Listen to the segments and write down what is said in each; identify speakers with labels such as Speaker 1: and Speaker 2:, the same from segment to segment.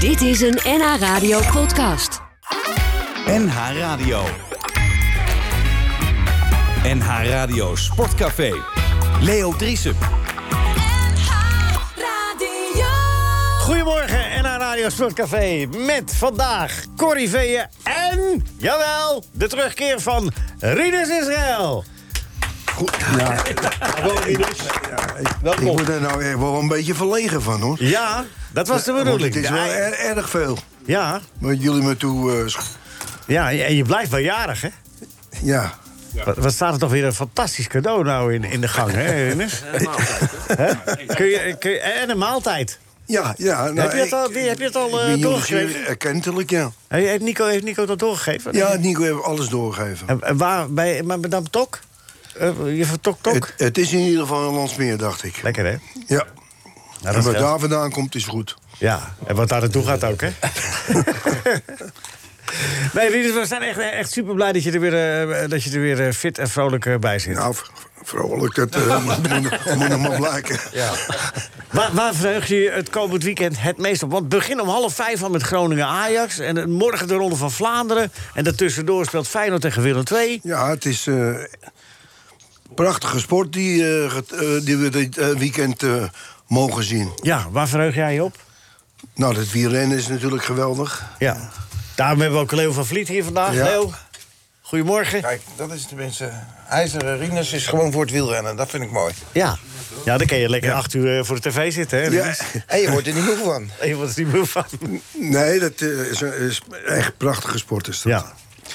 Speaker 1: Dit is een NH Radio podcast.
Speaker 2: NH Radio. NH Radio Sportcafé. Leo Driessen.
Speaker 3: Goedemorgen NH Radio Sportcafé met vandaag Corrie Veeën en, jawel, de terugkeer van Rinus Israël. dus.
Speaker 4: Ik word er nou echt wel een beetje verlegen van, hoor.
Speaker 3: Ja, dat was de
Speaker 4: Want
Speaker 3: bedoeling.
Speaker 4: het is wel
Speaker 3: Ja,
Speaker 4: er- erg veel.
Speaker 3: ja,
Speaker 4: Wat jullie me toe... eh, sch-
Speaker 3: ja, en je blijft wel jarig, hè?
Speaker 4: ja.
Speaker 3: Wat, wat staat er toch weer een fantastisch cadeau nou in, in de gang, hè, Rinus? Hè? kun je, kun je, en een maaltijd.
Speaker 4: Ja, ja. nou,
Speaker 3: heb je het
Speaker 4: ik-
Speaker 3: al, heb je het al eh,
Speaker 4: ik ben jullie
Speaker 3: doorgegeven?
Speaker 4: zeer erkentelijk, ja.
Speaker 3: Hey, Heeft Nico, heeft Nico dat doorgegeven?
Speaker 4: Ja, Nico heeft alles doorgegeven.
Speaker 3: En, en waar, bij, maar Madame Tok? Eh, je van Tok Tok?
Speaker 4: Het, het is in ieder geval een landsmeer, dacht ik.
Speaker 3: Lekker, hè? Nou,
Speaker 4: Ja.
Speaker 3: dat
Speaker 4: en wat
Speaker 3: scheelt.
Speaker 4: daar vandaan komt, is goed.
Speaker 3: Ja, en wat daar naartoe gaat ook, hè? nee, Rinus, we zijn echt, echt super blij dat je er weer, eh, dat je er weer eh, fit en vrolijk eh, bij zit.
Speaker 4: Nou, v- vrolijk, dat eh, moet, nog- moet nog maar blijken.
Speaker 3: Waar, waar verheug je je het komend weekend het meest op? Want begin om half vijf al met Groningen-Ajax... en eh, morgen de Ronde van Vlaanderen... en daartussendoor speelt Feyenoord tegen Willem II.
Speaker 4: Ja, het is eh, prachtige sport die, eh, get- eh, die we dit eh, weekend eh, mogen zien.
Speaker 3: Ja, waar verheug jij je op?
Speaker 4: Nou, dat wielrennen is natuurlijk geweldig.
Speaker 3: Ja, daarom hebben we ook Leo van Vliet hier vandaag.
Speaker 4: Ja.
Speaker 3: Leo, goedemorgen.
Speaker 5: Kijk, dat is tenminste. IJzeren Rinus is gewoon voor het wielrennen. Dat vind ik mooi.
Speaker 3: Ja, ja dan kan je lekker acht uur eh, voor de tv zitten, hè?
Speaker 4: Ja,
Speaker 3: Rinus?
Speaker 5: En je wordt er niet moe van.
Speaker 3: Je wordt er niet moe van.
Speaker 4: nee, dat eh, is, is echt prachtige sport is dat.
Speaker 3: Ja.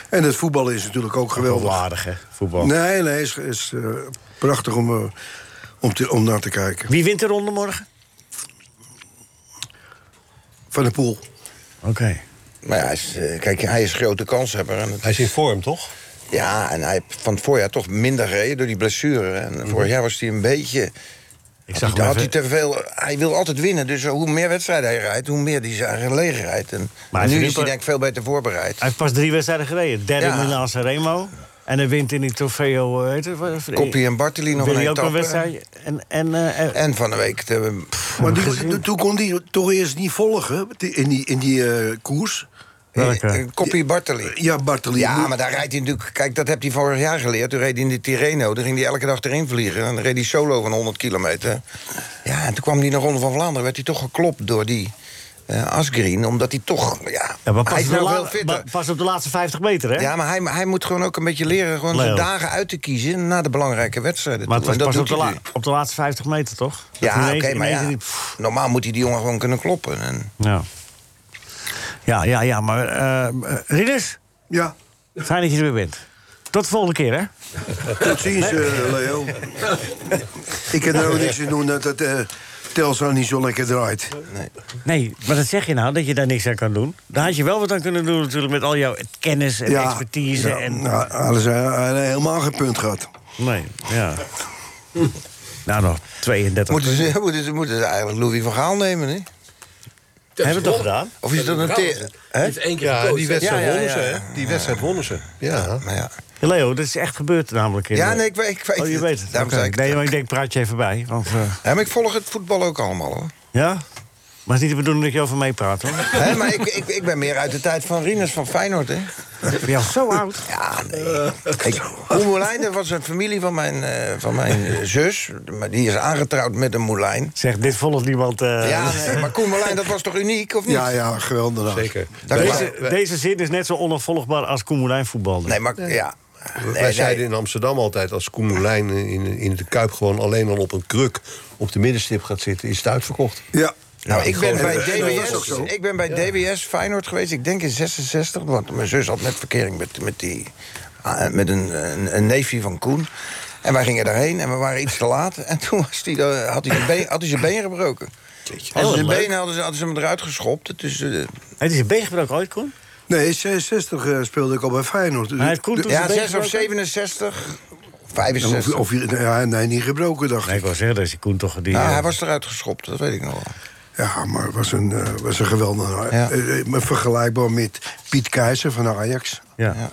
Speaker 4: En het voetballen is natuurlijk
Speaker 3: Wel
Speaker 4: ook geweldig.
Speaker 3: aardig, hè, voetbal.
Speaker 4: Nee, nee, is, is eh, prachtig om, eh, om, te- om naar te kijken.
Speaker 3: Wie wint de ronde morgen?
Speaker 4: Van de Poel.
Speaker 3: Oké.
Speaker 5: Maar ja, hij is, eh, kijk, hij is grote kanshebber. En het-
Speaker 6: Hij is in vorm, toch?
Speaker 5: ja, en hij heeft van het voorjaar toch minder gereden door die blessure. En vorig jaar was hij een beetje.
Speaker 3: Ik
Speaker 5: Had, hij, had hij te veel. Hij wil altijd winnen. Dus hoe meer wedstrijden hij rijdt, hoe meer hij zijn gelegen rijdt. En,
Speaker 3: hij
Speaker 5: en
Speaker 3: is een
Speaker 5: nu is hij
Speaker 3: ripper.
Speaker 5: denk ik veel beter voorbereid.
Speaker 3: Hij heeft pas drie wedstrijden gereden. Derde
Speaker 5: Ja.
Speaker 3: in Milaan Remo. En hij wint in die trofeo... eh, Heet het, wat-
Speaker 5: Koppie en Bartoli nog
Speaker 3: Wil
Speaker 5: een
Speaker 3: hij ook
Speaker 5: etappe.
Speaker 3: een wedstrijd? En, en, eh, eh,
Speaker 5: En van de week. De,
Speaker 4: Maar die, toen kon hij toch eerst niet volgen die- in die, in die eh, koers.
Speaker 3: Welke?
Speaker 5: eh, Koppie Bartoli.
Speaker 4: Ja, Bartoli.
Speaker 5: Ja, maar daar rijdt hij natuurlijk... Kijk, dat heeft hij vorig jaar geleerd. Toen reed hij in de Tirreno. Daar ging hij elke dag erin vliegen. En dan reed hij solo van 100 kilometer. Ja, en toen kwam hij naar Ronde van Vlaanderen. Werd hij toch geklopt door die eh Asgreen. Omdat hij toch... Ja,
Speaker 3: ja, maar pas,
Speaker 5: hij is
Speaker 3: op de
Speaker 5: nou
Speaker 3: la-
Speaker 5: veel fitter.
Speaker 3: maar pas op de laatste 50 meter, hè?
Speaker 5: Ja, maar hij, hij moet gewoon ook een beetje leren... gewoon zijn
Speaker 3: Leo.
Speaker 5: dagen uit te kiezen na de belangrijke wedstrijden.
Speaker 3: maar het
Speaker 5: toe.
Speaker 3: was
Speaker 5: En dat
Speaker 3: pas op
Speaker 5: doet
Speaker 3: de,
Speaker 5: hij
Speaker 3: la-
Speaker 5: nu.
Speaker 3: op de laatste 50 meter, toch? Dat
Speaker 5: Ja,
Speaker 3: ineens-
Speaker 5: oké, maar
Speaker 3: ineens
Speaker 5: ja,
Speaker 3: die- pff,
Speaker 5: normaal moet hij die jongen gewoon kunnen kloppen. En,
Speaker 3: ja. Ja, ja, ja, maar... eh Ridders,
Speaker 4: Ja,
Speaker 3: fijn dat je er weer bent. Tot de volgende keer, hè?
Speaker 4: tot ziens, eh, Leo. Ik heb er ook niks aan doen dat het eh, Telstar niet zo lekker draait.
Speaker 3: Nee, maar dat zeg je nou, dat je daar niks aan kan doen. Daar had je wel wat aan kunnen doen natuurlijk met al jouw kennis en expertise.
Speaker 4: ja,
Speaker 3: en...
Speaker 4: Nou, alles, eh, hij heeft helemaal geen punt gehad.
Speaker 3: Nee, ja. nou, nog 32.
Speaker 5: moeten, ze, moeten, ze, moeten ze eigenlijk Louis van Gaal nemen, hè?
Speaker 3: Hebben we het toch gedaan?
Speaker 5: Of is dat een... te- hè?
Speaker 6: Ja, die wedstrijd
Speaker 5: Ja, ja,
Speaker 6: wonnen
Speaker 5: ja,
Speaker 6: ze,
Speaker 5: ja.
Speaker 6: hè? Die wedstrijd wonnen ze. Ja.
Speaker 5: Maar ja...
Speaker 3: Leo, dat is echt gebeurd namelijk. In
Speaker 5: Ja,
Speaker 3: de-
Speaker 5: nee, ik, weet- ik weet
Speaker 3: Oh, je
Speaker 5: het.
Speaker 3: weet het.
Speaker 5: Daarom
Speaker 3: Oké.
Speaker 5: zei ik het.
Speaker 3: Nee, maar ik denk, praat je even bij. Want, eh,
Speaker 5: Ja, maar ik volg het voetbal ook allemaal, hoor.
Speaker 3: ja? Maar het is niet de bedoeling dat je over meepraat, hoor.
Speaker 5: Hè, maar ik, ik, ik ben meer uit de tijd van Rinus van Feyenoord, hè.
Speaker 3: Ik ben al zo oud.
Speaker 5: Ja, nee. Ik, Koen Moulijn, dat was een familie van mijn, eh, van mijn eh, zus. Maar die is aangetrouwd met een Moulijn.
Speaker 3: Zeg, dit volgt niemand. eh,
Speaker 5: Ja, nee, maar Koen Moulijn, dat was toch uniek, of niet?
Speaker 4: Ja, ja, geweldig.
Speaker 6: Zeker.
Speaker 5: Daar
Speaker 3: deze,
Speaker 5: kwam-
Speaker 3: deze zin is net zo onafvolgbaar als Koen Moulijn voetbalde.
Speaker 5: Nee, maar ja. Nee,
Speaker 6: Wij
Speaker 5: nee.
Speaker 6: zeiden in Amsterdam altijd, als Koen Moulijn in, in de Kuip... gewoon alleen al op een kruk op de middenstip gaat zitten... is het uitverkocht.
Speaker 4: Ja.
Speaker 5: Nou, ik ben,
Speaker 4: gewoon-
Speaker 5: bij
Speaker 4: en dat was ook
Speaker 5: DWS,
Speaker 4: zo.
Speaker 5: ik ben bij DWS Feyenoord geweest, ik denk in 66. Want mijn zus had net verkering met, met, die, ah, met een, een, een neefje van Koen. En wij gingen daarheen en we waren iets te laat. En toen was die, eh, had hij zijn been, had hij zijn been gebroken. Hadden ze zijn
Speaker 3: leuk.
Speaker 5: been Nou, hadden ze, hadden ze hem eruit geschopt. Dus, eh,
Speaker 3: Het is een beeggebruik ooit, Koen.
Speaker 4: Nee, 66 eh, speelde ik al bij Feyenoord. Dus
Speaker 3: Hij heeft Koen
Speaker 4: de-
Speaker 3: toen zijn
Speaker 5: ja,
Speaker 3: been
Speaker 5: 6 of
Speaker 3: gebroken?
Speaker 5: 67.
Speaker 4: Ja, maar
Speaker 5: 65.
Speaker 4: Of, of, ja, nee, niet gebroken, dacht
Speaker 3: Nee,
Speaker 4: ik.
Speaker 3: ik wil zeggen, dat is die Koen toch... Die,
Speaker 5: Nou,
Speaker 3: eh,
Speaker 5: hij was eruit geschopt, dat weet ik nog wel.
Speaker 4: Ja, maar het was een, eh, was een geweldige...
Speaker 5: Ja.
Speaker 4: eh, eh, maar vergelijkbaar met Piet Keizer van Ajax.
Speaker 3: ja.
Speaker 5: Ja.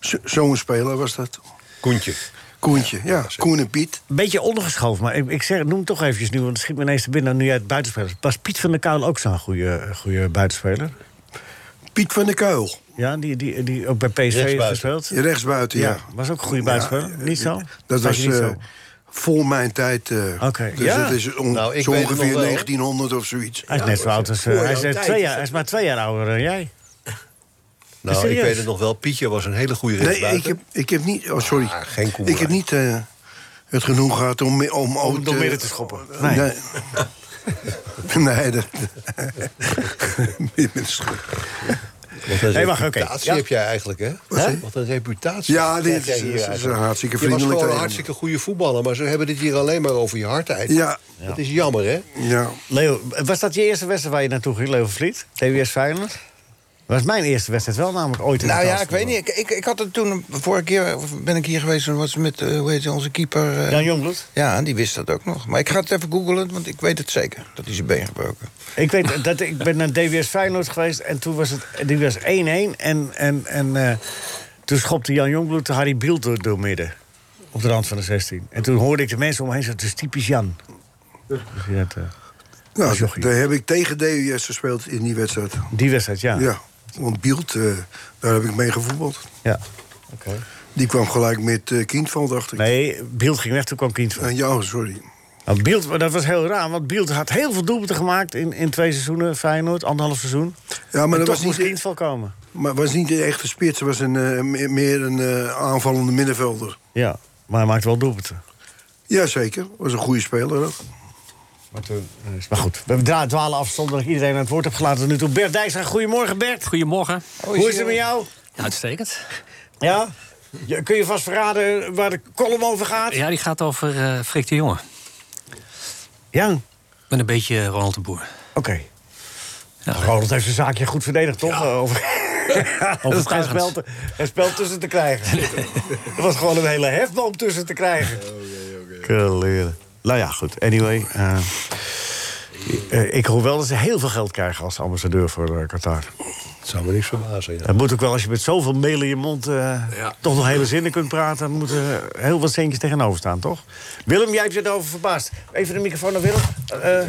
Speaker 4: Zo- Zo'n speler was dat.
Speaker 6: Koentje.
Speaker 4: Koentje, ja. Koen en Piet.
Speaker 3: Een beetje ondergeschoven, maar ik, ik zeg, noem het toch eventjes nu... want het schiet me ineens te binnen nu uit buitenspelers. Was Piet van der Kuil ook zo'n goede, goede buitenspeler?
Speaker 4: Piet van der Kuil.
Speaker 3: Ja, die, die, die ook bij PSV heeft
Speaker 6: Rechtsbuiten.
Speaker 3: gespeeld?
Speaker 4: Rechtsbuiten, ja.
Speaker 3: Ja, was ook een goede buitenspeler. Niet zo?
Speaker 4: Dat
Speaker 3: Had
Speaker 4: was
Speaker 3: je niet
Speaker 4: eh,
Speaker 3: zo?
Speaker 4: vol mijn tijd. eh
Speaker 3: Oké,
Speaker 4: Dus
Speaker 3: ja.
Speaker 4: dat is on-
Speaker 6: Nou, ik
Speaker 4: zo
Speaker 6: weet het
Speaker 4: ongeveer
Speaker 6: nog wel.
Speaker 4: 1900 of zoiets.
Speaker 3: Hij is net zo oud als... eh,
Speaker 6: Voor
Speaker 3: hij, is,
Speaker 6: jouw
Speaker 3: eh,
Speaker 6: tijd.
Speaker 3: twee jaar, hij is maar twee jaar ouder dan jij.
Speaker 6: Nou, ik
Speaker 3: serieus?
Speaker 6: weet het nog wel. Pietje was een hele goede
Speaker 4: Nee,
Speaker 6: rechtsbuiten.
Speaker 4: ik heb, ik heb niet... Oh, sorry.
Speaker 6: Ah, geen Koen
Speaker 4: ik heb
Speaker 6: Bruijn.
Speaker 4: niet eh, het genoeg gehad om... Om, om,
Speaker 3: Om door midden te schoppen.
Speaker 4: Nee.
Speaker 3: Nee.
Speaker 4: Nee, dat...
Speaker 6: Want een
Speaker 3: Nee, wacht, oké.
Speaker 6: reputatie
Speaker 3: Ja.
Speaker 6: heb jij eigenlijk, hè?
Speaker 4: zei je?
Speaker 6: Wat een reputatie.
Speaker 4: ja,
Speaker 6: heb
Speaker 4: dit
Speaker 6: jij
Speaker 4: is,
Speaker 6: hier
Speaker 4: is een
Speaker 6: eigenlijk.
Speaker 4: hartstikke
Speaker 6: Je was
Speaker 4: vriendelijk
Speaker 6: gewoon een
Speaker 4: tegen
Speaker 6: hartstikke goede voetballer, maar ze hebben het hier alleen maar over je hardheid.
Speaker 4: Ja.
Speaker 6: Dat is jammer, hè?
Speaker 4: me. Ja.
Speaker 3: Leo, was dat je eerste wedstrijd waar je naartoe ging, Leo Vliet? TWS Feyenoord? Dat was mijn eerste wedstrijd wel namelijk ooit in de
Speaker 5: Nou ja, ik
Speaker 3: Telstar.
Speaker 5: weet niet. Ik, ik, ik had het toen, vorige keer ben ik hier geweest... en was het met, eh, hoe heet die, onze keeper... eh,
Speaker 3: Jan Jongbloed?
Speaker 5: Ja, die wist dat ook nog. Maar ik ga het even googlen, want ik weet het zeker. Dat hij zijn been gebroken.
Speaker 3: Ik weet dat ik ben naar DWS Feyenoord geweest en toen was het die was 1-1 en, en, en eh, toen schopte Jan Jongbloed de Harry Biel door, door midden op de rand van de 16. En toen hoorde ik de mensen om me heen zeggen: "Het is typisch Jan." Dus je hebt, eh, Als
Speaker 4: Nou,
Speaker 3: jochie.
Speaker 4: daar heb ik tegen DWS gespeeld in die wedstrijd.
Speaker 3: die wedstrijd, ja.
Speaker 4: Ja. Want Bielt, eh, daar heb ik mee gevoetbald.
Speaker 3: Ja.
Speaker 4: Die kwam gelijk met eh Kindveld, dacht ik.
Speaker 3: Nee, Biel ging weg toen kwam Kind.
Speaker 4: Eh, ja, sorry.
Speaker 3: Nou, Bielt, maar dat was heel raar, want Bielt had heel veel doelpunten gemaakt in, in twee seizoenen, Feyenoord, anderhalf seizoen.
Speaker 4: Ja, maar
Speaker 3: en
Speaker 4: dat
Speaker 3: toch
Speaker 4: was
Speaker 3: moest
Speaker 4: niet,
Speaker 3: Kindval komen.
Speaker 4: maar was niet een echte spits. Het was een, eh, me- meer een eh, aanvallende middenvelder.
Speaker 3: Ja, maar hij maakt wel doelpunten.
Speaker 4: Jazeker, was een goede speler ook.
Speaker 3: Maar goed, we dra- dwalen af zonder dat ik iedereen aan het woord heb gelaten. tot Nu toe Bert Dijkstra, goedemorgen Bert.
Speaker 7: Goedemorgen.
Speaker 3: Hoe is het met jou?
Speaker 7: Ja, uitstekend.
Speaker 3: Ja? Ja, kun je vast verraden waar de column over gaat?
Speaker 7: Ja, die gaat over eh Frik de Jonge.
Speaker 3: Ja, oké.
Speaker 7: Ik ben een beetje Ronald de Boer.
Speaker 3: Nou, Ronald heeft zijn zaakje goed verdedigd, toch? Eh, Over... Er is geen
Speaker 7: Overtuigend.
Speaker 3: spel, te- geen spel tussen te krijgen. er was gewoon een hele hefboom tussen te krijgen. Oké, leren. Nou ja, goed. Anyway. eh, eh, ik hoor wel dat ze heel veel geld krijgen als ambassadeur voor eh, Qatar.
Speaker 6: Dat zou me niks verbazen, ja.
Speaker 3: Dat moet ook wel, als je met zoveel meel in je mond eh, toch nog hele zinnen kunt praten... dan moeten er heel wat centjes tegenover staan, toch? Willem, jij hebt je erover verbaasd. Even de microfoon naar Willem. Eh, eh,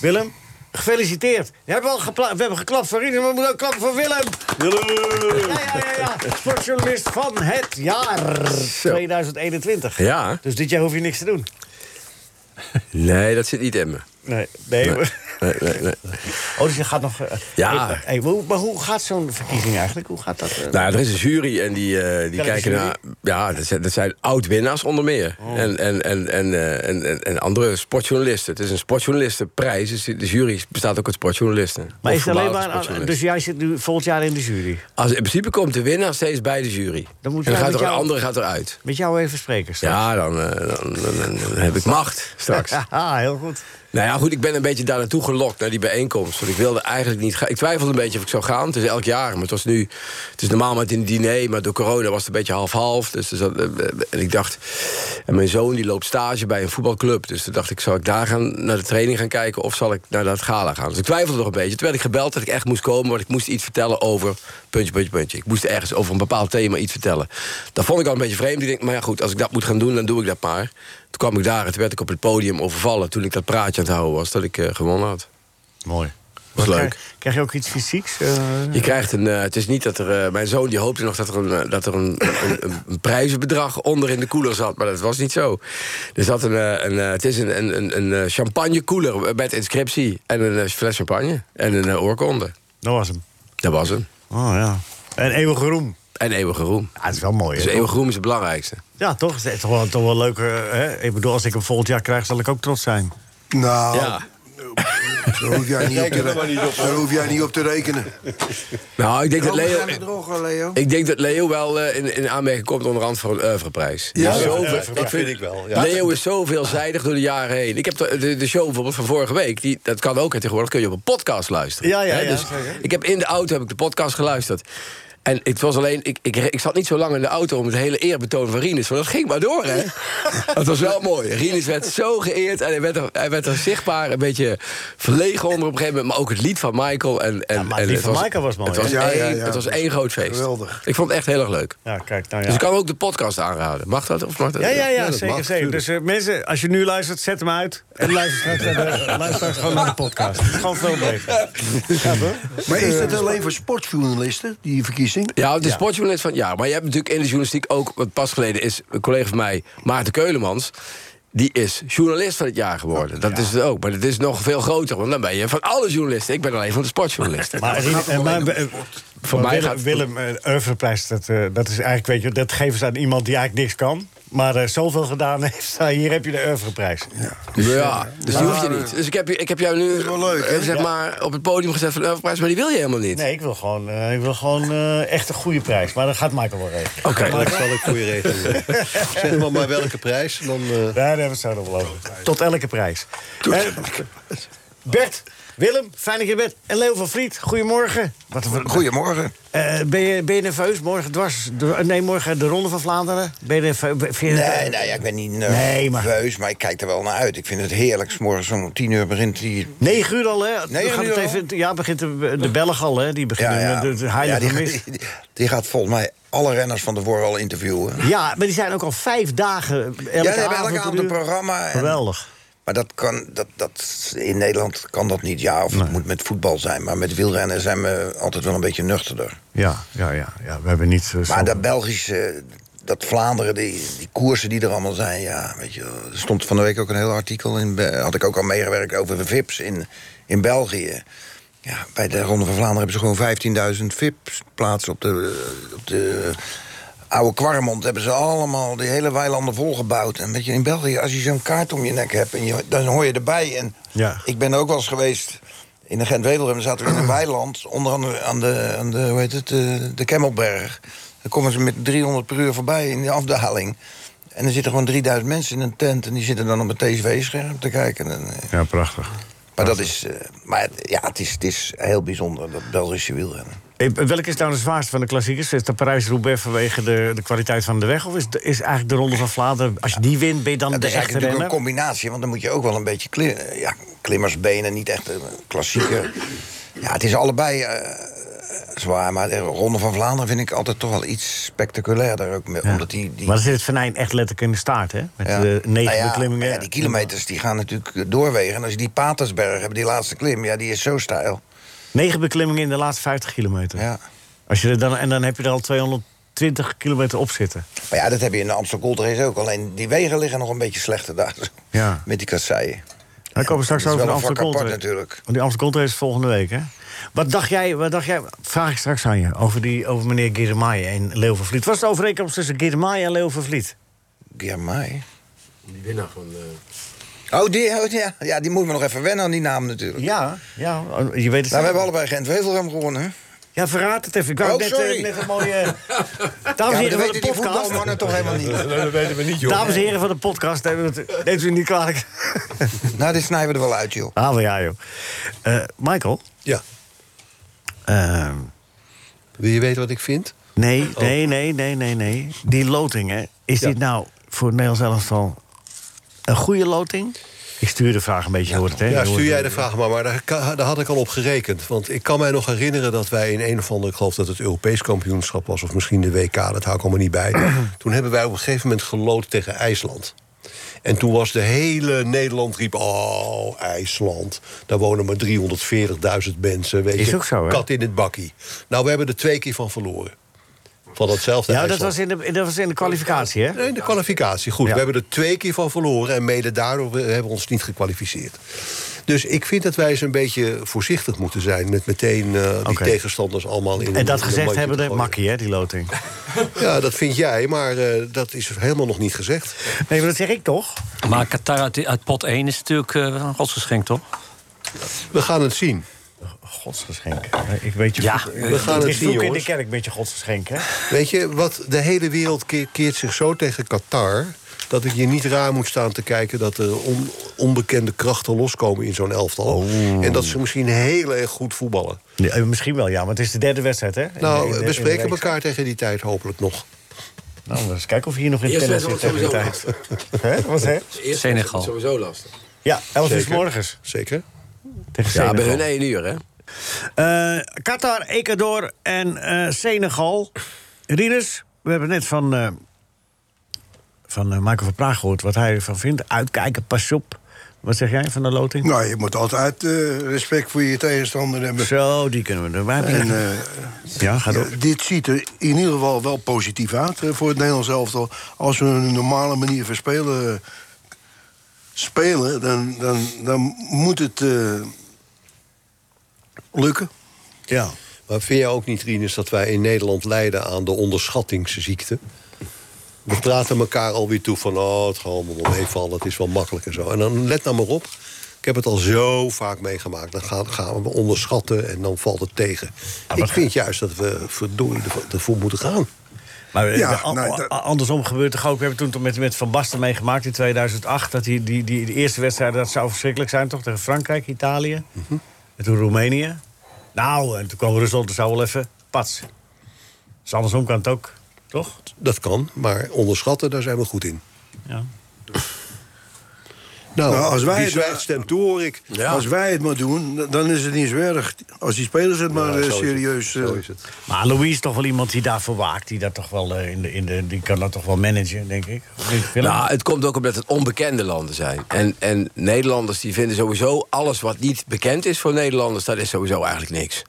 Speaker 3: Willem, gefeliciteerd. We hebben, al gepla- we hebben geklapt voor Rien, maar we moeten ook klappen voor Willem. Willem! Ja, ja, ja, ja. Sportjournalist van het jaar 2021.
Speaker 8: Ja.
Speaker 3: Dus dit jaar hoef je niks te doen.
Speaker 8: Nee, dat zit niet in me.
Speaker 3: Nee, nee.
Speaker 8: Nee, nee, nee.
Speaker 3: Oh, dus je gaat nog... eh,
Speaker 8: Ja.
Speaker 3: hey, maar hoe- maar hoe gaat zo'n verkiezing eigenlijk? Hoe gaat dat? eh?
Speaker 8: Nou, er is een jury en die, eh, die
Speaker 3: Welke
Speaker 8: kijken
Speaker 3: jury? Oh.
Speaker 8: naar. Ja, dat zijn, dat zijn oud-winnaars onder meer. En, en, en, en, eh, en, en, en andere sportjournalisten. Het is een sportjournalistenprijs. Dus de jury bestaat ook uit sportjournalisten.
Speaker 3: maar
Speaker 8: Of
Speaker 3: is het alleen
Speaker 8: voormalige
Speaker 3: maar... aan- dus
Speaker 8: sportjournalisten.
Speaker 3: jij zit nu volgend jaar in de jury?
Speaker 8: Als, in principe komt de winnaar steeds bij de jury.
Speaker 3: Dan moet
Speaker 8: en dan
Speaker 3: jij
Speaker 8: gaat
Speaker 3: met
Speaker 8: er een
Speaker 3: jou-
Speaker 8: andere gaat eruit.
Speaker 3: Met jou even spreken straks.
Speaker 8: Ja, dan, eh, dan, dan- dan- dan heb ik macht straks.
Speaker 3: Haha, Ah, heel goed.
Speaker 8: Nou ja, goed, ik ben een beetje daar naartoe gelokt, naar die bijeenkomst. Want ik wilde eigenlijk niet gaan. Ik twijfelde een beetje of ik zou gaan. Het is elk jaar, maar het was nu... Het is normaal met een diner, maar door corona was het een beetje half-half. Dus er zat- eh, eh, en ik dacht... En mijn zoon die loopt stage bij een voetbalclub. Dus toen dacht ik, zal ik daar gaan, naar de training gaan kijken... of zal ik naar dat gala gaan? Dus ik twijfelde nog een beetje. Toen werd ik gebeld dat ik echt moest komen... want ik moest iets vertellen over... puntje, puntje, puntje. Ik moest ergens over een bepaald thema iets vertellen. Dat vond ik al een beetje vreemd. Ik denk, maar ja, goed, als ik dat moet gaan doen, dan doe ik dat maar. Toen kwam ik daar en toen werd ik op het podium overvallen... toen ik dat praatje aan het houden was, dat ik eh, gewonnen had.
Speaker 3: Mooi.
Speaker 8: Was leuk.
Speaker 3: Krijg, krijg je ook iets fysieks? eh?
Speaker 8: Je krijgt een. eh, het is niet dat er. eh, mijn zoon die hoopte nog dat er, een, eh, dat er een, een, een prijzenbedrag onder in de koeler zat. Maar dat was niet zo. Er zat een. eh, een eh, het is een, een, een, een champagnekoeler met inscriptie. En een eh, fles champagne. En een eh, oorkonde.
Speaker 3: Dat was hem.
Speaker 8: Dat was hem.
Speaker 3: Oh ja. En eeuwige roem.
Speaker 8: En eeuwige roem.
Speaker 3: Ja, dat is wel mooi.
Speaker 8: Dus
Speaker 3: hè?
Speaker 8: eeuwige roem is het belangrijkste.
Speaker 3: Ja, toch? Het is toch wel, toch wel leuk. eh, hè? Ik bedoel, als ik hem volgend jaar krijg, zal ik ook trots zijn. Oh.
Speaker 4: Nou,
Speaker 8: Ja.
Speaker 4: daar, hoef jij niet op te re- daar hoef jij niet op te rekenen.
Speaker 8: Nou, ik denk dat
Speaker 4: Droge
Speaker 8: Leo.
Speaker 4: gaan we drogen, Leo.
Speaker 8: Ik denk dat Leo wel eh, in, in aanmerking komt onderhand voor een oeuvreprijs.
Speaker 6: Ja,
Speaker 8: Dus
Speaker 6: zo,
Speaker 8: zo-
Speaker 6: dat vind ik wel. Ja.
Speaker 8: Leo is zo veelzijdig door de jaren heen. Ik heb de, de, de show bijvoorbeeld van vorige week, die, dat kan ook hè, tegenwoordig, kun je op een podcast luisteren.
Speaker 3: Ja, ja,
Speaker 8: Hè,
Speaker 3: ja,
Speaker 8: dus
Speaker 3: zeker.
Speaker 8: ik heb in de auto heb ik de podcast geluisterd. En het was alleen, ik, ik, ik zat niet zo lang in de auto om het hele eerbetoon van Rinus. Want dat ging maar door, hè? dat was wel mooi. Rinus werd zo geëerd en hij werd, er, hij werd er zichtbaar een beetje verlegen onder op een gegeven moment. Maar ook het lied van Michael. En, en,
Speaker 3: Ja, maar het
Speaker 8: en
Speaker 3: lied van
Speaker 8: was-
Speaker 3: Michael was mooi,
Speaker 8: Het was,
Speaker 4: hè? Ja, ja,
Speaker 8: één,
Speaker 4: ja.
Speaker 8: Het was één groot feest.
Speaker 4: Geweldig.
Speaker 8: Ik vond het echt heel erg leuk.
Speaker 3: Ja, kijk, nou ja.
Speaker 8: Dus ik kan ook de podcast aanraden. Mag dat? Of mag dat?
Speaker 3: Ja, ja, ja,
Speaker 6: dat
Speaker 3: zeker.
Speaker 6: mag,
Speaker 3: zeker. Dus eh, mensen, als je nu luistert, zet hem uit. En luister straks, naar de, luister straks gewoon naar de podcast. Het is gewoon veel beter. Ja, hoor.
Speaker 4: Maar is dat alleen voor sportjournalisten, die verkiezing?
Speaker 8: Eh, Ja, Oh, de sportjournalist van ja, maar je hebt natuurlijk in de journalistiek ook wat pas geleden is een collega van mij, Maarten Keulemans. Die is journalist van het jaar geworden. Dat is het ook. Maar het is nog veel groter. Want dan ben je van alle journalisten. Ik ben alleen van de sportjournalisten.
Speaker 3: Maar, Rien- eh, maar, eh,
Speaker 8: Voor
Speaker 3: maar
Speaker 8: mij
Speaker 3: Willem,
Speaker 8: gaat-
Speaker 3: Willem eh, Oeuvreprijs, dat, eh, dat is eigenlijk, weet je, dat geven ze aan iemand die eigenlijk niks kan. Maar eh, zoveel gedaan heeft, nou, hier heb je de Oeuvreprijs.
Speaker 8: Dus, ja, dus die hoef je niet. Dus ik heb, je- ik heb jou nu
Speaker 4: wel leuk, hè?
Speaker 8: eh, zeg
Speaker 3: Ja.
Speaker 8: maar, op het podium gezet van de Europrijs. Maar die wil je helemaal niet.
Speaker 3: Nee, ik wil gewoon, eh, ik wil gewoon eh, echt een goede prijs. Maar dat gaat Michael wel regelen.
Speaker 8: Oké.
Speaker 6: Maar dat zal ik voor je regelen. zeg maar maar welke prijs. Dan, eh,
Speaker 3: Ja, daar hebben we het zo nog wel over. Tot elke prijs. Eh, Bert, Willem, fijn dat je er bent. En Leo van Vliet, goedemorgen. Wat een-
Speaker 5: Goedemorgen.
Speaker 3: Eh, ben, je, ben je nerveus? Morgen dwars. de- eh, nee, morgen de Ronde van Vlaanderen. Ben je nerveus? Vind je-
Speaker 5: Nee, nee, ja, ik ben niet
Speaker 3: Nee, maar-
Speaker 5: nerveus, maar... ik kijk er wel naar uit. Ik vind het heerlijk. 's morgens om tien uur begint die...
Speaker 3: Negen uur al, hè? Dan
Speaker 5: Negen
Speaker 3: gaat
Speaker 5: uur
Speaker 3: het
Speaker 5: al?
Speaker 3: even, ja, begint de, de Belg al, hè? Die beginnen met de, de
Speaker 5: Ja,
Speaker 3: heilige
Speaker 5: die,
Speaker 3: mis.
Speaker 5: die, die gaat volgens mij alle renners van tevoren al interviewen.
Speaker 3: Ja, maar die zijn ook al vijf dagen. Elke
Speaker 5: Ja, die hebben
Speaker 3: avond,
Speaker 5: elke avond
Speaker 3: uur.
Speaker 5: een programma. en-
Speaker 3: Geweldig.
Speaker 5: Maar dat kan, dat, dat, in Nederland kan dat niet. Ja, of het moet met voetbal zijn. Maar met wielrennen zijn we altijd wel een beetje nuchterder.
Speaker 3: Ja, ja, ja, ja. We hebben niet. eh, zo-
Speaker 5: Maar dat Belgische, dat Vlaanderen, die, die koersen die er allemaal zijn. Ja, weet je, wel. er stond van de week ook een heel artikel in. Be- Had ik ook al meegewerkt over de VIP's in, in België. Ja, bij de Ronde van Vlaanderen hebben ze gewoon 15.000 VIP's plaatsen op de, op de oude Kwarmond. Hebben ze allemaal die hele weilanden volgebouwd. En weet je, in België, als je zo'n kaart om je nek hebt, en je, dan hoor je erbij. En
Speaker 3: Ja.
Speaker 5: ik ben er ook wel eens geweest. In de Gent-Wedelgem zaten we in een weiland, onder andere aan de, aan de, hoe heet het, eh, de Kemmelberg. Dan komen ze met 300 per uur voorbij in de afdaling. En er zitten gewoon 3000 mensen in een tent... en die zitten dan op een tv-scherm te kijken. En, eh,
Speaker 3: Ja, prachtig.
Speaker 5: maar dat is, eh, maar het- ja, het is, het is heel bijzonder, dat Belgische wielrennen.
Speaker 3: Eh, Welke is nou de zwaarste van de klassiekers? Is dat Parijs-Roubaix vanwege de, de kwaliteit van de weg? Of is, de- is eigenlijk de Ronde van Vlaanderen... als je die wint, ben je dan
Speaker 5: Ja,
Speaker 3: de
Speaker 5: dat is eigenlijk
Speaker 3: echte
Speaker 5: natuurlijk
Speaker 3: renner?
Speaker 5: een combinatie, want dan moet je ook wel een beetje klim, ja, klimmersbenen, niet echt een klassieke. ja, het is allebei eh, zwaar, maar de Ronde van Vlaanderen vind ik altijd toch wel iets spectaculairder. Ook, met- omdat die, die,
Speaker 3: Maar dan zit het venijn echt letterlijk in de staart, hè? Met
Speaker 5: ja.
Speaker 3: de negen
Speaker 5: Nou ja,
Speaker 3: beklimmingen.
Speaker 5: maar Ja, die kilometers die gaan natuurlijk doorwegen. En als je die Patersberg hebt, die laatste klim, ja, die is zo stijl.
Speaker 3: Negen beklimmingen in de laatste 50 kilometer.
Speaker 5: Ja.
Speaker 3: Als je er dan, en dan heb je er al 220 kilometer op zitten.
Speaker 5: Maar ja, dat heb je in de Amstel Gold Race ook. Alleen die wegen liggen nog een beetje slechter daar.
Speaker 3: Ja.
Speaker 5: Met die kasseien.
Speaker 3: Dan komen we straks
Speaker 5: dat is
Speaker 3: over de
Speaker 5: wel een
Speaker 3: Amsterdam
Speaker 5: vak
Speaker 3: Gold
Speaker 5: apart
Speaker 3: Race.
Speaker 5: natuurlijk.
Speaker 3: Want die Amsterdam Gold Race is volgende week, hè? Wat dacht jij, wat dacht jij vraag ik straks aan je, over, die, over meneer Giremai en Leo van Vliet. Wat is de overeenkomst tussen Giremai en Leo van Vliet?
Speaker 5: Germay.
Speaker 8: Die winnaar van...
Speaker 5: Oh, die, oh, ja. ja, die moet me nog even wennen aan die naam natuurlijk.
Speaker 3: Ja, ja, je weet het
Speaker 5: Nou,
Speaker 3: zelf.
Speaker 5: we hebben allebei Gent Wevelgem gewonnen. hè?
Speaker 3: Ja, verraad het even. Ik wou
Speaker 5: Oh,
Speaker 3: net, eh,
Speaker 5: sorry.
Speaker 3: net een mooie... Dames
Speaker 5: Ja,
Speaker 3: en
Speaker 5: maar
Speaker 3: heren van
Speaker 5: dat
Speaker 3: de
Speaker 5: weten die
Speaker 3: podcast...
Speaker 5: voetbalmannen toch helemaal niet.
Speaker 6: dat weten we niet, joh.
Speaker 3: Dames en heren van de podcast, neemt u het- neemt u het niet kwalijk.
Speaker 5: Nou, dit snijden we er wel uit, joh.
Speaker 3: Ah, wel ja, joh. Eh, Michael?
Speaker 6: Ja.
Speaker 3: Ehm,
Speaker 6: Wil je weten wat ik vind? Oh.
Speaker 3: nee, nee, nee, nee, nee, nee. Die loting, hè. Is dit nou voor het Nederlands elftal een goede loting? Ik stuur de vraag een beetje, je hoort het, hè?
Speaker 6: Ja,
Speaker 3: Je hoort
Speaker 6: stuur jij
Speaker 3: het.
Speaker 6: de vraag maar. Maar daar, ka- daar had ik al op gerekend. Want ik kan mij nog herinneren dat wij in een of andere... ik geloof dat het Europees kampioenschap was... of misschien de WK, dat hou ik allemaal niet bij. toen hebben wij op een gegeven moment geloot tegen IJsland. En toen was de hele Nederland riep... oh, IJsland, daar wonen maar 340.000 mensen. Weet
Speaker 3: Is
Speaker 6: je,
Speaker 3: ook zo, hè?
Speaker 6: Kat in het bakkie. Nou, we hebben er twee keer van verloren. Van datzelfde
Speaker 3: Ja, dat
Speaker 6: IJsland.
Speaker 3: was, in de, dat was in de kwalificatie, hè?
Speaker 6: Nee, de kwalificatie. Goed,
Speaker 3: Ja.
Speaker 6: we hebben er twee keer van verloren... en mede daardoor we- hebben we ons niet gekwalificeerd. Dus ik vind dat wij eens een beetje voorzichtig moeten zijn... met meteen eh, die
Speaker 3: Oké.
Speaker 6: tegenstanders allemaal in
Speaker 3: En dat
Speaker 6: in
Speaker 3: gezegd
Speaker 6: mandje
Speaker 3: hebben
Speaker 6: te
Speaker 3: de
Speaker 6: gooien.
Speaker 3: makkie, hè, die loting.
Speaker 6: Ja, dat vind jij, maar eh, dat is helemaal nog niet gezegd.
Speaker 3: Nee, maar dat zeg ik toch?
Speaker 7: Maar Qatar uit, uit pot 1 is natuurlijk eh, wel een godsgeschenk, toch?
Speaker 6: We gaan het zien.
Speaker 3: Godsgeschenk. Ik weet je
Speaker 7: Ja, we
Speaker 6: gaan het
Speaker 3: Ik
Speaker 6: zien,
Speaker 3: zoek in de
Speaker 6: jongens.
Speaker 3: kerk met je godsgeschenk, hè?
Speaker 6: Weet je, wat, de hele wereld keert, keert zich zo tegen Qatar... dat het je niet raar moet staan te kijken dat er on- onbekende krachten loskomen in zo'n elftal. En dat ze misschien heel erg goed voetballen.
Speaker 3: Nee, eh, Oh. misschien wel, ja, maar het is de derde wedstrijd, hè? In- in de-
Speaker 6: Nou,
Speaker 3: in
Speaker 6: we
Speaker 3: de
Speaker 6: spreken
Speaker 3: reeks.
Speaker 6: elkaar tegen die tijd hopelijk nog.
Speaker 3: Nou, eens kijken of je hier nog in
Speaker 8: Eerst
Speaker 3: tennis zit
Speaker 8: wordt
Speaker 3: tegen die
Speaker 8: sowieso
Speaker 3: tijd. Hè? Wat hè?
Speaker 8: Eerst
Speaker 7: Senegal.
Speaker 8: is het sowieso lastig.
Speaker 3: Ja, 11 uur 's
Speaker 6: Zeker.
Speaker 3: morgens.
Speaker 6: Zeker?
Speaker 3: Tegen
Speaker 8: Ja, bij
Speaker 3: Senegal.
Speaker 8: hun één uur, hè?
Speaker 3: Eh, Qatar, Ecuador en eh, Senegal. Rinus, we hebben net van, eh, van eh, Michael van Praag gehoord wat hij ervan vindt. Uitkijken, pas op. Wat zeg jij van de loting?
Speaker 4: Nou, je moet altijd eh, respect voor je tegenstander hebben.
Speaker 3: Zo, die kunnen we er. Waar heb je-
Speaker 4: En eh,
Speaker 3: ja, ga door.
Speaker 4: ja, dit ziet er in ieder geval wel positief uit eh, voor het Nederlands elftal. Als we een normale manier van spelen, eh, spelen dan, dan, dan moet het eh, lukken.
Speaker 3: Ja.
Speaker 6: Maar vind jij ook niet, Rinus, dat wij in Nederland lijden aan de onderschattingsziekte? We praten elkaar alweer toe van, oh, het gaat allemaal wel meevallen, het is wel makkelijk en zo. En dan let nou maar op, ik heb het al zo vaak meegemaakt. Dan gaan, gaan we onderschatten en dan valt het tegen. ik vind juist dat we verdorie ervoor- ervoor moeten gaan.
Speaker 3: Maar eh,
Speaker 4: Ja,
Speaker 3: de- a-
Speaker 4: nou,
Speaker 3: a-
Speaker 4: dat-
Speaker 3: andersom gebeurt toch ook. We hebben toen toch met, met Van Basten meegemaakt in 2008. Dat die, die, die, die eerste wedstrijd, dat zou verschrikkelijk zijn toch? Tegen Frankrijk, Italië.
Speaker 4: Mhm.
Speaker 3: En toen Roemenië. Nou, en toen kwam Rusland, dat zou wel even pats. Dus andersom kan het ook, toch?
Speaker 6: Dat kan, maar onderschatten, daar zijn we goed in.
Speaker 3: Ja.
Speaker 6: Nou,
Speaker 4: Nou, als wij
Speaker 6: wie
Speaker 4: het-
Speaker 6: zwijgt stemt toe, hoor ik.
Speaker 4: Als wij het maar doen, dan is het niet zo erg. Als die spelers het maar
Speaker 6: Ja,
Speaker 4: eh,
Speaker 6: zo is het.
Speaker 4: serieus... eh,
Speaker 6: Zo is het.
Speaker 3: Maar Louis is toch wel iemand die daarvoor waakt. Die, dat toch wel, eh, in de, in de, die kan dat toch wel managen, denk ik. Of niet, Willem?
Speaker 8: Nou, het komt ook omdat het onbekende landen zijn. En, en Nederlanders die vinden sowieso alles wat niet bekend is voor Nederlanders, dat is sowieso eigenlijk niks.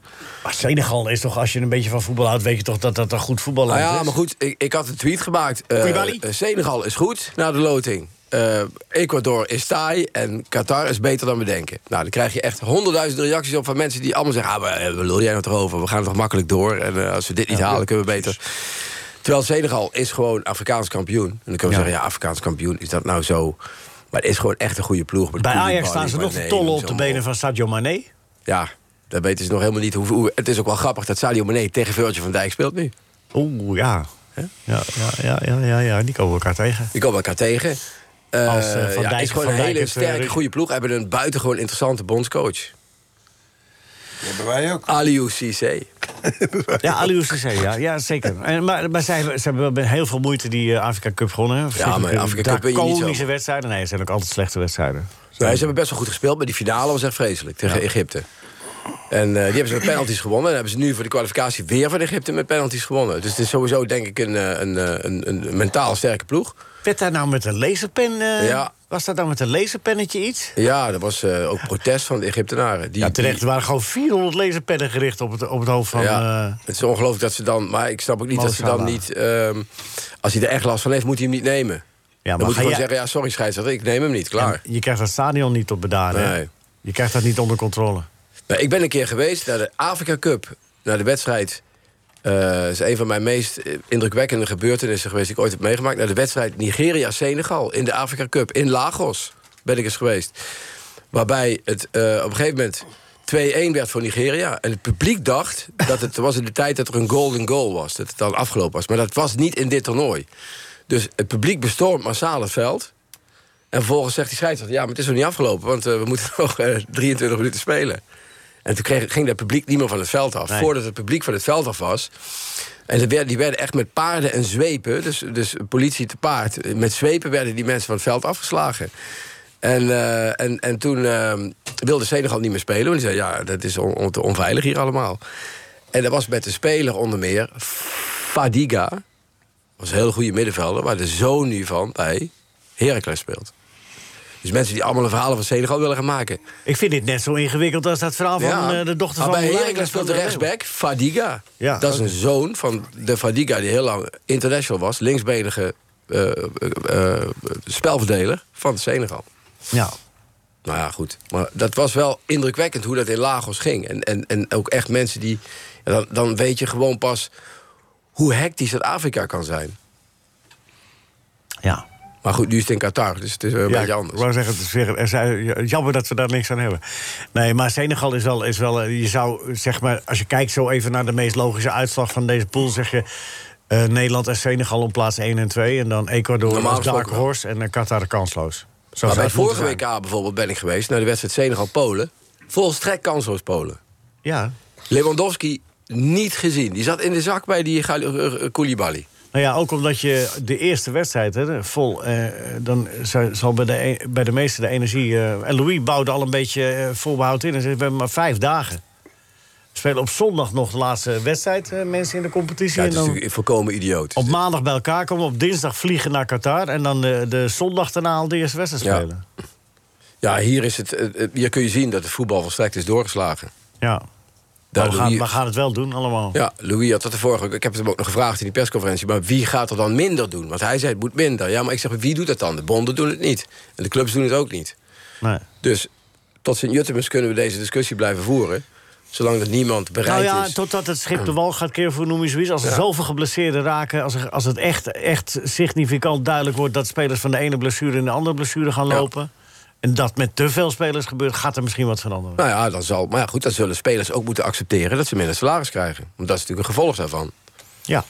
Speaker 3: maar Senegal is toch, als je een beetje van voetbal houdt... weet je toch dat dat een goed voetballand
Speaker 8: Nou ja,
Speaker 3: is?
Speaker 8: maar goed, ik, ik had een tweet gemaakt. Eh,
Speaker 3: Koulibaly?
Speaker 8: eh, Senegal is goed na de loting. Eh, Ecuador is taai en Qatar is beter dan we denken. Nou, dan krijg je echt honderdduizenden reacties op van mensen die allemaal zeggen: ah, maar, eh, waar lul jij nou toch over? We gaan toch makkelijk door. En eh, als we dit niet halen, kunnen we beter. Terwijl Senegal is gewoon Afrikaans kampioen. En dan kunnen we zeggen: ja, Afrikaans kampioen, is dat nou zo? Maar het is gewoon echt een goede ploeg. Met
Speaker 3: Bij Ajax
Speaker 8: Koulibaly,
Speaker 3: staan ze nog te
Speaker 8: Mané,
Speaker 3: tollen op
Speaker 8: zo
Speaker 3: de
Speaker 8: maar
Speaker 3: benen van Sadio Mané.
Speaker 8: Ja, dat weten ze nog helemaal niet. Hoe, hoe- het is ook wel grappig dat Sadio Mané tegen Virgil van Dijk speelt nu.
Speaker 3: Oeh, ja. Ja, ja, ja, ja, ja, ja, die komen elkaar tegen.
Speaker 8: Die komen elkaar tegen. Eh,
Speaker 3: Als, eh, Van Dijk
Speaker 8: ja,
Speaker 3: en
Speaker 8: is gewoon
Speaker 3: Van
Speaker 8: een
Speaker 3: Dijk
Speaker 8: hele
Speaker 3: het, eh,
Speaker 8: sterke,
Speaker 3: Ruud-
Speaker 8: goede ploeg. Hebben een buitengewoon interessante bondscoach.
Speaker 5: hebben wij ook.
Speaker 8: Aliou Cissé.
Speaker 3: Ja, Aliou Cissé, ja, ja zeker. En, maar maar zij, ze hebben wel met heel veel moeite die eh, Afrika Cup gewonnen. hè.
Speaker 8: Ja, maar Afrika Cup win je niet zo.
Speaker 3: Draconische wedstrijden. Nee, het zijn ook altijd slechte wedstrijden.
Speaker 8: Nee, ze hebben best wel goed gespeeld, maar die finale was echt vreselijk tegen Egypte. En eh, die hebben ze met penalties gewonnen. En hebben ze nu voor de kwalificatie weer van Egypte met penalties gewonnen. Dus het is sowieso, denk ik, een, eh, een, eh, een, een mentaal sterke ploeg.
Speaker 3: Werd daar nou met een laserpen... eh,
Speaker 8: Ja.
Speaker 3: Was dat nou met een laserpennetje iets?
Speaker 8: Ja, dat was eh, ook protest van de Egyptenaren. Die,
Speaker 3: Ja, terecht. Er
Speaker 8: die-
Speaker 3: waren gewoon 400 laserpennen gericht op het, op het hoofd van...
Speaker 8: ja,
Speaker 3: eh,
Speaker 8: het is ongelooflijk dat ze dan... Maar ik snap ook niet
Speaker 3: Mo
Speaker 8: dat ze dan
Speaker 3: Salah.
Speaker 8: niet... ehm, als hij er echt last van heeft, moet hij hem niet nemen.
Speaker 3: ja,
Speaker 8: Dan
Speaker 3: maar
Speaker 8: moet je
Speaker 3: ga
Speaker 8: gewoon
Speaker 3: jij,
Speaker 8: zeggen, ja, sorry scheidsrechter, ik neem hem niet, klaar.
Speaker 3: je krijgt dat stadion niet op bedaren. hè?
Speaker 8: Nee.
Speaker 3: Je krijgt dat niet onder controle.
Speaker 8: Nou, ik ben een keer geweest naar de Afrika Cup, naar de wedstrijd. eh is een van mijn meest eh, indrukwekkende gebeurtenissen geweest die ik ooit heb meegemaakt. Naar de wedstrijd Nigeria-Senegal in de Afrika Cup in Lagos ben ik eens geweest. Waarbij het eh, op een gegeven moment 2-1 werd voor Nigeria. En het publiek dacht dat het was in de tijd dat er een golden goal was. Dat het dan afgelopen was. Maar dat was niet in dit toernooi. Dus het publiek bestormt massaal het veld. En vervolgens zegt die scheidsrechter... ja, maar het is nog niet afgelopen, want eh, we moeten nog eh, 23 minuten spelen. En toen kreeg, ging dat publiek niet meer van het veld af.
Speaker 3: Nee.
Speaker 8: Voordat het publiek van het veld af was... en ze werden, die werden echt met paarden en zwepen... dus, dus politie te paard... eh, met zwepen werden die mensen van het veld afgeslagen. En, eh, en, en toen eh, wilde Senegal niet meer spelen... want die zei, ja, dat is on- on- te onveilig hier allemaal. En dat was met de speler onder meer... Fadiga, was een hele goede middenvelder, waar de zoon nu van bij Heracles speelt. Dus mensen die allemaal een verhalen van Senegal willen gaan maken.
Speaker 3: Ik vind dit net zo ingewikkeld als dat verhaal van
Speaker 8: Ja,
Speaker 3: eh, de dochter
Speaker 8: maar
Speaker 3: van...
Speaker 8: bij
Speaker 3: Leijnen
Speaker 8: Heracles
Speaker 3: van
Speaker 8: speelt de
Speaker 3: Leeuw.
Speaker 8: rechtsback Fadiga.
Speaker 3: Ja,
Speaker 8: dat is
Speaker 3: dat
Speaker 8: een zoon van de Fadiga die heel lang international was. Linksbenige eh, eh, eh, spelverdeler van Senegal.
Speaker 3: Ja.
Speaker 8: Nou ja, goed. Maar dat was wel indrukwekkend hoe dat in Lagos ging. En, en, en ook echt mensen die... ja, Dan, dan weet je gewoon pas hoe hectisch dat Afrika kan zijn.
Speaker 3: Ja.
Speaker 8: Maar goed, nu is het in Qatar, dus het is weer een beetje
Speaker 3: ik
Speaker 8: anders.
Speaker 3: wou zeggen, het is weer- er zijn- ja, jammer dat we daar niks aan hebben. Nee, maar Senegal is wel, is wel... eh, Je zou, eh, zeg maar, als je kijkt zo even naar de meest logische uitslag van deze pool... zeg je eh, Nederland en Senegal op plaats 1 en 2... en dan Ecuador
Speaker 8: Normaal
Speaker 3: als dark
Speaker 8: gesproken wel.
Speaker 3: horse en eh, Qatar kansloos. zou
Speaker 8: maar bij
Speaker 3: het
Speaker 8: het
Speaker 3: moeten
Speaker 8: vorige WK bijvoorbeeld ben ik geweest... naar de wedstrijd Senegal-Polen. Volstrekt kansloos Polen.
Speaker 3: Ja.
Speaker 8: Lewandowski niet gezien. Die zat in de zak bij die Gali- eh, eh, Koulibaly.
Speaker 3: Nou ja, ook omdat je de eerste wedstrijd hè, vol... eh, dan zou- zal bij de, e- bij de meeste de energie... eh, en Louis bouwde al een beetje eh, voorbehoud in. En zei, we hebben maar vijf dagen. We spelen op zondag nog de laatste wedstrijd, eh, mensen in de competitie.
Speaker 8: Ja, het
Speaker 3: en
Speaker 8: is
Speaker 3: dan
Speaker 8: natuurlijk volkomen idioot.
Speaker 3: op maandag bij elkaar komen, op dinsdag vliegen naar Qatar... en dan de, de zondag daarna al de eerste wedstrijd
Speaker 8: Ja.
Speaker 3: spelen.
Speaker 8: Ja, hier, is het, eh, eh, hier kun je zien dat het voetbal volstrekt is doorgeslagen.
Speaker 3: Ja, maar
Speaker 8: Daar
Speaker 3: we, gaan,
Speaker 8: Louis-
Speaker 3: we gaan het wel doen allemaal.
Speaker 8: Ja, Louis had dat de vorige... Ik heb het hem ook nog gevraagd in die persconferentie... maar wie gaat er dan minder doen? Want hij zei het moet minder. Ja, maar ik zeg, wie doet dat dan? De bonden doen het niet. En de clubs doen het ook niet.
Speaker 3: Nee.
Speaker 8: Dus tot Sint-Juttemus kunnen we deze discussie blijven voeren... zolang dat niemand bereid
Speaker 3: Nou ja,
Speaker 8: is.
Speaker 3: totdat het schip de wal gaat keren, voor noem je zoiets. Als er zoveel geblesseerden raken, als, er, als het echt, echt significant duidelijk wordt... dat spelers van de ene blessure in de andere blessure gaan
Speaker 8: Ja.
Speaker 3: lopen... en dat met te veel spelers gebeurt, gaat er misschien wat veranderen.
Speaker 8: Nou ja, dan zal, maar ja, goed, dan zullen spelers ook moeten accepteren... dat ze minder salaris krijgen. Want dat is natuurlijk een gevolg daarvan.
Speaker 3: Ja,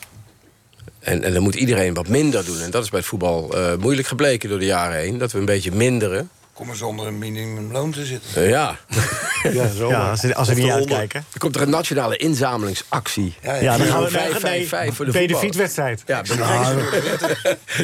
Speaker 8: En, en dan moet iedereen wat minder doen. En dat is bij het voetbal eh, moeilijk gebleken door de jaren heen. Dat we een beetje minderen.
Speaker 5: Kom eens onder een minimumloon te zitten.
Speaker 8: Eh, ja,
Speaker 6: Ja, zo.
Speaker 3: ja als ze als ze
Speaker 6: Of
Speaker 3: niet
Speaker 6: eronder.
Speaker 3: uitkijken.
Speaker 8: er komt er een nationale inzamelingsactie.
Speaker 5: Ja,
Speaker 3: Ja, dan gaan we
Speaker 8: Vijf,
Speaker 3: nee,
Speaker 8: vijf,
Speaker 3: nee,
Speaker 8: vijf voor de
Speaker 3: tweede
Speaker 8: voetballers.
Speaker 3: fietswedstrijd.
Speaker 8: Ja, Nou,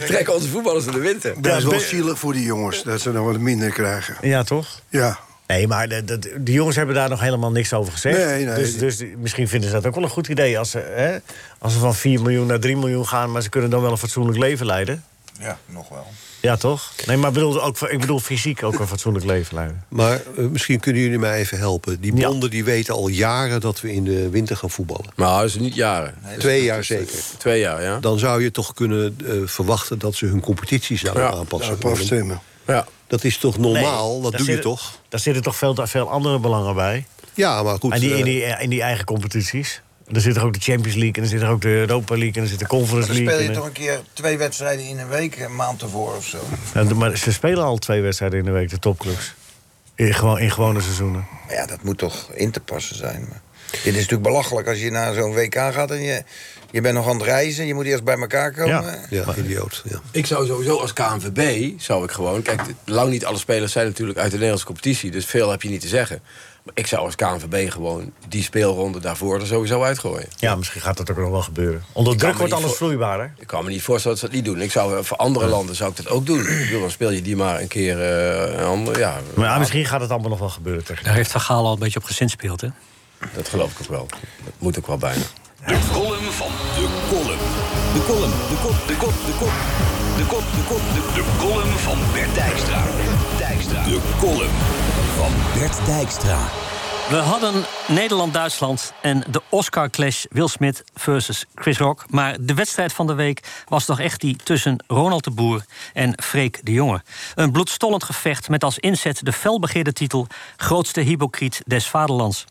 Speaker 8: trekken onze voetballers in de winter.
Speaker 4: Dat
Speaker 3: Ja,
Speaker 4: is wel
Speaker 3: ben-
Speaker 4: zielig voor die jongens, dat ze nog wat minder krijgen.
Speaker 3: Ja, toch?
Speaker 4: Ja,
Speaker 3: Nee, maar de, de, de jongens hebben daar nog helemaal niks over gezegd.
Speaker 4: Nee, nee.
Speaker 3: Dus, dus die- misschien vinden ze dat ook wel een goed idee... Als ze, hè, als ze van 4 miljoen naar 3 miljoen gaan... maar ze kunnen dan wel een fatsoenlijk leven leiden.
Speaker 5: ja, nog wel.
Speaker 3: Ja, toch? Nee, maar bedoel, ook, ik bedoel fysiek ook een fatsoenlijk leven leiden.
Speaker 6: Maar eh, misschien kunnen jullie mij even helpen. Die
Speaker 3: Ja.
Speaker 6: bonden die weten al jaren dat we in de winter gaan voetballen.
Speaker 8: Maar dat is niet jaren.
Speaker 6: Twee jaar zeker.
Speaker 8: Twee jaar, ja.
Speaker 6: Dan zou je toch kunnen eh, verwachten dat ze hun competities zouden
Speaker 8: Ja,
Speaker 6: aanpassen.
Speaker 4: op afstemmen.
Speaker 8: ja.
Speaker 6: Dat is toch normaal?
Speaker 3: Nee,
Speaker 6: dat
Speaker 3: daar
Speaker 6: doe je
Speaker 3: zitten-
Speaker 6: toch?
Speaker 3: Daar zitten toch veel, te- veel andere belangen bij.
Speaker 6: Ja, maar goed.
Speaker 3: en die,
Speaker 6: eh,
Speaker 3: in, die, in die eigen competities. En dan zit er ook de Champions League, en dan zit er ook de Europa League, en dan zit de Conference
Speaker 5: Dan speel
Speaker 3: League.
Speaker 5: je
Speaker 3: en-
Speaker 5: toch een keer twee wedstrijden in een week, een maand tevoren of zo.
Speaker 3: en- Nou, maar ze spelen al twee wedstrijden in de week, de topclubs. In, gewoon, in gewone seizoenen.
Speaker 5: Maar ja, dat moet toch in te passen zijn. Maar dit is natuurlijk belachelijk als je naar zo'n WK gaat en je, je bent nog aan het reizen. Je moet eerst bij elkaar komen.
Speaker 3: Ja.
Speaker 6: Ja, idioot. Ja.
Speaker 8: Ik zou sowieso als KNVB, zou ik gewoon... Kijk, lang niet alle spelers zijn natuurlijk uit de Nederlandse competitie... dus veel heb je niet te zeggen. Maar ik zou als KNVB gewoon die speelronde daarvoor er sowieso uitgooien.
Speaker 3: Ja, misschien gaat dat ook nog wel gebeuren. Onder druk
Speaker 8: me
Speaker 3: wordt
Speaker 8: niet
Speaker 3: alles
Speaker 8: voor-
Speaker 3: vloeibaarder.
Speaker 8: Ik kan me niet voorstellen dat ze dat niet doen. Ik zou, eh, voor andere landen zou ik dat ook doen. Ik bedoel, dan speel je die maar een keer eh, een ander. Ja,
Speaker 3: Maar ja, misschien gaat het allemaal nog wel gebeuren. Tegen.
Speaker 7: Daar heeft Van Gaal al een beetje op gezinspeeld, hè?
Speaker 8: dat geloof ik ook wel. Dat moet ook wel bijna.
Speaker 2: De column van de kolom. De kolom, de kop, de kop, de kop. De kop, de kop, de De column van Bert Dijkstra. Dijkstra. De column van Bert Dijkstra.
Speaker 7: We hadden Nederland-Duitsland en de Oscar-clash Will Smith versus Chris Rock. Maar de wedstrijd van de week was toch echt die tussen Ronald de Boer en Freek de Jonge. Een bloedstollend gevecht met als inzet de felbegeerde titel... Grootste hypocriet des vaderlands.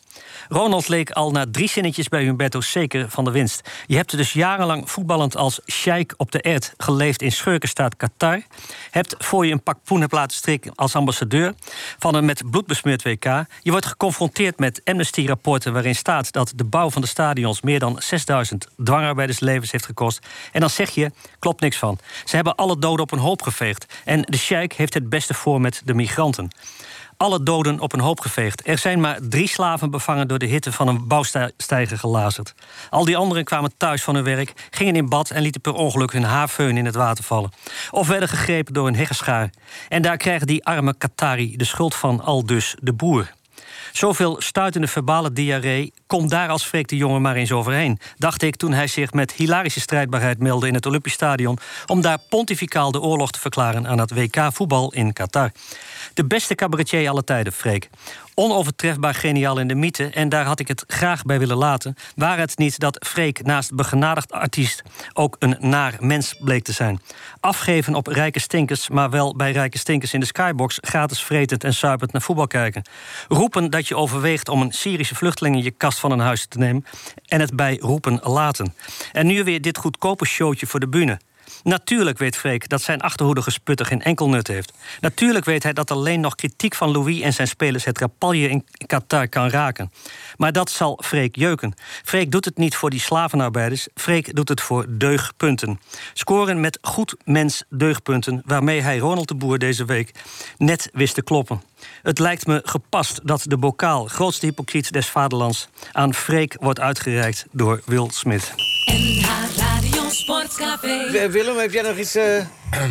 Speaker 7: Ronald leek al na drie zinnetjes bij Humberto zeker van de winst. Je hebt dus jarenlang voetballend als sheik op de erd geleefd in schurkenstaat Qatar. Hebt voor je een pak poen hebt laten strikken als ambassadeur van een met bloed besmeurd WK. Je wordt geconfronteerd met Amnesty-rapporten waarin staat dat de bouw van de stadions meer dan 6000 dwangarbeiders levens heeft gekost. En dan zeg je, klopt niks van. Ze hebben alle doden op een hoop geveegd. En de sheik heeft het beste voor met de migranten alle doden op een hoop geveegd. Er zijn maar drie slaven bevangen door de hitte van een bouwstijger gelazerd. Al die anderen kwamen thuis van hun werk, gingen in bad en lieten per ongeluk hun haarfeun in het water vallen. Of werden gegrepen door een heggeschaar. En daar krijgen die arme Qatari de schuld van, al dus de boer. Zoveel stuitende verbale diarree komt daar als Freek de Jonge maar eens overheen. Dacht ik toen hij zich met hilarische strijdbaarheid meldde in het Olympisch Stadion. om daar pontificaal de oorlog te verklaren aan het WK voetbal in Qatar. De beste cabaretier aller tijden, Freek. Onovertrefbaar geniaal in de mythe, en daar had ik het graag bij willen laten. Waar het niet dat Freek naast begenadigd artiest ook een naar mens bleek te zijn. Afgeven op rijke stinkers, maar wel bij rijke stinkers in de skybox, gratis vretend en suipend naar voetbal kijken. Roepen dat je overweegt om een Syrische vluchteling in je kast van een huis te nemen en het bij roepen laten. En nu weer dit goedkope showtje voor de bühne. Natuurlijk weet Freek dat zijn achterhoede gesputter geen enkel nut heeft. Natuurlijk weet hij dat alleen nog kritiek van Louis en zijn spelers het rapalje in Qatar kan raken. Maar dat zal Freek jeuken. Freek doet het niet voor die slavenarbeiders. Freek doet het voor deugpunten. Scoren met goed mens deugpunten, waarmee hij Ronald de Boer deze week net wist te kloppen. Het lijkt me gepast dat de bokaal, grootste hypocriet des vaderlands, aan Freek wordt uitgereikt door Wil Smit.
Speaker 1: NH Radio Sportcafé.
Speaker 3: Eh, Willem, heb jij nog iets... eh,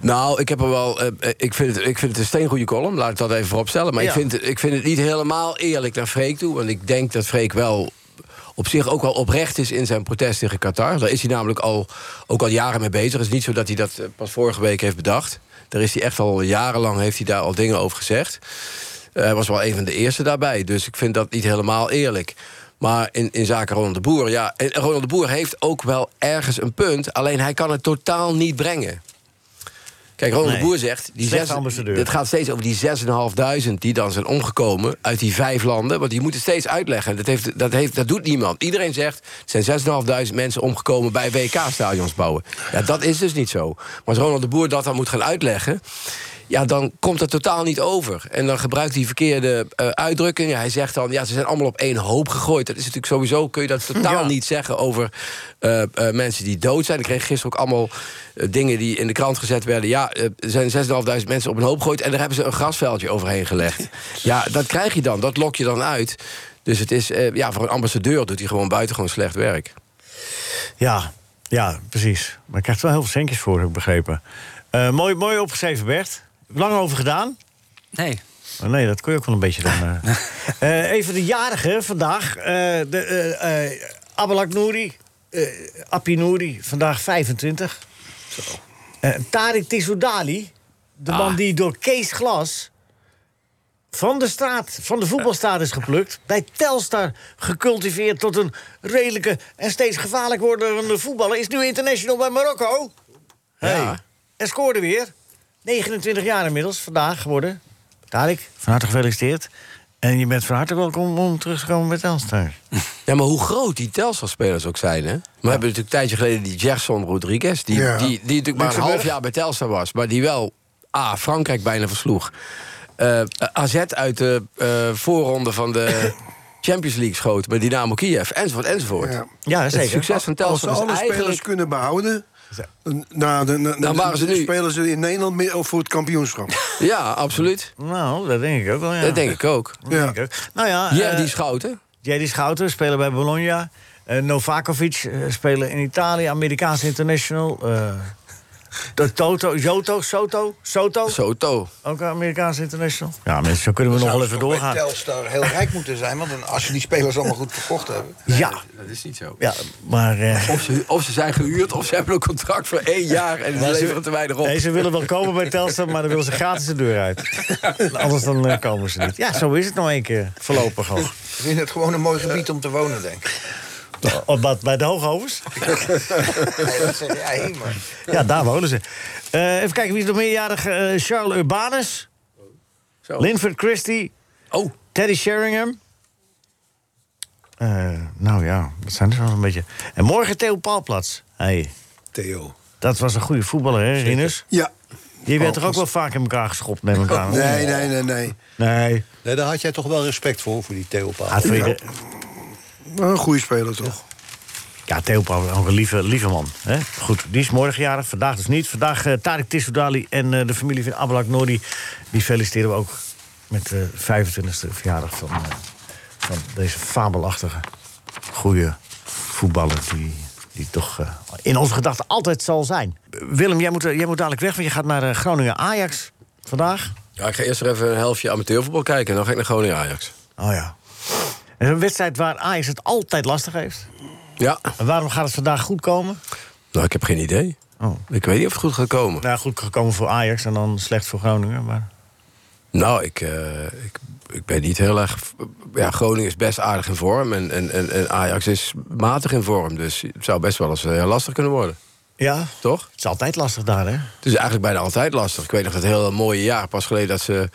Speaker 8: Nou, ik heb er wel. eh, eh, ik, vind het, ik vind het een steengoede column, laat ik dat even vooropstellen. Maar
Speaker 3: Ja.
Speaker 8: ik, vind, ik vind het niet helemaal eerlijk naar Freek toe. Want ik denk dat Freek wel op zich ook wel oprecht is in zijn protest tegen Qatar. Daar is hij namelijk al, ook al jaren mee bezig. Het is niet zo dat hij dat eh, pas vorige week heeft bedacht. Daar is hij echt al jarenlang heeft hij daar al dingen over gezegd. Eh, Hij was wel een van de eerste daarbij. Dus ik vind dat niet helemaal eerlijk. Maar in, in zaken Ronald de Boer, ja. en Ronald de Boer heeft ook wel ergens een punt. Alleen hij kan het totaal niet brengen. Kijk, Ronald
Speaker 3: Nee.
Speaker 8: de Boer zegt... Die
Speaker 3: Slechte
Speaker 8: zes,
Speaker 3: ambassadeur.
Speaker 8: Het gaat steeds over die 6.500 die dan zijn omgekomen uit die vijf landen. Want die moeten steeds uitleggen. Dat, heeft, dat, heeft, dat doet niemand. Iedereen zegt, er zijn 6.500 mensen omgekomen bij WK-stadions bouwen. Ja, dat is dus niet zo. Maar als Ronald de Boer dat dan moet gaan uitleggen... Ja, dan komt het totaal niet over. En dan gebruikt hij verkeerde eh, uitdrukkingen. Hij zegt dan, ja, ze zijn allemaal op één hoop gegooid. Dat is natuurlijk sowieso, kun je dat totaal niet zeggen over eh, eh, mensen die dood zijn. Ik kreeg gisteren ook allemaal eh, dingen die in de krant gezet werden. Ja, eh, er zijn 6.500 mensen op een hoop gegooid... en daar hebben ze een grasveldje overheen gelegd. ja, dat krijg je dan, dat lok je dan uit. Dus het is, eh, ja, voor een ambassadeur doet hij gewoon buitengewoon slecht werk.
Speaker 3: Ja, ja, precies. Maar ik krijg er wel heel veel centjes voor, heb ik begrepen. Eh, mooi, mooi opgeschreven, Bert. Lang over gedaan.
Speaker 7: Nee,
Speaker 3: Maar nee, dat kon je ook wel een beetje dan. eh. Eh, even de jarige vandaag. eh de, eh, eh, Abalak Nouri. eh Appie Nouri, vandaag 25. Zo. Tariq Tissoudali. De man die door Kees Glas van de straat, van de voetbalstraat is geplukt. Bij Telstar gecultiveerd tot een redelijke en steeds gevaarlijk wordende voetballer. Is nu international bij Marokko. Hey. En scoorde weer. 29 jaar inmiddels, vandaag geworden. Tarek, van harte gefeliciteerd. En je bent van harte welkom om terug te komen bij Telstar.
Speaker 8: Ja, maar hoe groot die Telstar-spelers ook zijn, hè? Maar We hebben natuurlijk een tijdje geleden die Gerson Rodriguez... die,
Speaker 4: Ja.
Speaker 8: die, die natuurlijk maar een half jaar bij Telstar was... maar die wel A, Frankrijk bijna versloeg. Eh, AZ uit de eh, voorronde van de Champions League schoot... met Dynamo Kiev, enzovoort, enzovoort.
Speaker 4: Ja.
Speaker 3: Ja,
Speaker 8: Het
Speaker 3: zeker.
Speaker 8: succes van
Speaker 4: Als ze
Speaker 8: Telstar
Speaker 4: alle
Speaker 8: was
Speaker 4: spelers
Speaker 8: eigenlijk...
Speaker 4: kunnen behouden... Nou, dan, dan,
Speaker 8: Dan waren ze nu-
Speaker 4: spelen ze in Nederland meer voor het kampioenschap.
Speaker 8: Ja, absoluut.
Speaker 3: Nou, dat denk ik ook wel, ja.
Speaker 8: Dat denk ik ook.
Speaker 4: Ja.
Speaker 3: Denk ik ook. Nou ja,
Speaker 8: Ja,
Speaker 3: eh,
Speaker 8: die schouten.
Speaker 3: Jerry Schouten, speler bij Bologna. Eh, Novakovic, eh, speler in Italië, Amerikaanse international. eh, de Toto, Joto, Soto, Soto,
Speaker 8: Soto.
Speaker 3: ook een Amerikaanse international. Ja, mensen, zo kunnen we nog wel even
Speaker 5: Zou
Speaker 3: doorgaan.
Speaker 5: bij Telstar heel rijk moeten zijn, want dan- als je die spelers allemaal goed verkocht hebben...
Speaker 3: Ja,
Speaker 8: Dat is niet zo.
Speaker 3: ja, maar... eh,
Speaker 8: Of ze, of ze zijn gehuurd, of ze hebben een contract voor één jaar... en ze
Speaker 3: Maar ze-
Speaker 8: leveren te weinig op.
Speaker 3: Nee, ze willen wel komen bij Telstar, maar dan willen ze gratis de deur uit. Anders dan eh, komen ze niet. Ja, zo is het nog één keer, voorlopig al.
Speaker 5: Ik vind het gewoon een mooi gebied om te wonen, denk ik.
Speaker 3: Op, wat, bij de Hooghovens?
Speaker 5: Nee, dat zeg jij, maar...
Speaker 3: Ja, daar wonen ze. Eh, even kijken, wie is nog meerjarig? Eh, Charles Urbanus,
Speaker 8: Zo.
Speaker 3: Linford Christie,
Speaker 8: Oh,
Speaker 3: Teddy Sheringham. Eh, nou ja, dat zijn er wel een beetje. En morgen Theo Paalplats. Hey,
Speaker 6: Theo.
Speaker 3: dat was een goede voetballer, hè, Rinus?
Speaker 4: Ja. Oh,
Speaker 3: Die werd toch ook wel vaak in elkaar geschopt, neem ik aan?
Speaker 4: Nee, nee, nee, nee.
Speaker 3: Nee.
Speaker 6: Nee, daar had jij toch wel respect voor, voor die Theo Paal.
Speaker 3: Ah, voor ieder-
Speaker 4: Maar een goede speler toch?
Speaker 3: Ja, Theo Pauw, ook een lieve, lieve man. Hè? Goed, die is morgen jarig, vandaag dus niet. Vandaag eh Tarek Tissoudali en eh, de familie van Abalak Nori... die feliciteren we ook met de 25e verjaardag van, eh, van deze fabelachtige... goede voetballer die, die toch eh, in onze gedachten altijd zal zijn. Willem, jij moet, eh, jij moet dadelijk weg, want je gaat naar eh, Groningen-Ajax vandaag.
Speaker 8: Ja, ik ga eerst nog even een helftje amateurvoetbal kijken... en dan ga ik naar Groningen Ajax.
Speaker 3: Oh ja. Het is een wedstrijd waar Ajax het altijd lastig heeft.
Speaker 8: Ja,
Speaker 3: En waarom gaat het vandaag goed komen?
Speaker 8: nou, ik heb geen idee.
Speaker 3: Oh.
Speaker 8: Ik weet niet of het goed gaat komen.
Speaker 3: Nou, goed gekomen voor Ajax en dan slecht voor Groningen, maar...
Speaker 8: Nou, ik, eh, ik, ik ben niet heel erg... Ja, Groningen is best aardig in vorm en, en, en, en Ajax is matig in vorm. Dus het zou best wel eens eh, heel lastig kunnen worden,
Speaker 3: Ja,
Speaker 8: toch?
Speaker 3: het is altijd lastig daar, hè?
Speaker 8: Het is eigenlijk bijna altijd lastig. Ik weet nog dat hele mooie jaar pas geleden dat ze...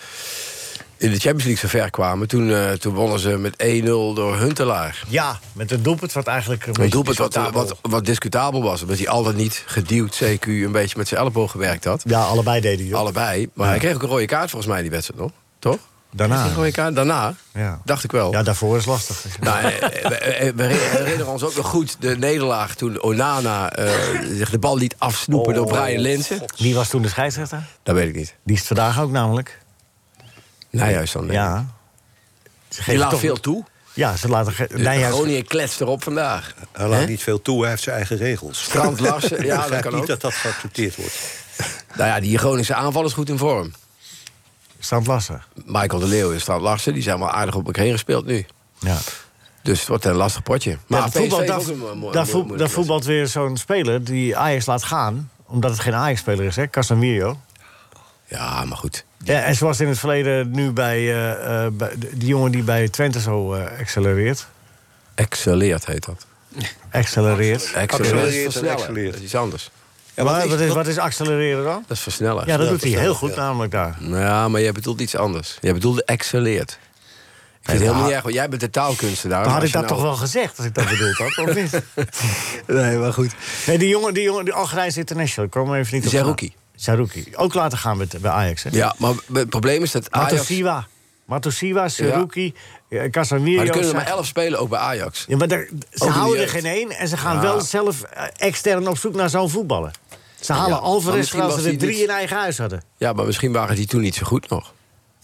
Speaker 8: in de Champions League zo ver kwamen. Toen, eh, toen wonnen ze met 1-0 door Huntelaar.
Speaker 3: Ja, met een doelpunt wat eigenlijk...
Speaker 8: Een doelpunt wat,
Speaker 3: discutabel-
Speaker 8: wat, wat discutabel was. Omdat hij altijd niet geduwd CQ een beetje met zijn elleboog gewerkt had.
Speaker 3: Ja, allebei deden die.
Speaker 8: Allebei. Maar hij kreeg ook een rode kaart volgens mij die wedstrijd, toch? Toch? Kreeg
Speaker 3: Daarna.
Speaker 8: hij Een rode kaart daarna?
Speaker 3: Ja.
Speaker 8: Dacht ik wel.
Speaker 3: ja, daarvoor is lastig.
Speaker 8: Nou, eh, eh, eh, we herinneren ons ook nog goed de nederlaag toen Onana eh, zich de bal liet
Speaker 3: Oh,
Speaker 8: afsnoepen door Brian Linsen.
Speaker 3: Wie was toen de scheidsrechter?
Speaker 8: Dat weet ik niet.
Speaker 3: Die is het vandaag ook namelijk.
Speaker 8: Nijhuis dan. denk ik.
Speaker 3: Ja. Ze
Speaker 8: Die
Speaker 3: geven
Speaker 8: laat
Speaker 3: toch-
Speaker 8: veel toe.
Speaker 3: Ja, ze laten... ge-
Speaker 8: Dus
Speaker 3: Nijhuis-
Speaker 8: Groningen kletst erop vandaag.
Speaker 6: Hij laat
Speaker 8: Hè?
Speaker 6: niet veel toe, hij heeft zijn eigen regels.
Speaker 8: Strand Larsen,
Speaker 6: Ik
Speaker 8: ja, dat
Speaker 6: begrijp
Speaker 8: kan
Speaker 6: niet
Speaker 8: ook.
Speaker 6: dat dat geaccepteerd wordt.
Speaker 8: Nou ja, die Groningse aanval is goed in vorm.
Speaker 3: Strand Lassen.
Speaker 8: Michael de Leeuw en Strand Larsen, die zijn wel aardig op elkaar heen gespeeld nu.
Speaker 3: Ja.
Speaker 8: Dus het wordt een lastig potje.
Speaker 3: Maar
Speaker 8: Maar
Speaker 3: ja,
Speaker 8: PSV
Speaker 3: voetbal,
Speaker 8: heeft
Speaker 3: daar,
Speaker 8: ook een mooi- mooi-
Speaker 3: daar, voet-
Speaker 8: moeilijke
Speaker 3: daar voetbalt weer zo'n speler die Ajax laat gaan omdat het geen Ajax-speler is, hè? Casemiro.
Speaker 8: wedstrijd. Ja, maar goed.
Speaker 3: Ja, en zoals in het verleden nu bij, eh, eh, bij die jongen die bij Twente zo eh, accelereert.
Speaker 8: Excelleert heet dat.
Speaker 3: Accelereert.
Speaker 8: Excelleert
Speaker 6: Accelereert
Speaker 8: is
Speaker 6: en
Speaker 8: versnellen.
Speaker 6: excelleert.
Speaker 8: Dat is iets anders.
Speaker 3: maar wat is, wat is accelereren dan?
Speaker 8: Dat is versnellen.
Speaker 3: Ja, dat doet hij
Speaker 6: versnellen,
Speaker 3: heel goed
Speaker 6: ja.
Speaker 3: namelijk daar.
Speaker 8: Ja, maar jij bedoelt iets anders. Jij bedoelde excelleert. Ik vind het helemaal niet erg, want jij bent de taalkunstenaar.
Speaker 3: Dan
Speaker 8: maar
Speaker 3: had ik
Speaker 8: als
Speaker 3: dat
Speaker 8: je
Speaker 3: toch
Speaker 8: nou-
Speaker 3: wel gezegd als ik dat bedoeld had, of niet?
Speaker 8: Nee, maar goed.
Speaker 3: Nee, die jongen, die jongen, die Algerijnse international, ik kwam er even niet op.
Speaker 8: Zerouki.
Speaker 3: Zerouki. Ook laten gaan met, bij Ajax, hè?
Speaker 8: Ja, maar het probleem is dat Ajax...
Speaker 3: Matosiwa. Matosiwa, Zerouki, eh, Casemiro.
Speaker 8: Maar er kunnen er
Speaker 3: Sa-
Speaker 8: maar elf spelen, ook bij Ajax.
Speaker 3: Ja, maar daar, ze
Speaker 8: in de
Speaker 3: houden er
Speaker 8: jeugd.
Speaker 3: geen één en ze gaan wel zelf eh, extern op zoek naar zo'n voetballer. Ze halen
Speaker 8: maar
Speaker 3: Alvarez
Speaker 8: misschien
Speaker 3: terwijl ze
Speaker 8: was
Speaker 3: er
Speaker 8: hij
Speaker 3: drie
Speaker 8: niet-
Speaker 3: in eigen huis hadden.
Speaker 8: Ja, maar misschien waren die toen niet zo goed nog.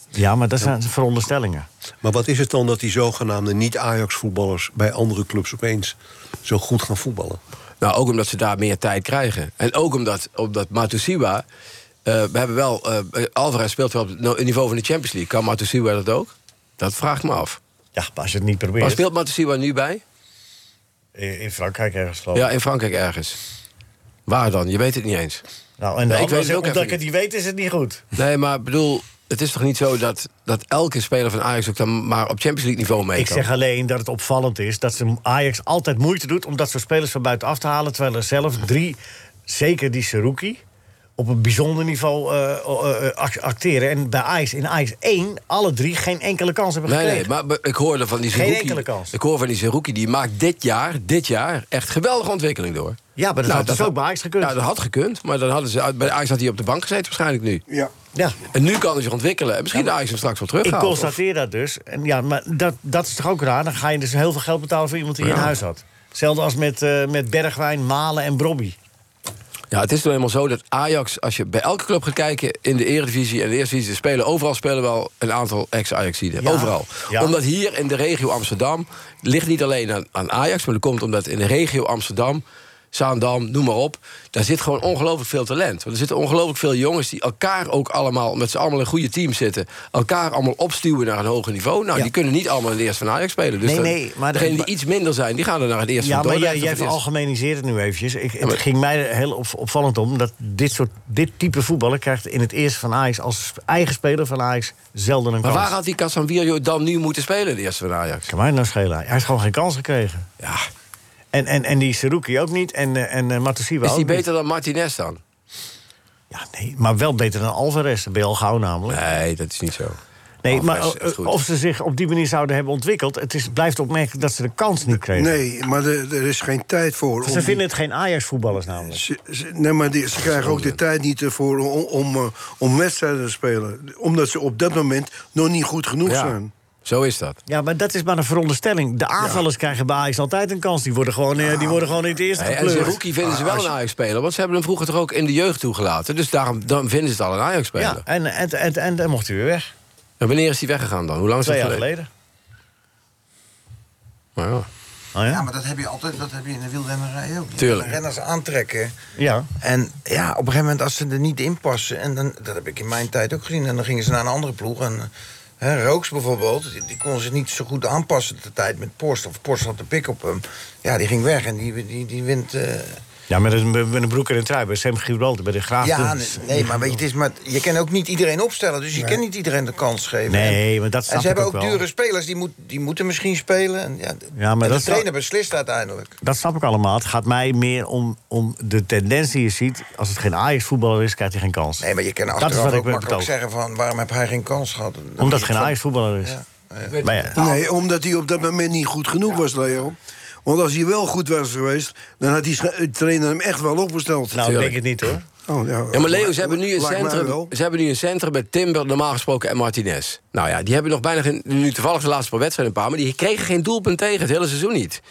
Speaker 3: Ja, maar dat zijn veronderstellingen.
Speaker 6: Maar wat is het dan dat die zogenaamde niet-Ajax-voetballers... bij andere clubs opeens zo goed gaan voetballen?
Speaker 8: Nou, ook omdat ze daar meer tijd krijgen. En ook omdat, omdat Matusiwa... eh, we hebben wel... eh, Alvarez speelt wel op het no- niveau van de Champions League. Kan Matusiwa dat ook? Dat vraag ik me af.
Speaker 3: Ja, maar als je het niet
Speaker 8: Waar
Speaker 3: probeert.
Speaker 8: speelt Matusiwa nu bij?
Speaker 3: In in Frankrijk ergens geloof ik.
Speaker 8: Ja, in Frankrijk ergens. Waar dan? Je weet het niet eens.
Speaker 3: Nou, en de
Speaker 8: Nee, ik
Speaker 3: andere
Speaker 8: weet het
Speaker 3: zegt,
Speaker 8: ook
Speaker 3: omdat ik
Speaker 8: even
Speaker 3: het niet weet, is het niet goed.
Speaker 8: Nee, maar bedoel, het is toch niet zo dat, dat elke speler van Ajax ook dan maar op Champions League niveau mee
Speaker 3: Ik
Speaker 8: kan?
Speaker 3: zeg alleen dat het opvallend is dat ze Ajax altijd moeite doet... om dat soort spelers van buitenaf te halen... terwijl er zelf drie, zeker die Seruki, op een bijzonder niveau eh, eh, eh, act- acteren. En bij Ajax, in Ajax 1, alle drie geen enkele kans hebben
Speaker 8: Nee,
Speaker 3: gekregen.
Speaker 8: nee, maar be- ik hoorde van die
Speaker 3: Geen
Speaker 8: Zerouki...
Speaker 3: enkele kans.
Speaker 8: Ik hoor van die Zerouki, die maakt dit jaar, dit jaar, echt geweldige ontwikkeling door.
Speaker 3: Ja, maar dat had dus ook bij Ajax gekund.
Speaker 8: Ja, dat had gekund, maar dan hadden ze, bij Ajax had hij op de bank gezeten waarschijnlijk nu.
Speaker 4: Ja.
Speaker 3: Ja.
Speaker 8: En nu kan hij zich ontwikkelen. En misschien de Ajax hem straks wel
Speaker 3: Ik
Speaker 8: terughaalt.
Speaker 3: constateer dat dus. En ja, maar dat, dat is toch ook raar? Dan ga je dus heel veel geld betalen voor iemand die je in huis had. Hetzelfde als met, eh, met Bergwijn, Malen en Brobby.
Speaker 8: Of- Ja, het is nou eenmaal zo dat Ajax, als je bij elke club gaat kijken... in de Eredivisie en de Eerste Divisie, spelen overal spelen wel een aantal ex-Ajaxiden.
Speaker 3: Ja.
Speaker 8: Overal.
Speaker 3: Ja.
Speaker 8: Omdat hier in de regio Amsterdam... ligt niet alleen aan, aan Ajax, maar dat komt omdat in de regio Amsterdam... Zaandam, noem maar op. Daar zit gewoon ongelooflijk veel talent. Want er zitten ongelooflijk veel jongens die elkaar ook allemaal... omdat ze allemaal in goede teams zitten... elkaar allemaal opstuwen naar een hoger niveau. Nou,
Speaker 3: Ja.
Speaker 8: die kunnen niet allemaal in de Eerste van Ajax spelen. Dus
Speaker 3: Nee,
Speaker 8: dan-
Speaker 3: nee, maar de-
Speaker 8: degenen die iets minder zijn, die gaan er naar het Eerste
Speaker 3: Ja,
Speaker 8: van
Speaker 3: maar jij,
Speaker 8: Dordrecht of
Speaker 3: jij
Speaker 8: het Eerste-
Speaker 3: veralgemeniseert het nu eventjes. Ik, het
Speaker 8: maar-
Speaker 3: ging mij er heel op, opvallend om dat dit, soort, dit type voetballer krijgt in het eerste van Ajax... als eigen speler van Ajax zelden een
Speaker 8: Maar
Speaker 3: kans.
Speaker 8: waar had die Casanvirio dan nu moeten spelen, de eerste van Ajax?
Speaker 3: Kan mij nou schelen? Hij heeft gewoon geen kans gekregen.
Speaker 8: Ja.
Speaker 3: En, en, en die Seruki ook niet en, eh, en eh, Matosiwa
Speaker 8: Is die
Speaker 3: ook niet.
Speaker 8: beter dan Martinez dan?
Speaker 3: Ja, nee, maar wel beter dan Alvarez. Dat ben je al gauw namelijk.
Speaker 8: Nee, dat is niet zo.
Speaker 3: Nee, maar
Speaker 8: Alvarez is echt
Speaker 3: eh,
Speaker 8: goed.
Speaker 3: of ze zich op die manier zouden hebben ontwikkeld... het is, blijft opmerkelijk dat ze de kans niet kregen.
Speaker 4: Nee, maar er, er is geen tijd voor. om
Speaker 3: Ze
Speaker 4: die-
Speaker 3: vinden het geen Ajax-voetballers namelijk.
Speaker 4: Ze- ze- nee, maar die, ze krijgen ook de tijd niet ervoor om, om, eh, om wedstrijden te spelen. Omdat ze op dat moment nog niet goed genoeg
Speaker 8: Ja,
Speaker 4: zijn.
Speaker 8: zo is dat.
Speaker 3: Ja, maar dat is maar een veronderstelling. De aanvallers krijgen bij Ajax altijd een kans. Die worden gewoon, eh, die worden gewoon in het eerste Ah,
Speaker 8: Hey, Ah. en
Speaker 3: gekleurd.
Speaker 8: Zerouki vinden ze wel een Ajax-speler... want ze hebben hem vroeger toch ook in de jeugd toegelaten. Dus daarom dan vinden ze het al een Ajax-speler.
Speaker 3: Ja, en, en, en, en dan mocht hij weer weg.
Speaker 8: En wanneer is hij weggegaan dan? Hoe lang is dat
Speaker 3: Twee jaar
Speaker 8: geleden?
Speaker 3: geleden.
Speaker 8: Nou ja.
Speaker 3: Oh,
Speaker 5: Ja,
Speaker 3: ja?
Speaker 5: maar dat heb je altijd, dat heb je in de wielrennerij ook. Je
Speaker 8: Tuurlijk.
Speaker 5: kan Renners aantrekken.
Speaker 3: ja.
Speaker 5: En ja, op een gegeven moment als ze er niet in passen... en dan, dat heb ik in mijn tijd ook gezien... en dan gingen ze naar een andere ploeg. En, hè, Rooks bijvoorbeeld, die, die kon zich niet zo goed aanpassen... de tijd met Porsche of Porsche had de pik op hem. Ja, die ging weg en die, die, die wint... eh,
Speaker 3: Ja, met een, met een broek en een trui. Bij Sam Gibraltar, bij de graaf.
Speaker 5: Ja,
Speaker 3: toen-
Speaker 5: nee, nee, maar weet je, het is maar, je kan ook niet iedereen opstellen. Dus je kan niet iedereen de kans geven.
Speaker 3: Nee,
Speaker 5: En-
Speaker 3: maar dat
Speaker 5: En
Speaker 3: snap
Speaker 5: ze
Speaker 3: ik
Speaker 5: hebben
Speaker 3: ook
Speaker 5: ook,
Speaker 3: wel.
Speaker 5: dure spelers, die, moet, die moeten misschien spelen. En, ja,
Speaker 3: Ja, maar
Speaker 5: en
Speaker 3: dat
Speaker 5: de
Speaker 3: is-
Speaker 5: trainer beslist uiteindelijk.
Speaker 3: Dat snap ik allemaal. Het gaat mij meer om, om de tendens die je ziet. Als het geen Ajax-voetballer is, krijgt hij geen kans.
Speaker 5: Nee, maar je kan
Speaker 3: Dat is
Speaker 5: achteraf
Speaker 3: wat ik
Speaker 5: ook
Speaker 3: ben
Speaker 5: makkelijk
Speaker 3: betoogd.
Speaker 5: zeggen van... waarom heb hij geen kans gehad? Dan moet
Speaker 3: Omdat het
Speaker 5: je
Speaker 3: geen
Speaker 5: van-
Speaker 3: Ajax-voetballer is. Maar ja,
Speaker 4: Nee, omdat hij op dat moment niet goed genoeg was, Leo. Want als hij wel goed was geweest, dan had die scha- trainer hem echt wel opgesteld.
Speaker 3: nou, ik denk het niet hoor.
Speaker 4: oh, ja.
Speaker 8: Ja, maar Leo, ze hebben, nu een
Speaker 4: Lijkt mij
Speaker 8: centrum,
Speaker 4: wel.
Speaker 8: ze hebben nu een centrum met Timber, normaal gesproken, en Martinez. Nou ja, die hebben nog bijna geen... Nu toevallig de laatste paar wedstrijden een paar... maar die kregen geen doelpunt tegen, het hele seizoen niet.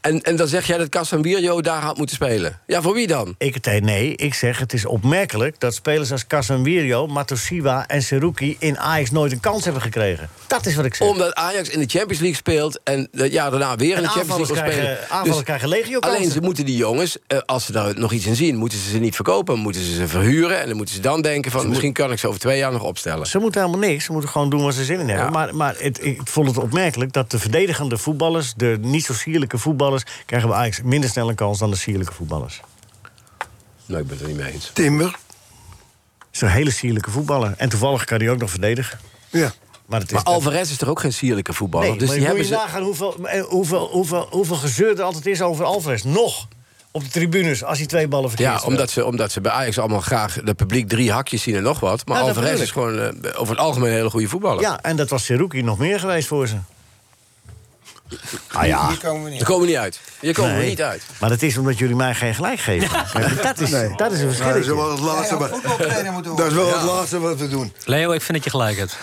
Speaker 8: En, en dan zeg jij dat Casemiro daar had moeten spelen. Ja, voor wie dan?
Speaker 3: Ik, nee, nee, ik zeg het is opmerkelijk dat spelers als Casemiro, Matosiwa en Seruki in Ajax nooit een kans hebben gekregen. Dat is wat ik zeg.
Speaker 8: Omdat Ajax in de Champions League speelt... en het jaar daarna weer in
Speaker 3: En
Speaker 8: de Champions
Speaker 3: aanvallers
Speaker 8: League wil
Speaker 3: krijgen-
Speaker 8: spelen.
Speaker 3: aanvallers krijgen legio kansen.
Speaker 8: Alleen ze moeten die jongens, eh, als ze daar nog iets in zien... moeten ze ze niet verkopen, moeten ze ze verhuren... en dan moeten ze dan denken van... misschien kan ik ze over twee jaar nog opstellen.
Speaker 3: Ze moeten helemaal niks. Ze moeten gewoon doen wat ze zin in hebben.
Speaker 8: Ja.
Speaker 3: Maar, maar het, ik vond het opmerkelijk dat de verdedigende voetballers... de niet zo sierlijke voetballers... krijgen we eigenlijk minder snel een kans dan de sierlijke voetballers.
Speaker 8: Nou, ik ben het er niet mee eens.
Speaker 4: Timber.
Speaker 3: Het is een hele sierlijke voetballer. En toevallig kan hij ook nog verdedigen.
Speaker 4: Ja.
Speaker 3: Maar, het is
Speaker 8: Maar Alvarez is toch ook geen sierlijke voetballer?
Speaker 3: Nee,
Speaker 8: dus
Speaker 3: maar
Speaker 8: die
Speaker 3: moet
Speaker 8: hebben
Speaker 3: je
Speaker 8: ze...
Speaker 3: nagaan hoeveel, eh, hoeveel, hoeveel, hoeveel gezeur er altijd is over Alvarez. Nog op de tribunes als hij twee ballen verkeerd
Speaker 8: Ja,
Speaker 3: speelt.
Speaker 8: omdat ze, omdat ze bij Ajax allemaal graag het publiek drie hakjes zien en nog wat. Maar
Speaker 3: Ja, dat
Speaker 8: Alvarez
Speaker 3: bedoel
Speaker 8: is gewoon eh, over het algemeen een hele goede voetballer.
Speaker 3: Ja, en dat was Seruki nog meer geweest voor ze. Ah ja.
Speaker 5: Hier komen we niet.
Speaker 8: Daar komen we niet uit. Je komen
Speaker 3: Nee.
Speaker 8: er niet uit.
Speaker 3: Maar dat is omdat jullie mij geen gelijk geven. Kijk, Dat, is, dat is een
Speaker 4: Nou, Dat is
Speaker 3: verschil.
Speaker 4: wel het laatste,
Speaker 5: Ja,
Speaker 4: wat-
Speaker 5: voetbaltrainer moeten
Speaker 4: dat is
Speaker 5: worden.
Speaker 4: wel het laatste wat we doen.
Speaker 7: Leo, ik vind dat je gelijk hebt.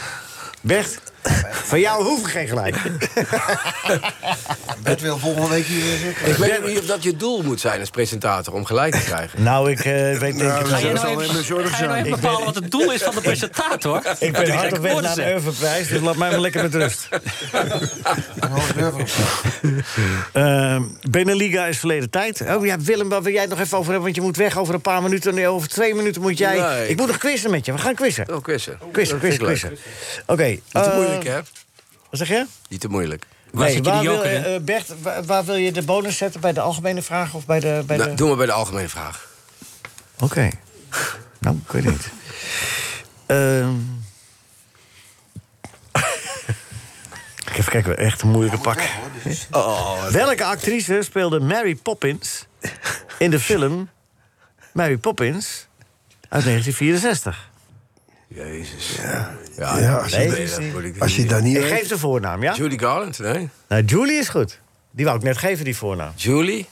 Speaker 3: Bert, van jou hoef ik geen gelijk.
Speaker 5: Bert wil volgende week hier zitten.
Speaker 8: Ik weet ook niet of dat je doel moet zijn als presentator om gelijk te krijgen.
Speaker 3: Nou, ik eh, weet denk ik...
Speaker 4: Nou,
Speaker 7: Ga je
Speaker 4: dat
Speaker 7: nou
Speaker 4: zal
Speaker 7: even,
Speaker 4: alleen maar zorg
Speaker 7: ga je nou
Speaker 4: zijn.
Speaker 7: even bepalen wat het doel is van de presentator?
Speaker 3: Ik ben hard op weg naar de Urvenprijs, dus laat mij maar lekker met rust. Ehm Beneliga is verleden tijd. Oh ja, Willem, waar wil jij het nog even over hebben? Want je moet weg over een paar minuten. Nee, over twee minuten moet jij...
Speaker 8: Nee.
Speaker 3: Ik moet nog quizzen met je. We gaan quizzen.
Speaker 8: Oh, quizzen.
Speaker 3: Quizzen,
Speaker 8: Dat vind
Speaker 3: quizzen,
Speaker 8: ik leuk.
Speaker 3: quizzen. Oké.
Speaker 8: Niet te
Speaker 3: eh,
Speaker 8: moeilijk, hè?
Speaker 3: Wat zeg je?
Speaker 8: Niet te moeilijk.
Speaker 7: Waar zit je
Speaker 3: waar
Speaker 7: die
Speaker 3: wil,
Speaker 7: joker in?
Speaker 3: eh, Bert, waar, waar wil je de bonus zetten? Bij de algemene vraag of bij de... Bij
Speaker 8: Nou,
Speaker 3: de...
Speaker 8: doe maar bij de algemene vraag.
Speaker 3: Oké. Nou, ik weet niet. Ehm. Even kijken, echt een moeilijke pak. Welke actrice speelde Mary Poppins in de film Mary Poppins uit 1964?
Speaker 8: Jezus. Ja, ja,
Speaker 4: Ja, als je-
Speaker 8: nee,
Speaker 3: nee,
Speaker 8: dat moet ik
Speaker 4: Als je
Speaker 8: niet.
Speaker 4: dat niet
Speaker 3: Ik
Speaker 4: weet-
Speaker 3: geef de voornaam, ja?
Speaker 8: Julie Garland, nee?
Speaker 3: Nou, Julie is goed. Die wou ik net geven, die voornaam.
Speaker 8: Julie?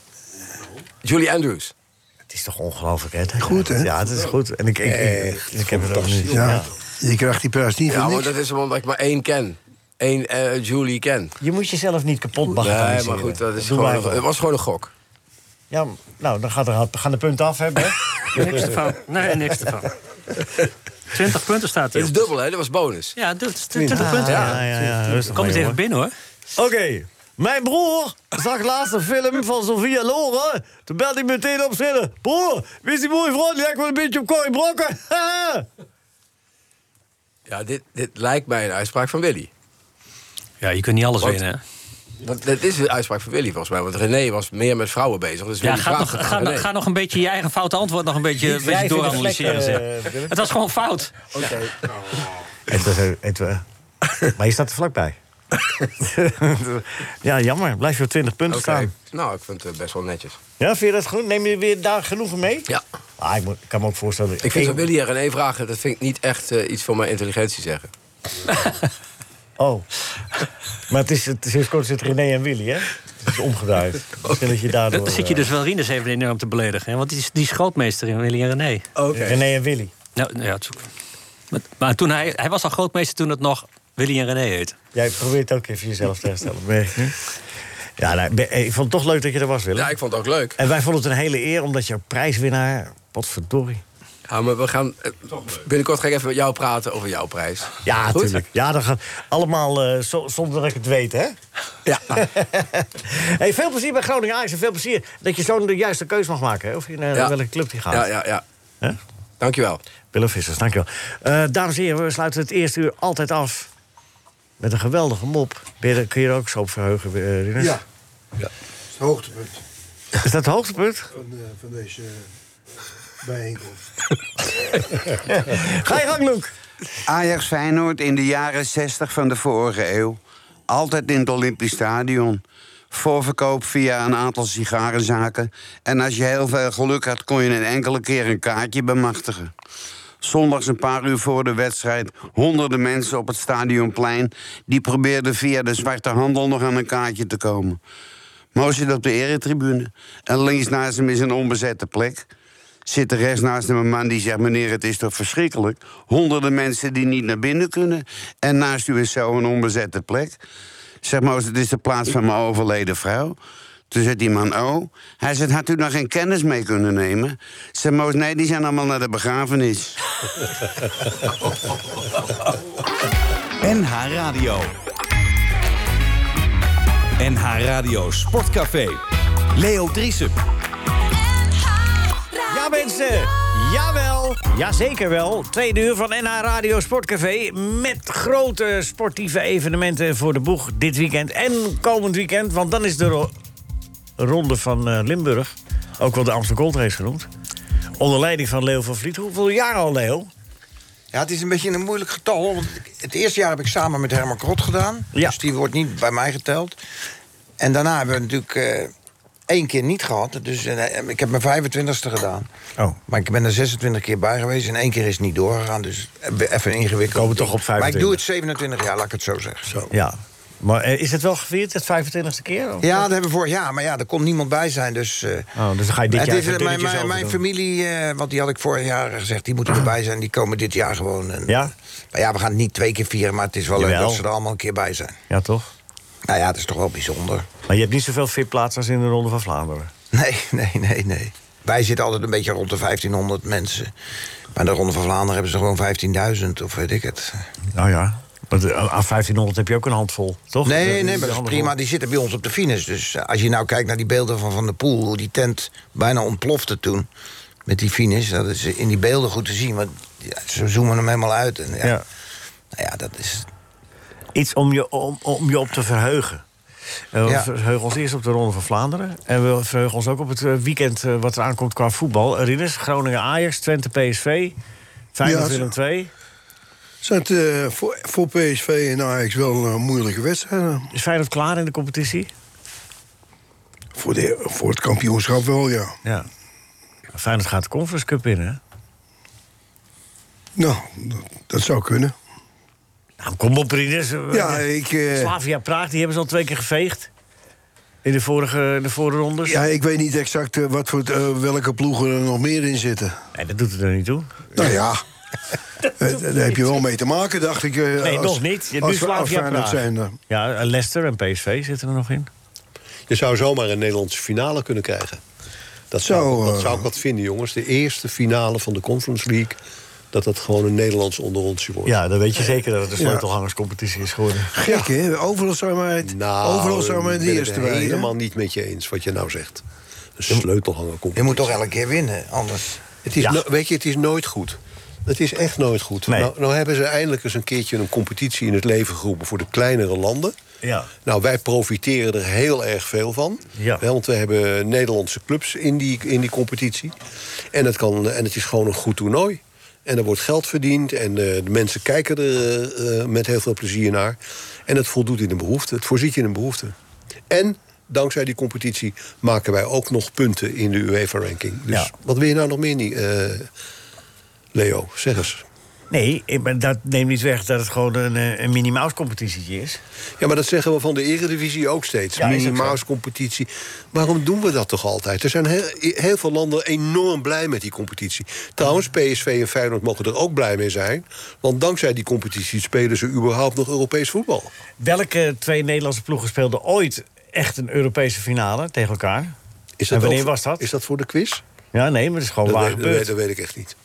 Speaker 8: Julie Andrews.
Speaker 3: Het is toch ongelooflijk, hè?
Speaker 4: Goed, hè?
Speaker 3: Ja, het is goed. En ik, ik, ik, ik heb het ook niet.
Speaker 4: Ja,
Speaker 3: Ja.
Speaker 4: je krijgt die prijs niet
Speaker 8: Ja,
Speaker 4: voor
Speaker 8: maar
Speaker 4: niks.
Speaker 8: dat is omdat ik maar één ken. Eén eh, Julie ken.
Speaker 3: Je moet jezelf niet kapot bagatelliseren.
Speaker 8: Nee, maar goed, dat is
Speaker 3: Doe
Speaker 8: gewoon,
Speaker 3: maar even.
Speaker 8: het was gewoon een gok.
Speaker 3: Ja, nou, dan gaat er, gaan de punten af, hè, Bert?
Speaker 7: Niks ervan. Nee, niks ervan. 20 punten staat
Speaker 8: Het
Speaker 7: hier.
Speaker 8: is dubbel, hè? Dat was bonus.
Speaker 7: Ja, du- du- 20 Ah, punten.
Speaker 3: ja, ja, ja, rustig
Speaker 7: Kom
Speaker 3: maar,
Speaker 7: eens even
Speaker 3: jongen.
Speaker 7: binnen hoor.
Speaker 3: Oké. Mijn broer zag laatst een film van Sofia Loren. Toen belde ik meteen op zitten. Broer, wie is die mooie vrouw? Die lijkt wel een beetje op Corrie Brokken.
Speaker 8: Ja, dit, dit lijkt mij een uitspraak van Willy.
Speaker 7: Ja, je kunt niet alles
Speaker 8: Wat?
Speaker 7: winnen. hè?
Speaker 8: Dat, dat is een uitspraak van Willy volgens mij, want René was meer met vrouwen bezig. Dus
Speaker 7: Ja,
Speaker 8: Willy
Speaker 7: ga nog,
Speaker 8: vraagt het
Speaker 7: ga,
Speaker 8: aan
Speaker 7: nog-
Speaker 8: René.
Speaker 7: ga nog een beetje je eigen foute antwoord nog een beetje, een beetje
Speaker 3: wrijven in de
Speaker 7: dooranalyseren.
Speaker 3: vlek,
Speaker 7: zeg.
Speaker 3: eh, Willem.
Speaker 7: het was gewoon fout.
Speaker 3: Het was, eh, het, eh, maar je staat er vlakbij. ja, jammer. Blijf je op 20 punten
Speaker 8: Oké.
Speaker 3: staan.
Speaker 8: Nou, ik vind het best wel netjes.
Speaker 3: Ja, vind je dat goed? Neem je weer daar genoegen mee?
Speaker 8: Ja.
Speaker 3: Ah, ik, moet, ik kan me ook voorstellen...
Speaker 8: Ik vind dat Willy en René vragen, dat vind ik niet echt eh, iets voor mijn intelligentie zeggen.
Speaker 3: Oh. Maar het is, het, sinds kort zit René en Willy, hè? Het is omgedraaid. Misschien dat je daardoor...
Speaker 7: Dan zit je dus wel Rinus even enorm te beledigen. Hè? Want die is, die is grootmeester in Willy en René.
Speaker 8: Oké.
Speaker 3: eh, René en Willy.
Speaker 7: Nou, nou ja, het is ook- maar, maar toen hij, hij was al grootmeester toen het nog Willy en René heet.
Speaker 3: Jij probeert ook even jezelf te herstellen. merk je? Ja, nou, ben- eh, ik vond het toch leuk dat je er was, Willem.
Speaker 8: Ja, ik vond het ook leuk.
Speaker 3: En wij vonden het een hele eer, omdat je prijswinnaar... Potverdorie.
Speaker 8: Ja, maar we gaan eh, binnenkort ga ik even met jou praten over jouw prijs.
Speaker 3: Ja,
Speaker 8: Goed?
Speaker 3: natuurlijk. Ja, dan gaan allemaal eh, zo- zonder dat ik het weet, hè?
Speaker 8: Ja.
Speaker 3: hey, veel plezier bij Groningen Ajax en veel plezier dat je zo de juiste keus mag maken. Hè? Of je naar
Speaker 8: Ja.
Speaker 3: welke club die gaat.
Speaker 8: Ja, ja, ja.
Speaker 3: Hè?
Speaker 8: Dankjewel.
Speaker 3: Willem Vissers, dankjewel. Eh dames en heren, we sluiten het eerste uur altijd af met een geweldige mop. Ben je er- Kun je er ook zo op verheugen, eh, Rinus?
Speaker 4: Ja. Het hoogtepunt.
Speaker 3: Is dat het hoogtepunt?
Speaker 4: Van, eh, van deze eh, bijeenkomst.
Speaker 3: Ga je gang, Luc.
Speaker 9: Ajax Feyenoord in de jaren 60 van de vorige eeuw. Altijd in het Olympisch Stadion. Voorverkoop via een aantal sigarenzaken. En als je heel veel geluk had, kon je een enkele keer een kaartje bemachtigen. Zondags een paar uur voor de wedstrijd honderden mensen op het stadionplein. Die probeerden via de zwarte handel nog aan een kaartje te komen. Mo zit op de eretribune. En links naast hem is een onbezette plek. Zit de rest naast hem een man die zegt: Meneer, het is toch verschrikkelijk? Honderden mensen die niet naar binnen kunnen. En naast u is zo een onbezette plek. Zeg maar, het is de plaats van mijn overleden vrouw. Toen zegt die man, oh. Hij zegt, had u nog geen kennis mee kunnen nemen? Zeg maar, nee, die zijn allemaal naar de begrafenis.
Speaker 2: NH Radio. NH Radio Sportcafé. Leo Driesen.
Speaker 3: Ja, mensen. Jawel. Jazeker wel. Tweede uur van NH Radio Sportcafé. Met grote sportieve evenementen voor de boeg dit weekend. En komend weekend, want dan is de ro- ronde van eh, Limburg. Ook wel de Amsterdam Gold Race genoemd. Onder leiding van Leo van Vliet. Hoeveel jaar al, Leo?
Speaker 5: Ja, het is een beetje een moeilijk getal. want het eerste jaar heb ik samen met Herman Krot gedaan.
Speaker 3: Ja.
Speaker 5: Dus die wordt niet bij mij geteld. En daarna hebben we natuurlijk eh, één keer niet gehad. Dus eh, ik heb mijn 25ste gedaan.
Speaker 3: Oh.
Speaker 5: Maar ik ben er 26 keer bij geweest en één keer is het niet doorgegaan. Dus even ingewikkeld.
Speaker 3: Komen we toch op
Speaker 5: Maar ik
Speaker 3: 25.
Speaker 5: doe het 27 jaar, laat ik het zo zeggen.
Speaker 3: Ja. Maar eh, is het wel gevierd, het 25e keer? Of-
Speaker 5: Ja, dat hebben we vorig jaar. Maar ja, er kon niemand bij zijn. Dus, eh,
Speaker 3: Oh, dus dan ga je dit
Speaker 5: het
Speaker 3: jaar
Speaker 5: is,
Speaker 3: even
Speaker 5: eh,
Speaker 3: dunnetjes
Speaker 5: mijn, mijn,
Speaker 3: over
Speaker 5: mijn
Speaker 3: doen.
Speaker 5: familie, eh, want die had ik vorig jaar gezegd... die moeten erbij zijn, die komen dit jaar gewoon. En,
Speaker 3: Ja?
Speaker 5: Maar ja, we gaan het niet twee keer vieren... maar het is wel leuk
Speaker 3: Jawel.
Speaker 5: dat ze er allemaal een keer bij zijn.
Speaker 3: Ja, toch?
Speaker 5: Nou ja, het is toch wel bijzonder.
Speaker 3: Maar je hebt niet zoveel VIP-plaats als in de Ronde van Vlaanderen.
Speaker 5: Nee, nee, nee, nee. Wij zitten altijd een beetje rond de 1500 mensen. Bij de Ronde van Vlaanderen hebben ze gewoon 15.000 of weet ik het.
Speaker 3: Nou ja. Want eh, aan 1500 heb je ook een handvol, toch?
Speaker 5: Nee,
Speaker 3: De-
Speaker 5: nee,
Speaker 3: de
Speaker 5: maar dat is
Speaker 3: handen
Speaker 5: prima.
Speaker 3: vol.
Speaker 5: Die zitten bij ons op de finish. Dus eh, als je nou kijkt naar die beelden van Van der Poel... hoe die tent bijna ontplofte toen met die finish... dat is in die beelden goed te zien. Want ja, ze zoomen hem helemaal uit. En ja,
Speaker 3: Ja.
Speaker 5: Nou ja, dat is...
Speaker 3: Iets om je, om, om je op te verheugen. En we
Speaker 5: Ja.
Speaker 3: verheugen ons eerst op de Ronde van Vlaanderen. En we verheugen ons ook op het eh, weekend eh, wat er aankomt qua voetbal. Ridders, Groningen-Ajax, Twente-PSV,
Speaker 4: Ja,
Speaker 3: Feyenoord-Willem
Speaker 4: zo.
Speaker 3: 2.
Speaker 4: Is dat eh, voor, voor PSV en Ajax wel een moeilijke wedstrijd? eh?
Speaker 3: Is Feyenoord klaar in de competitie?
Speaker 4: Voor, de, voor het kampioenschap wel, ja.
Speaker 3: Ja. Feyenoord gaat de Conference Cup in, hè?
Speaker 4: Nou, dat, dat zou kunnen.
Speaker 3: Nou, kom op, Ridders.
Speaker 4: Ja, ik, eh,
Speaker 3: Slavia Praag, die hebben ze al twee keer geveegd. In de vorige, in de vorige rondes.
Speaker 4: ja, ik weet niet exact eh, wat voor, eh, welke ploegen er nog meer in zitten.
Speaker 3: Nee, dat doet het er niet toe.
Speaker 4: Nou ja, eh, daar heb je wel mee te maken, dacht ik. eh,
Speaker 3: Nee,
Speaker 4: als-
Speaker 3: nog niet. Je- nu
Speaker 4: als we
Speaker 3: Slavia
Speaker 4: Feyenoord
Speaker 3: Praag.
Speaker 4: zijn, eh.
Speaker 3: Ja, eh, Leicester en PSV zitten er nog in.
Speaker 6: Je zou zomaar een Nederlandse finale kunnen krijgen. Dat zou,
Speaker 4: Zo,
Speaker 6: dat
Speaker 4: eh.
Speaker 6: zou ik wat vinden, jongens. De eerste finale van de Conference League... dat dat gewoon een Nederlands onderrondje wordt.
Speaker 3: Ja, dan weet je zeker dat het een sleutelhangerscompetitie is geworden.
Speaker 4: Gek, hè? Overal zijn wij het, overal zijn wij
Speaker 6: ik
Speaker 4: het
Speaker 6: Nou, ben
Speaker 4: eerste
Speaker 6: het
Speaker 4: bij. hè?
Speaker 6: helemaal niet met je eens wat je nou zegt. Een sleutelhanger komt.
Speaker 5: Je moet toch elke keer winnen, anders...
Speaker 6: Het is
Speaker 3: Ja.
Speaker 6: no- weet je, het is nooit goed. Het is echt nooit goed.
Speaker 3: Nee.
Speaker 6: Nou, nou hebben ze eindelijk eens een keertje een competitie in het leven geroepen voor de kleinere landen.
Speaker 3: Ja.
Speaker 6: Nou, wij profiteren er heel erg veel van.
Speaker 3: Ja.
Speaker 6: Hè, want we hebben Nederlandse clubs in die, in die competitie. En het, kan, en het is gewoon een goed toernooi. En er wordt geld verdiend en eh, de mensen kijken er eh, eh, met heel veel plezier naar. En het voldoet in een behoefte, het voorziet in een behoefte. En dankzij die competitie maken wij ook nog punten in de UEFA-ranking. Dus
Speaker 3: Ja.
Speaker 6: wat wil je nou nog meer niet, eh, Leo? Zeg eens.
Speaker 3: Nee, ik ben- dat neemt niet weg dat het gewoon een, eh, een mini-mouse-competitietje is.
Speaker 6: Ja, maar dat zeggen we van de Eredivisie ook steeds.
Speaker 3: Ja, is ook
Speaker 6: Mini
Speaker 3: zo.
Speaker 6: Mouse competitie. Waarom doen we dat toch altijd? Er zijn heel, heel veel landen enorm blij met die competitie. Trouwens, PSV en Feyenoord mogen er ook blij mee zijn. Want dankzij die competitie spelen ze überhaupt nog Europees voetbal.
Speaker 3: Welke twee Nederlandse ploegen speelden ooit echt een Europese finale tegen elkaar?
Speaker 6: Is
Speaker 3: En wanneer
Speaker 6: wel-
Speaker 3: was dat?
Speaker 6: Is dat voor de quiz?
Speaker 3: Ja, nee, maar dat is gewoon waar
Speaker 6: weet, dat, weet,
Speaker 3: gebeurd.
Speaker 6: dat weet ik echt niet.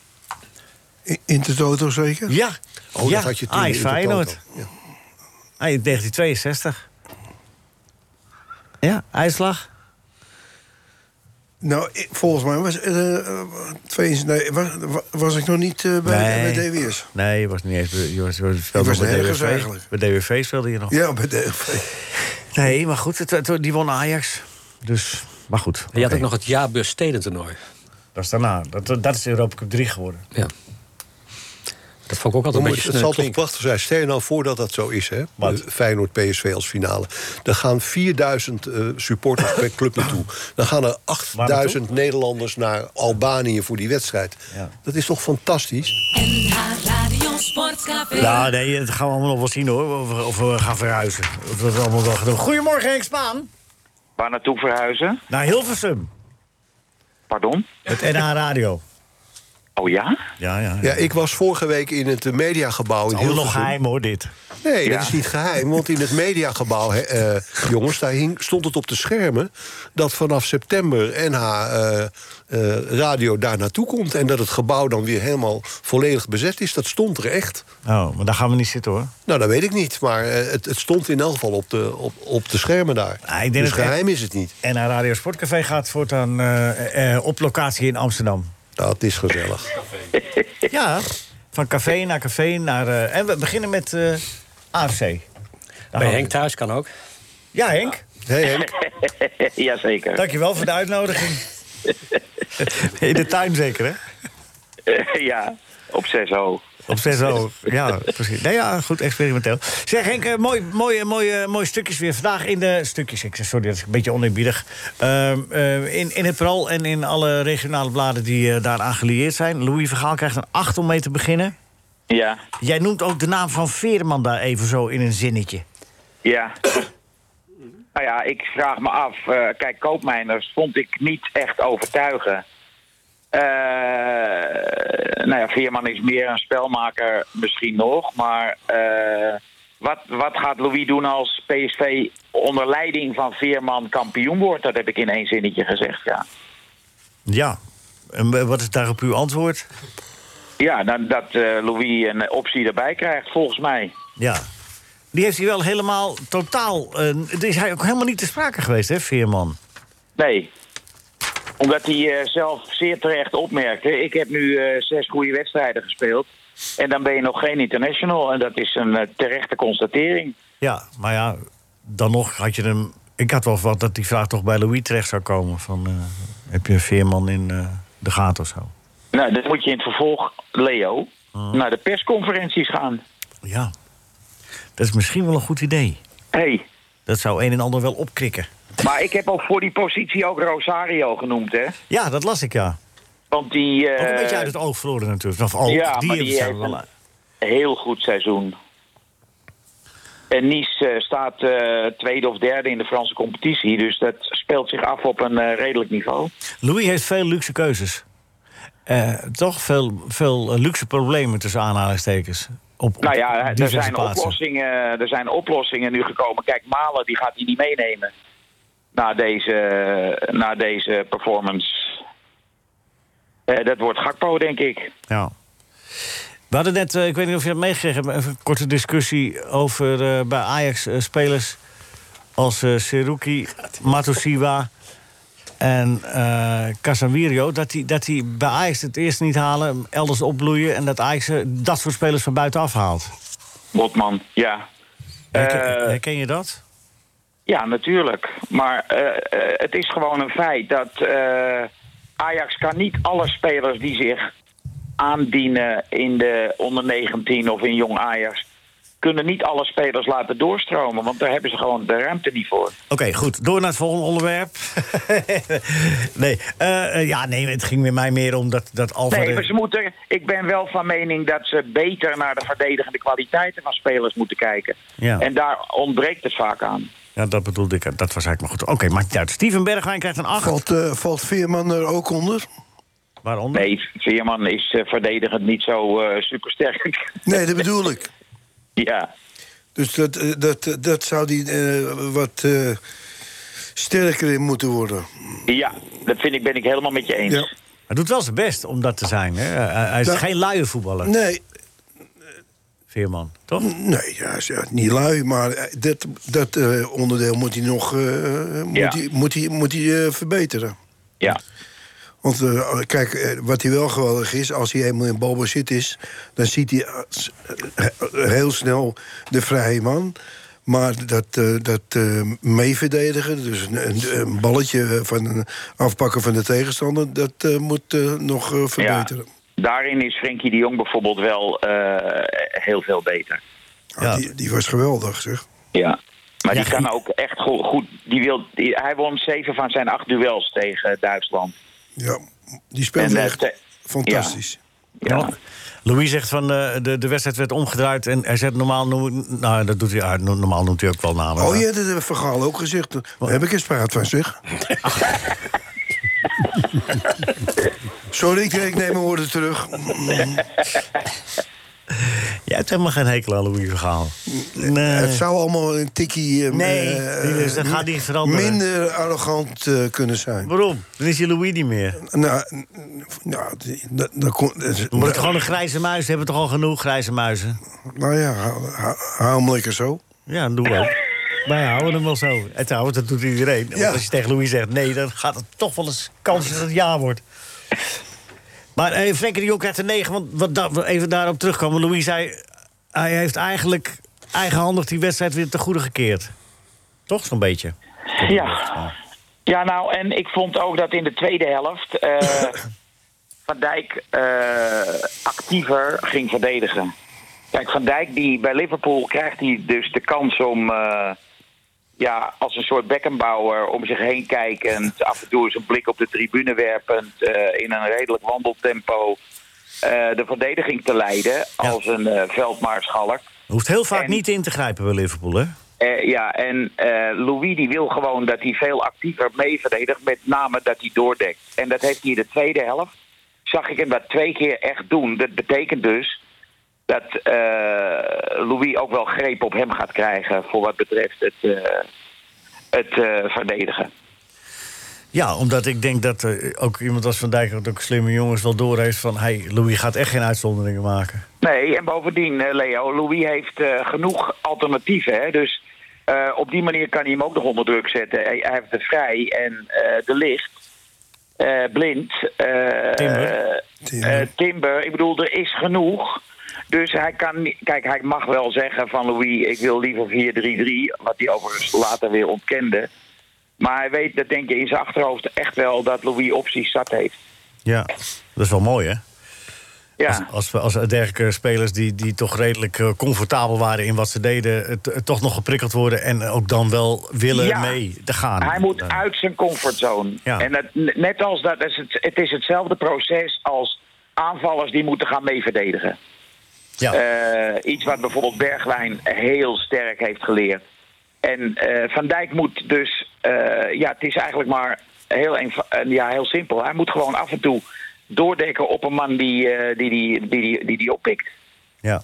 Speaker 4: In- Intertoto zeker?
Speaker 3: Ja,
Speaker 6: Oh,
Speaker 3: ja.
Speaker 6: dat had je toen
Speaker 3: Ajax
Speaker 6: in de
Speaker 3: Feyenoord.
Speaker 6: Toto. Ja.
Speaker 3: Ah, in 1962. Ja, uitslag.
Speaker 4: Nou, ik- volgens mij was, eh, eh, twee, nee, was, was ik nog niet eh, bij, bij DWS.
Speaker 3: Nee, je was niet eens... Je was, je was, speelde
Speaker 4: was
Speaker 3: nog bij
Speaker 4: nergens
Speaker 3: DWV.
Speaker 4: eigenlijk.
Speaker 3: Bij DWV speelde je nog.
Speaker 4: Ja, bij DWS.
Speaker 3: Nee, maar goed, het- het- die won Ajax. Dus Maar goed.
Speaker 7: Je had
Speaker 3: oké.
Speaker 7: ook nog het jaarbeurs stedentoernooi.
Speaker 3: Dat is daarna. Dat, dat is Europa Cup 3 geworden.
Speaker 7: Ja. Dat vond ik ook
Speaker 6: Dan
Speaker 7: altijd een
Speaker 6: moet-
Speaker 7: beetje
Speaker 6: het
Speaker 7: sneu
Speaker 6: zal toch
Speaker 7: klinken.
Speaker 6: prachtig zijn. Stel je nou voor dat dat zo is, hè?
Speaker 3: Wat?
Speaker 6: De Feyenoord PSV als finale. Dan gaan 4000 eh, supporters per club naartoe. Dan gaan er 8000 Nederlanders naar Albanië voor die wedstrijd.
Speaker 3: Ja.
Speaker 6: Dat is toch fantastisch?
Speaker 1: NH Radio Sportcafé.
Speaker 3: Ja, Ah, nee, eh, dat gaan we allemaal nog wel zien hoor. Of, we- of we gaan verhuizen. Of dat allemaal wel gedaan. Goedemorgen, Henk Spaan.
Speaker 10: Waar naartoe verhuizen?
Speaker 3: Naar Hilversum.
Speaker 10: Pardon?
Speaker 3: Het NH Radio.
Speaker 10: Oh ja?
Speaker 3: Ja, ja.
Speaker 6: Ja, ik was vorige week in het eh, mediagebouw in
Speaker 3: Het is allemaal
Speaker 6: Hilversum.
Speaker 3: nog geheim hoor, dit.
Speaker 6: Nee,
Speaker 10: Ja.
Speaker 6: dat is niet geheim. Want in het mediagebouw, hè, eh, jongens, daar hing, stond het op de schermen... dat vanaf september NH eh, eh, Radio daar naartoe komt... en dat het gebouw dan weer helemaal volledig bezet is. Dat stond er echt.
Speaker 3: Oh, maar daar gaan we niet zitten hoor.
Speaker 6: Nou, dat weet ik niet. Maar eh, het, het stond in elk geval op de, op, op de schermen daar.
Speaker 3: Ah, ik denk
Speaker 6: dus
Speaker 3: dat-
Speaker 6: geheim is het niet.
Speaker 3: En naar Radio Sportcafé gaat voortaan eh, eh, op locatie in Amsterdam.
Speaker 6: Dat is gezellig.
Speaker 3: Ja, van café naar café naar... eh, en we beginnen met eh, AFC. Daar gaan
Speaker 7: Bij
Speaker 3: we.
Speaker 7: Henk thuis kan ook.
Speaker 3: Ja, Henk.
Speaker 6: Hey Henk,
Speaker 10: Jazeker.
Speaker 3: Dankjewel voor de uitnodiging. In de tuin zeker, hè?
Speaker 10: ja, op 6 hoog.
Speaker 3: Op 6 al. Ja, precies. Nee, ja, goed, experimenteel. Zeg Henk, eh, mooi, mooie, mooie, mooie stukjes weer vandaag in de... Stukjes, ik zeg sorry, dat is een beetje oneerbiedig. Ehm, eh, in, in het Parool en in alle regionale bladen die eh, daaraan gelieerd zijn. Louis Vergaal krijgt een 8 om mee te beginnen.
Speaker 10: Ja,
Speaker 3: Jij noemt ook de naam van Veerman daar even zo in een zinnetje.
Speaker 10: ja. nou ja, ik vraag me af. eh, kijk, Koopmijners vond ik niet echt overtuigen. Eh, nou ja, Veerman is meer een spelmaker misschien nog. Maar eh, wat, wat gaat Louis doen als PSV onder leiding van Veerman kampioen wordt? Dat heb ik in één zinnetje gezegd, ja.
Speaker 3: Ja. En eh, wat is daarop uw antwoord?
Speaker 10: Ja, dan, dat eh, Louis een optie erbij krijgt, volgens mij.
Speaker 3: Ja. Die heeft hij wel helemaal totaal... eh, er is hij ook helemaal niet te sprake geweest, hè, Veerman?
Speaker 10: Nee. Omdat hij eh, zelf zeer terecht opmerkte. Ik heb nu eh, zes goede wedstrijden gespeeld. En dan ben je nog geen international. En dat is een eh, terechte constatering.
Speaker 3: Ja, maar ja, dan nog had je hem... Ik had wel verwacht dat die vraag toch bij Louis terecht zou komen. Van, eh, heb je een veerman in eh, de gaten of zo?
Speaker 10: Nou, dan moet je in het vervolg, Leo,
Speaker 3: Oh.
Speaker 10: naar de persconferenties gaan.
Speaker 3: Ja. Dat is misschien wel een goed idee.
Speaker 10: Hey.
Speaker 3: Dat zou een en ander wel opkrikken.
Speaker 10: Maar ik heb ook voor die positie ook Rosario genoemd, hè?
Speaker 3: Ja, dat las ik, ja.
Speaker 10: Want die... eh,
Speaker 3: Ook een beetje uit het oog verloren natuurlijk. Of
Speaker 10: ja,
Speaker 3: oog, die
Speaker 10: maar
Speaker 3: hebben
Speaker 10: die
Speaker 3: ze
Speaker 10: heeft
Speaker 3: wel-
Speaker 10: een- heel goed seizoen. En Nice eh, staat eh, tweede of derde in de Franse competitie. Dus dat speelt zich af op een eh, redelijk niveau.
Speaker 3: Louis heeft veel luxe keuzes. Eh, toch veel, veel eh, luxe problemen tussen aanhalingstekens. Op, op
Speaker 10: Nou ja, er
Speaker 3: diverse
Speaker 10: zijn,
Speaker 3: plaatsen.
Speaker 10: oplossingen, er zijn oplossingen nu gekomen. Kijk, Malen die gaat hij niet meenemen. Na deze, na deze performance. Eh, dat wordt Gakpo, denk ik.
Speaker 3: Ja. We hadden net, eh, ik weet niet of je dat meegekregen hebt... even een korte discussie over eh, bij Ajax eh, spelers... als eh Seruki, Matosiwa en eh Casemiro... Dat die, dat die bij Ajax het eerst niet halen, elders opbloeien... en dat Ajax eh, dat soort spelers van buitenaf haalt.
Speaker 10: Botman, ja.
Speaker 3: Herken,
Speaker 10: Eh,
Speaker 3: herken je dat?
Speaker 10: Ja, natuurlijk. Maar eh, eh, het is gewoon een feit dat eh, Ajax kan niet alle spelers die zich aandienen in de onder 19 of in jong Ajax, kunnen niet alle spelers laten doorstromen, want daar hebben ze gewoon de ruimte niet voor.
Speaker 3: Oké, goed. Door naar het volgende onderwerp. nee, eh, eh, ja, nee, het ging met mij meer om dat, dat Alvarez...
Speaker 10: Nee, maar ze moeten. Ik ben wel van mening dat ze beter naar de verdedigende kwaliteiten van spelers moeten kijken.
Speaker 3: Ja.
Speaker 10: En daar ontbreekt het vaak aan.
Speaker 3: Ja, dat bedoelde ik. Dat was eigenlijk maar goed. Oké, maakt niet uit. Steven Bergwijn krijgt een 8.
Speaker 4: Valt, eh, valt Veerman er ook onder?
Speaker 3: Waaronder?
Speaker 10: Nee, Veerman is eh, verdedigend niet zo eh, supersterk.
Speaker 4: Nee, dat bedoel ik.
Speaker 10: ja.
Speaker 4: Dus dat, eh, dat, eh, dat zou die eh, wat eh, sterker in moeten worden.
Speaker 10: Ja, dat vind ik, ben ik helemaal met je eens.
Speaker 4: Ja.
Speaker 3: Hij doet wel zijn best om dat te zijn. Hè? Hij hij is
Speaker 4: Nou-
Speaker 3: geen luie voetballer,
Speaker 4: Nee,
Speaker 3: Veerman. Toch?
Speaker 4: nee ja, is, ja, niet lui, maar eh, dat, dat eh, onderdeel moet hij nog eh, eh, moet
Speaker 10: Ja.
Speaker 4: hij, moet hij, moet hij, eh, verbeteren.
Speaker 10: Ja.
Speaker 4: Want eh, kijk, eh, wat hij wel geweldig is, als hij eenmaal in balbezit is... dan ziet hij eh, s- eh, heel snel de vrije man. Maar dat, eh, dat eh, meeverdedigen, dus een, een, een balletje eh, van, een- afpakken van de tegenstander... dat eh, moet eh, nog eh, verbeteren.
Speaker 10: Daarin is Frenkie de Jong bijvoorbeeld wel eh, heel veel beter.
Speaker 4: Ah, die, die was geweldig, zeg.
Speaker 10: Ja. Maar die kan ook echt go- goed. Die wil, die- hij won zeven van zijn acht duels tegen Duitsland.
Speaker 4: Ja, die speelde
Speaker 10: eh,
Speaker 4: echt
Speaker 10: te-
Speaker 4: fantastisch.
Speaker 10: Ja. Ja.
Speaker 3: Louis zegt van eh, de, de wedstrijd werd omgedraaid en hij zegt normaal noemt, nou, dat doet hij, ah, no- normaal noemt hij ook wel namen.
Speaker 4: Oh
Speaker 3: hè?
Speaker 4: ja, dat heeft Van Gaal ook gezegd. Daar heb ik eens praat van, zeg. Sorry, ik- ik neem mijn woorden terug.
Speaker 3: Jij hebt helemaal geen hekel aan Louis Vergaal. Nee.
Speaker 4: Het zou allemaal een tikkie... eh,
Speaker 3: Nee,
Speaker 4: eh,
Speaker 3: dus dat gaat niet veranderen.
Speaker 4: Minder arrogant eh, kunnen zijn.
Speaker 3: Waarom? Dan is hij Louis niet meer.
Speaker 4: Nou, n- nou die- dat- dat kon- dat-
Speaker 3: We moeten gewoon een grijze muis hebben, toch al genoeg grijze muizen?
Speaker 4: Nou ja, hou- hou- hou hem lekker zo.
Speaker 3: Ja, dat doen we ook. Wij houden hem wel zo. En trouwens, dat doet iedereen. Want
Speaker 4: Ja.
Speaker 3: als je tegen Louis zegt nee, dan gaat het toch wel eens kans dat het ja wordt. Maar eh, Frenkie de Jong krijgt een 9, want wat da- we even daarop terugkomen. Louis zei, hij heeft eigenlijk eigenhandig die wedstrijd weer te goede gekeerd. Toch zo'n beetje?
Speaker 10: Ja. ja, nou, en ik vond ook dat in de tweede helft eh, Van Dijk eh, actiever ging verdedigen. Kijk, Van Dijk die bij Liverpool krijgt hij dus de kans om eh, ja, als een soort bekkenbouwer om zich heen kijkend, af en toe eens een blik op de tribune werpend, eh, in een redelijk wandeltempo eh, de verdediging te leiden als een eh, veldmaarschalk.
Speaker 3: Hoeft heel vaak
Speaker 10: En-
Speaker 3: niet in te grijpen bij Liverpool, hè?
Speaker 10: Eh, ja, en eh, Louis die wil gewoon dat hij veel actiever meeverdedigt, met name dat hij doordekt. En dat heeft hij in de tweede helft, zag ik hem dat twee keer echt doen. Dat betekent dus dat eh, Louis ook wel greep op hem gaat krijgen voor wat betreft het, eh, het eh, verdedigen.
Speaker 3: Ja, omdat ik denk dat eh, ook iemand als Van Dijk... dat ook slimme jongens wel doorheeft van... hey, Louis gaat echt geen uitzonderingen maken.
Speaker 10: Nee, en bovendien, eh, Leo, Louis heeft eh, genoeg alternatieven. Hè? Dus eh, op die manier kan hij hem ook nog onder druk zetten. Hij, hij heeft de vrij en eh, de licht. eh, blind. eh,
Speaker 3: Timber.
Speaker 10: eh, eh, timber. Ik bedoel, er is genoeg. Dus hij kan. niet- Kijk, hij mag wel zeggen van Louis: ik wil liever 4-3-3. Wat hij overigens later weer ontkende. Maar hij weet, dat denk je in zijn achterhoofd echt wel, dat Louis opties zat heeft.
Speaker 3: Ja, dat is wel mooi, hè?
Speaker 10: Ja.
Speaker 3: Als, als, we- als dergelijke spelers die, die toch redelijk eh, comfortabel waren in wat ze deden... eh, t- eh, toch nog geprikkeld worden en ook dan wel willen
Speaker 10: Ja.
Speaker 3: mee te gaan.
Speaker 10: Hij moet uit zijn comfortzone.
Speaker 3: Eh. Ja.
Speaker 10: En dat, net als dat, is het, het is hetzelfde proces als aanvallers die moeten gaan meeverdedigen.
Speaker 3: Ja.
Speaker 10: Eh, iets wat bijvoorbeeld Bergwijn heel sterk heeft geleerd. En eh, Van Dijk moet dus, eh, ja, het is eigenlijk maar heel, eenva- eh, ja, heel simpel. Hij moet gewoon af en toe doordekken op een man die eh, die, die, die, die, die, die oppikt.
Speaker 3: ja.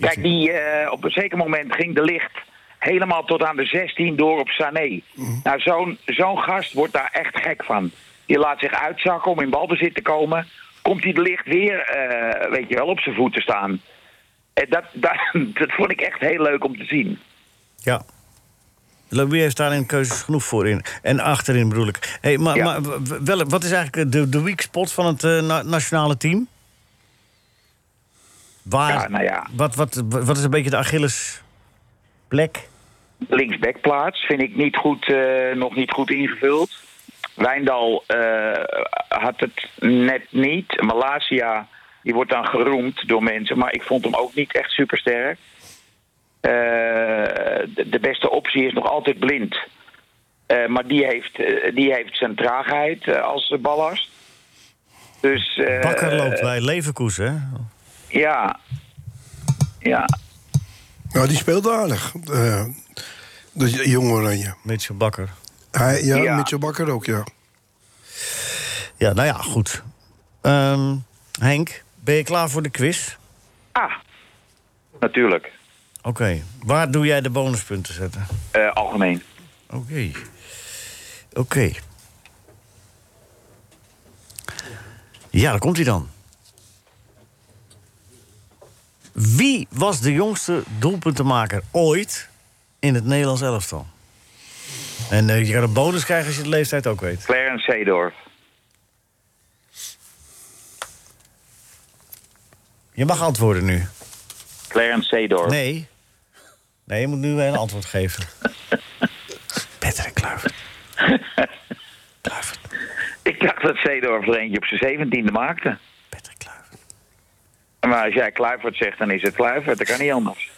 Speaker 10: Kijk, die, eh, op een zeker moment ging de licht helemaal tot aan de 16 door op Sané. Nou, zo'n zo'n gast wordt daar echt gek van. Die laat zich uitzakken om in balbezit te komen. Komt hij de licht weer, eh, weet je wel, op zijn voeten staan. En dat, dat, dat vond ik echt heel leuk om te zien.
Speaker 3: Ja. Louis heeft daarin keuzes genoeg voor in. En achterin bedoel ik. Hey, maar
Speaker 10: Ja.
Speaker 3: maar w- w- wel, wat is eigenlijk eh, de, de weak spot van het eh, na- nationale team? Waar,
Speaker 10: Ja, nou ja.
Speaker 3: Wat, wat, wat is een beetje de Achillesplek?
Speaker 10: linksbackplaats vind ik niet goed, eh, nog niet goed ingevuld. Wijndal eh, had het net niet. Malasia die wordt dan geroemd door mensen, maar ik vond hem ook niet echt supersterk. Eh, de, de beste optie is nog altijd blind. Eh, maar die heeft, eh, die heeft zijn traagheid eh, als ballast. Dus, eh,
Speaker 3: Bakker loopt bij Leverkusen, hè?
Speaker 10: Ja. Ja.
Speaker 4: Nou, die speelde aardig. eh, de jonge Oranje.
Speaker 3: Mitchell Bakker.
Speaker 4: Hij, ja,
Speaker 10: Ja.
Speaker 4: Mitchell Bakker ook, ja.
Speaker 3: Ja, nou ja, goed. Ehm, Henk, ben je klaar voor de quiz?
Speaker 10: Ah, natuurlijk.
Speaker 3: Oké. Waar doe jij de bonuspunten zetten?
Speaker 10: Eh, algemeen.
Speaker 3: Oké. Oké. Ja, daar komt hij dan. Wie was de jongste doelpuntenmaker ooit in het Nederlands elftal? En eh, je kan een bonus krijgen als je de leeftijd ook weet.
Speaker 10: Clarence Seedorf.
Speaker 3: Je mag antwoorden nu.
Speaker 10: Clarence Seedorf.
Speaker 3: Nee. Nee, je moet nu een antwoord geven. Patrick Kluivert.
Speaker 10: Ik dacht dat Zeedorf er eentje op zijn zeventiende maakte. Patrick Kluivert. Maar als jij Kluivert zegt, dan is het Kluivert. Dat kan niet anders.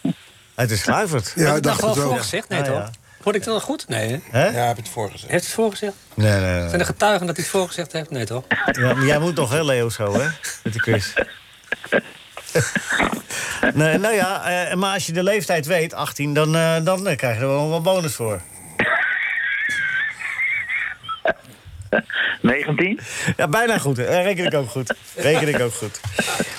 Speaker 3: Het is Kluivert.
Speaker 7: Heb ik dat wel voorgezegd? Nee,
Speaker 3: Ah, ja.
Speaker 7: toch? Hoorde ik dat nog goed? Nee, hè?
Speaker 3: Hè?
Speaker 5: Ja, heb het voorgezegd.
Speaker 7: Heeft het voorgezegd?
Speaker 3: Nee, nee, nee.
Speaker 7: Eh. Zijn er getuigen dat hij het voorgezegd heeft? Nee, toch?
Speaker 3: Ja, maar jij moet nog, hè, Leo, zo, hè? Met de quiz. nee, nou ja, eh, maar als je de leeftijd weet, 18, dan, eh, dan eh, krijg je er wel wat bonus voor.
Speaker 10: 19?
Speaker 3: Ja, bijna goed. Eh, reken ik ook goed. Reken ik ook goed.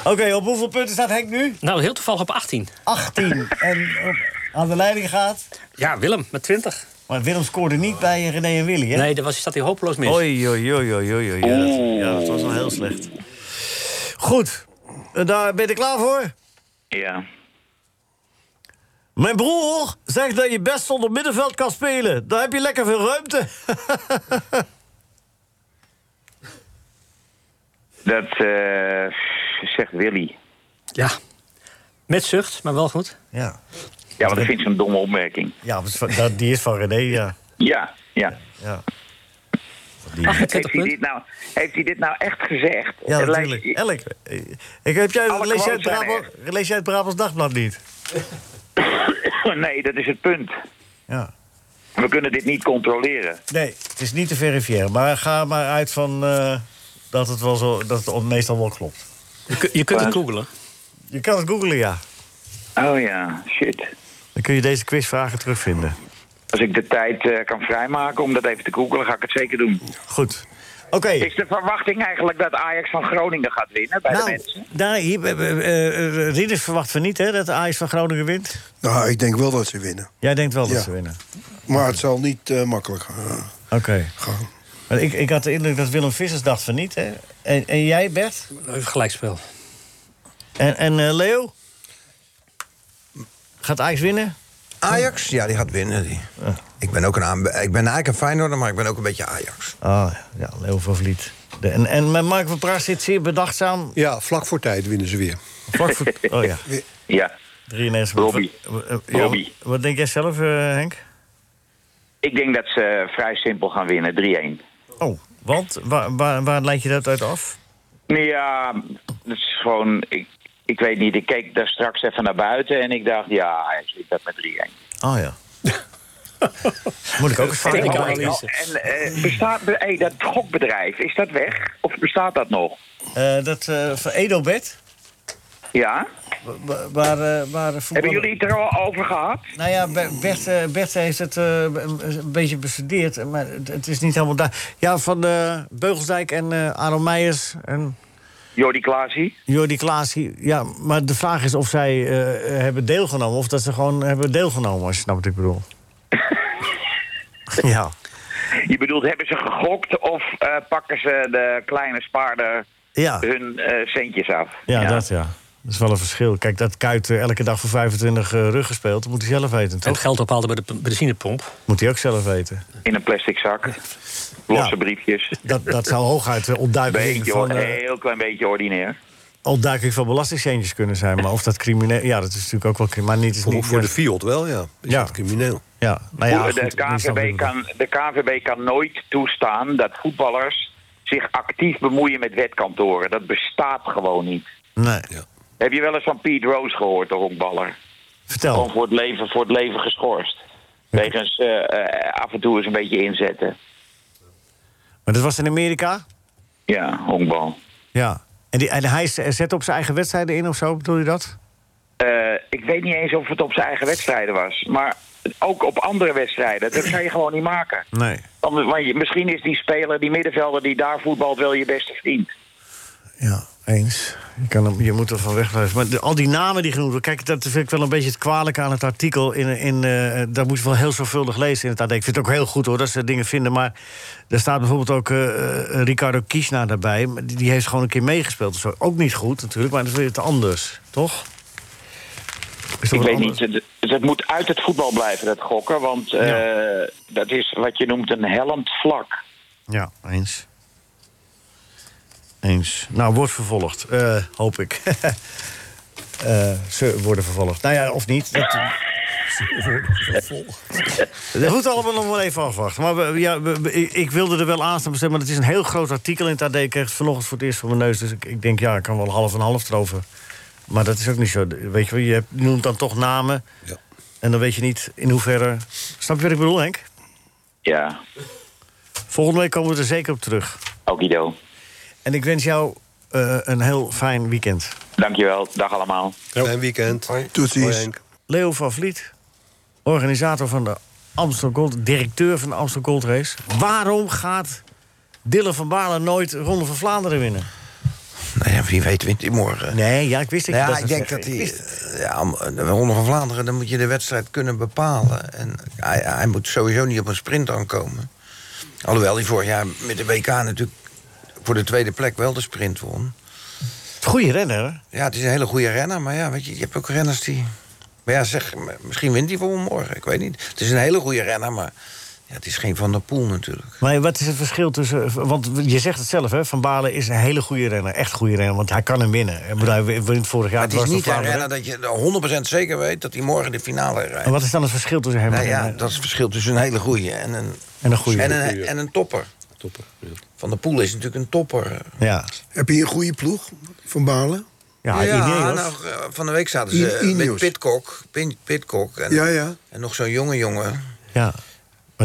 Speaker 3: Oké, op hoeveel punten staat Henk nu?
Speaker 7: Nou, heel toevallig op 18.
Speaker 3: 18. En op- aan de leiding gaat.
Speaker 7: Ja, Willem, met 20.
Speaker 3: Maar Willem scoorde niet bij René en Willy, hè?
Speaker 7: Nee, daar was, staat hij hopeloos mis.
Speaker 3: Oei, oei, oei, oei, oei, oei. Ja, dat, ja, dat was wel heel slecht. Goed, eh, daar ben je er klaar voor?
Speaker 10: Ja.
Speaker 3: Mijn broer zegt dat je best zonder middenveld kan spelen. Daar heb je lekker veel ruimte.
Speaker 10: Dat eh, zegt Willy.
Speaker 7: Ja. Met zucht, maar wel goed.
Speaker 3: Ja,
Speaker 10: Ja, want ik vind het een domme opmerking.
Speaker 3: ja maar het is van- dat- die is van René, ja.
Speaker 10: Ja, ja.
Speaker 3: ja.
Speaker 10: Heeft
Speaker 7: 28
Speaker 10: hij,
Speaker 7: punten.
Speaker 10: dit nou, heeft hij dit nou echt gezegd?
Speaker 3: Ja,
Speaker 10: Het lijkt-
Speaker 3: natuurlijk. Elk. eh, Ik, heb jij,
Speaker 10: Alle
Speaker 3: lees, jij het
Speaker 10: quotes zijn
Speaker 3: Brabant, lees jij het Brabants Dagblad niet?
Speaker 10: nee, dat is het punt.
Speaker 3: Ja.
Speaker 10: We kunnen dit niet controleren.
Speaker 3: Nee, het is niet te verifiëren. Maar ga maar uit van eh, dat, het wel zo, dat het meestal wel klopt.
Speaker 7: Je, kun- je kunt het googelen.
Speaker 3: Je kan het googlen, ja.
Speaker 10: Oh ja, shit.
Speaker 3: Dan kun je deze quizvragen terugvinden.
Speaker 10: Als ik de tijd eh, kan vrijmaken om dat even te googelen, ga ik het zeker doen.
Speaker 3: Goed. Oké.
Speaker 10: Is de verwachting eigenlijk dat Ajax van Groningen gaat winnen bij de
Speaker 3: Nou,
Speaker 10: mensen?
Speaker 3: daar, hier, eh, eh, eh, Rieders verwachten we niet hè, dat de Ajax van Groningen wint.
Speaker 4: Nou, ik denk wel dat ze winnen.
Speaker 3: Jij denkt wel dat
Speaker 4: Ja.
Speaker 3: ze winnen.
Speaker 4: Maar het zal niet eh, makkelijk gaan.
Speaker 3: Oké. Maar Ik, ik had de indruk dat Willem Vissers dacht van niet, hè? En, en jij, Bert?
Speaker 7: Even gelijkspel.
Speaker 3: En, en eh, Leo? Gaat Ajax winnen?
Speaker 5: Ajax? Ja, die gaat winnen. Die. Ik ben ook een aanbe- Ik ben eigenlijk een Feyenoorder, maar ik ben ook een beetje Ajax.
Speaker 3: Ah, ja, Leo van Vliet. De, en, en maar Mark van Praag zit zeer bedachtzaam.
Speaker 6: Ja, vlak voor tijd winnen ze weer.
Speaker 3: Vlak voor, oh ja,
Speaker 10: Ja.
Speaker 3: 93.
Speaker 10: Robbie.
Speaker 3: Wat- eh, ja,
Speaker 10: Robbie.
Speaker 3: Wat denk jij zelf, eh, Henk?
Speaker 10: Ik denk dat ze vrij simpel gaan winnen, 3-1.
Speaker 3: Oh, want? Waar, waar, waar leid je dat uit af?
Speaker 10: Ja, dat is gewoon... Ik, ik weet niet, ik keek daar straks even naar buiten en ik dacht... Ja, Ajax wint dat met 3-1.
Speaker 3: Oh ja. Moet ik ook eens vragen?
Speaker 7: Technische
Speaker 10: Oh,
Speaker 7: analyse.
Speaker 10: En eh, bestaat be- hey, dat gokbedrijf, is dat weg? Of bestaat dat nog?
Speaker 3: Eh, dat eh, van Edelbert?
Speaker 10: Ja?
Speaker 3: Wa- Waar, eh, waar
Speaker 10: Hebben
Speaker 3: voetbal...
Speaker 10: jullie het er al over gehad?
Speaker 3: Nou ja, Be- Bert, eh, Bert heeft het eh, een een beetje bestudeerd, maar het- het is niet helemaal daar. Ja, van eh, Beugelsdijk en eh Aron Meijers en
Speaker 10: Jordi Klaasie?
Speaker 3: Jordi Klaas. Ja, maar de vraag is of zij eh, hebben deelgenomen of dat ze gewoon hebben deelgenomen, als je snapt wat ik bedoel. ja.
Speaker 10: Je bedoelt, hebben ze gegokt of eh, pakken ze de kleine spaarder
Speaker 3: Ja,
Speaker 10: hun eh, centjes af?
Speaker 3: ja, dat ja. Dat is wel een verschil. Kijk, dat Kuit eh, elke dag voor 25 eh, rug gespeeld, dat moet hij zelf weten.
Speaker 7: En
Speaker 3: Toch?
Speaker 7: geld ophaalde bij de p- benzinepomp.
Speaker 3: Moet hij ook zelf weten.
Speaker 10: In een plastic zak. Losse
Speaker 3: Ja.
Speaker 10: briefjes.
Speaker 3: Dat, dat zou hooguit eh, ontduiking
Speaker 10: Beetje,
Speaker 3: van,
Speaker 10: hoor,
Speaker 3: eh,
Speaker 10: heel klein beetje ordinair.
Speaker 3: ontduiking van belastingcentjes kunnen zijn. Maar of dat crimineel... Ja, dat is natuurlijk ook wel crimineel. Maar niet, is
Speaker 6: Voor,
Speaker 3: niet
Speaker 6: voor de Fiat wel, ja. Is
Speaker 3: Ja.
Speaker 6: dat crimineel.
Speaker 3: Ja, nou ja,
Speaker 10: de,
Speaker 3: goed, niet zo
Speaker 10: KVB
Speaker 3: bedoeld.
Speaker 10: kan, de KVB kan nooit toestaan dat voetballers zich actief bemoeien met wetkantoren. Dat bestaat gewoon niet.
Speaker 3: Nee,
Speaker 10: Heb je wel eens van Pete Rose gehoord, de honkballer? Gewoon
Speaker 3: vertel.
Speaker 10: voor het leven, voor het leven geschorst. Wegens eh, eh, af en toe eens een beetje inzetten.
Speaker 3: Maar dat was in Amerika?
Speaker 10: Ja, honkbal.
Speaker 3: Ja. En, die, en hij z- zette op zijn eigen wedstrijden in of zo, bedoel je dat?
Speaker 10: Eh, ik weet niet eens of het op zijn eigen wedstrijden was. Maar ook op andere wedstrijden. Dat kan je gewoon niet maken.
Speaker 3: Nee.
Speaker 10: Want, want je- misschien is die speler, die middenvelder die daar voetbalt, wel je beste vriend.
Speaker 3: Ja, eens. Je, kan hem, je moet er van weg blijven. Maar de- al die namen die genoemd worden... Kijk, dat vind ik wel een beetje het kwalijke aan het artikel. In, in, eh, daar moet je wel heel zorgvuldig lezen in het AD. Ik vind het ook heel goed hoor, dat ze dingen vinden. Maar er staat bijvoorbeeld ook eh, eh, Ricardo Kiesna daarbij. Maar Die, die heeft gewoon een keer meegespeeld. of zo. ook niet goed natuurlijk, maar dat is weer het anders. Toch? Is
Speaker 10: Ik
Speaker 3: dat wat
Speaker 10: weet
Speaker 3: anders?
Speaker 10: niet, het, het moet uit het voetbal blijven, dat gokken. Want eh, dat is wat je noemt een hellend vlak.
Speaker 3: Ja, eens. Eens. Nou, wordt vervolgd, eh, hoop ik. Eh, ze worden vervolgd. Nou ja, of niet. Dat, Dat moet allemaal nog wel even afwachten. Maar we- ja, we- we- ik- ik wilde er wel aanstaan besteden, maar het is een heel groot artikel in het AD. Ik kreeg het vanochtend voor het eerst voor mijn neus. Dus ik, ik denk, ja, ik kan wel half en half erover. Maar dat is ook niet zo. Weet je wel, je hebt- je noemt dan toch namen. En dan weet je niet in hoeverre... Snap je wat ik bedoel, Henk?
Speaker 10: Ja,
Speaker 3: Volgende week komen we er zeker op terug.
Speaker 10: ook Ido.
Speaker 3: En ik wens jou eh, een heel fijn weekend.
Speaker 10: Dankjewel, dag allemaal.
Speaker 6: Fijn weekend.
Speaker 4: Tot
Speaker 6: Hoi,
Speaker 4: ziens.
Speaker 6: Henk.
Speaker 3: Leo van Vliet, organisator van de Amsterdam Gold... directeur van de Amsterdam Gold Race. Waarom gaat Dylan van Baarle nooit Ronde van Vlaanderen winnen?
Speaker 5: Nou ja, wie weet wint hij morgen.
Speaker 3: Nee, ja, ik wist dat je
Speaker 5: ja,
Speaker 3: dat
Speaker 5: ik
Speaker 3: zou
Speaker 5: denk
Speaker 3: zeggen.
Speaker 5: dat hij.
Speaker 3: Ik wist het.
Speaker 5: Ja, eh, de Ronde van Vlaanderen, dan moet je de wedstrijd kunnen bepalen. En hij, hij moet sowieso niet op een sprint aankomen. Alhoewel hij vorig jaar met de WK natuurlijk voor de tweede plek wel de sprint won.
Speaker 3: Goeie renner, hè?
Speaker 5: Ja, het is een hele goede renner, maar ja, weet je, je hebt ook renners die. Maar ja, zeg, m- misschien wint hij voor morgen, ik weet niet. Het is een hele goede renner, maar ja, het is geen Van der Poel natuurlijk.
Speaker 3: Maar wat is het verschil tussen... Want je zegt het zelf, hè? Van Baarle is een hele goede renner. Echt goede renner, want hij kan hem winnen. Ik bedoel, Hij wint vorig jaar
Speaker 5: Maar
Speaker 3: dwars
Speaker 5: het is
Speaker 3: door
Speaker 5: niet een
Speaker 3: Vlaanderen. Oh,
Speaker 5: renner dat je 100% zeker weet dat hij morgen de finale rijdt.
Speaker 3: En wat is dan het verschil tussen hem
Speaker 5: Nou
Speaker 3: en...
Speaker 5: ja,
Speaker 3: eh,
Speaker 5: dat is het verschil tussen een hele goeie en een,
Speaker 3: En een goeie.
Speaker 5: En een, en een topper.
Speaker 6: Topper.
Speaker 5: Van der Poel is natuurlijk een topper.
Speaker 3: Ja,
Speaker 4: Heb je een goede ploeg van Balen?
Speaker 3: ja, Ineos.
Speaker 5: nou, eh, van de week zaten ze
Speaker 4: I- Ineos.
Speaker 5: met Pitcock. Pin, Pitcock en,
Speaker 4: Ja, ja.
Speaker 5: en nog zo'n jonge jongen.
Speaker 3: Ja. Maar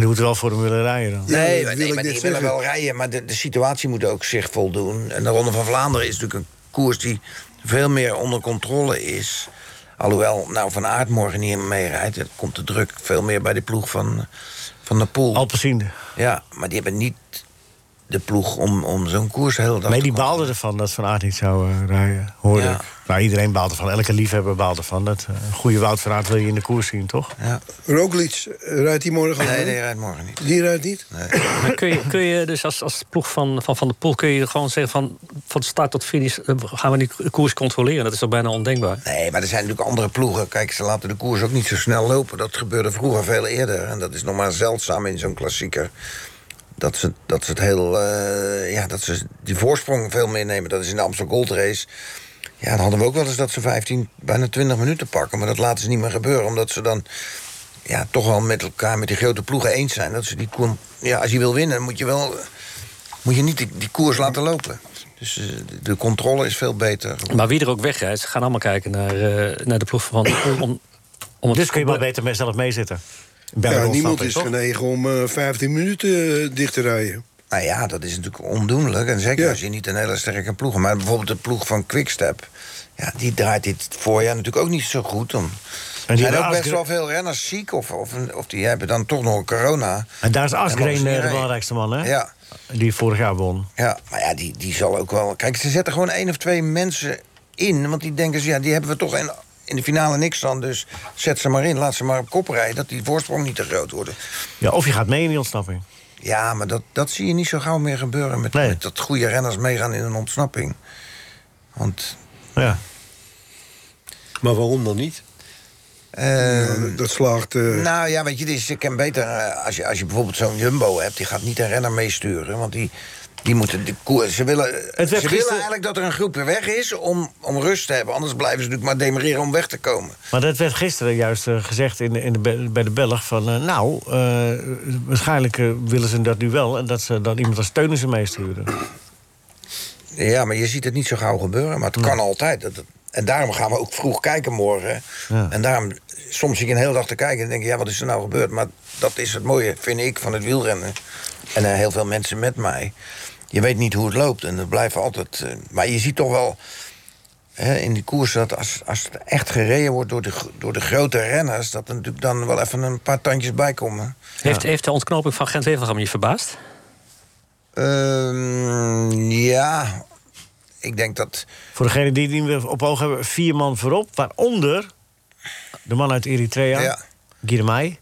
Speaker 3: die moeten wel voor hem willen rijden dan.
Speaker 5: Nee,
Speaker 4: dat
Speaker 5: maar-
Speaker 4: wil
Speaker 5: nee
Speaker 4: ik
Speaker 5: maar
Speaker 4: net
Speaker 5: die willen
Speaker 4: zeggen.
Speaker 5: wel rijden. Maar de, de situatie moet ook zich voldoen. En de Ronde van Vlaanderen is natuurlijk een koers die veel meer onder controle is. Alhoewel, nou, Van Aert morgen niet mee rijdt. Dan komt de druk veel meer bij de ploeg van, van de Poel.
Speaker 3: Alpecin.
Speaker 5: Ja, maar die hebben niet de ploeg om, om zo'n koers heel dag
Speaker 3: Nee,
Speaker 5: te
Speaker 3: die
Speaker 5: komen.
Speaker 3: baalde ervan dat Van Aert niet zou eh, rijden, hoorde
Speaker 5: Ja.
Speaker 3: ik. Nou, iedereen baalt ervan. Elke liefhebber baalt ervan. Dat eh, een goede Wout van Aert wil je in de koers zien, toch?
Speaker 5: Ja.
Speaker 4: Roglic, eh, rijdt die morgen al?
Speaker 5: Nee, die rijdt morgen niet.
Speaker 4: Die rijdt niet?
Speaker 7: Maar kun je, kun je dus als, als ploeg van, van Van der Poel... kun je gewoon zeggen van, van start tot finish... eh, gaan we die koers controleren? Dat is toch bijna ondenkbaar?
Speaker 5: Nee, maar er zijn natuurlijk andere ploegen. Kijk, ze laten de koers ook niet zo snel lopen. Dat gebeurde vroeger veel eerder. En dat is nog maar zeldzaam in zo'n klassieker. Dat ze, dat ze het heel. eh, ja, dat ze die voorsprong veel meer nemen. Dat is in de Amsterdam Gold Race. Ja, dan hadden we ook wel eens dat ze 15, bijna 20 minuten pakken. Maar dat laten ze niet meer gebeuren. Omdat ze dan. Ja, toch wel met elkaar, met die grote ploegen eens zijn. Dat ze die koer- Ja, als je wil winnen, dan moet je wel. Moet je niet die, die koers laten lopen. Dus eh, de- de controle is veel beter.
Speaker 7: Maar wie er ook wegrijdt, ze gaan allemaal kijken naar, eh, naar de ploeg van Van der Poel... Om, om het
Speaker 3: Dus kun je maar beter met zelf meezitten. Bij
Speaker 4: Ja,
Speaker 3: Rolf
Speaker 4: niemand
Speaker 3: Sappers,
Speaker 4: is
Speaker 3: toch?
Speaker 4: genegen om eh, 15 minuten eh, dicht te rijden.
Speaker 5: Nou ja, dat is natuurlijk ondoenlijk. En zeker
Speaker 4: Ja.
Speaker 5: als je niet een hele sterke ploeg hebt. Maar bijvoorbeeld de ploeg van Quickstep. Ja, die draait dit voorjaar natuurlijk ook niet zo goed. Om.
Speaker 3: En
Speaker 5: En
Speaker 3: die
Speaker 5: die zijn
Speaker 3: hebben
Speaker 5: ook best
Speaker 3: Asgre-
Speaker 5: wel veel renners ziek. Of, of, of die hebben dan toch nog een corona.
Speaker 3: En daar is
Speaker 5: mogen ze
Speaker 3: Asgreen
Speaker 5: niet
Speaker 3: eh, de
Speaker 5: rijden.
Speaker 3: belangrijkste man, hè?
Speaker 5: Ja,
Speaker 3: Die vorig jaar won.
Speaker 5: ja, maar ja, die, die zal ook wel... Kijk, ze zetten gewoon één of twee mensen in. Want die denken ze, ja, die hebben we toch in, in de finale niks aan. Dus zet ze maar in, laat ze maar op kop rijden. Dat die voorsprong niet te groot wordt.
Speaker 3: Ja, of je gaat mee in die ontsnapping.
Speaker 5: Ja, maar dat, dat zie je niet zo gauw meer gebeuren. Met,
Speaker 3: Nee.
Speaker 5: met dat goede renners meegaan in een ontsnapping. Want
Speaker 3: Ja.
Speaker 6: Maar waarom dan niet?
Speaker 5: eh,
Speaker 4: Ja, dat slaagt... eh,
Speaker 5: Nou ja, weet je, dit is, ik ken beter eh, als je, als je bijvoorbeeld zo'n Jumbo hebt, die gaat niet een renner meesturen. Want die, die moeten de koers. Ze willen, ze
Speaker 3: werd
Speaker 5: willen
Speaker 3: gisteren-
Speaker 5: eigenlijk dat er een groep weer weg is om, om rust te hebben. Anders blijven ze natuurlijk maar demereren om weg te komen.
Speaker 3: Maar dat werd gisteren juist eh, gezegd in, de- in de, Be- bij de Belg. Van, eh, nou, eh, waarschijnlijk eh, willen ze dat nu wel. En dat ze dan iemand als steunen ze meesturen.
Speaker 5: Ja, maar je ziet het niet zo gauw gebeuren. Maar het kan altijd. Dat, dat- en daarom gaan we ook vroeg kijken morgen.
Speaker 3: Ja.
Speaker 5: En daarom, soms zit je een hele dag te kijken en denk je, ja, wat is er nou gebeurd? Maar dat is het mooie, vind ik, van het wielrennen. En eh, heel veel mensen met mij. Je weet niet hoe het loopt en het blijft altijd... eh, maar je ziet toch wel hè, in die koers dat als, als het echt gereden wordt door de, gro- door de grote renners... dat er natuurlijk dan wel even een paar tandjes bij komen.
Speaker 7: Heeft, heeft de ontknoping van Gent-Wevelgem je verbaasd?
Speaker 5: Ehm, ja, ik denk dat...
Speaker 3: Voor degene die het niet op oog hebben, vier man voorop. Waaronder de man uit Eritrea,
Speaker 5: Ja.
Speaker 3: Girmay.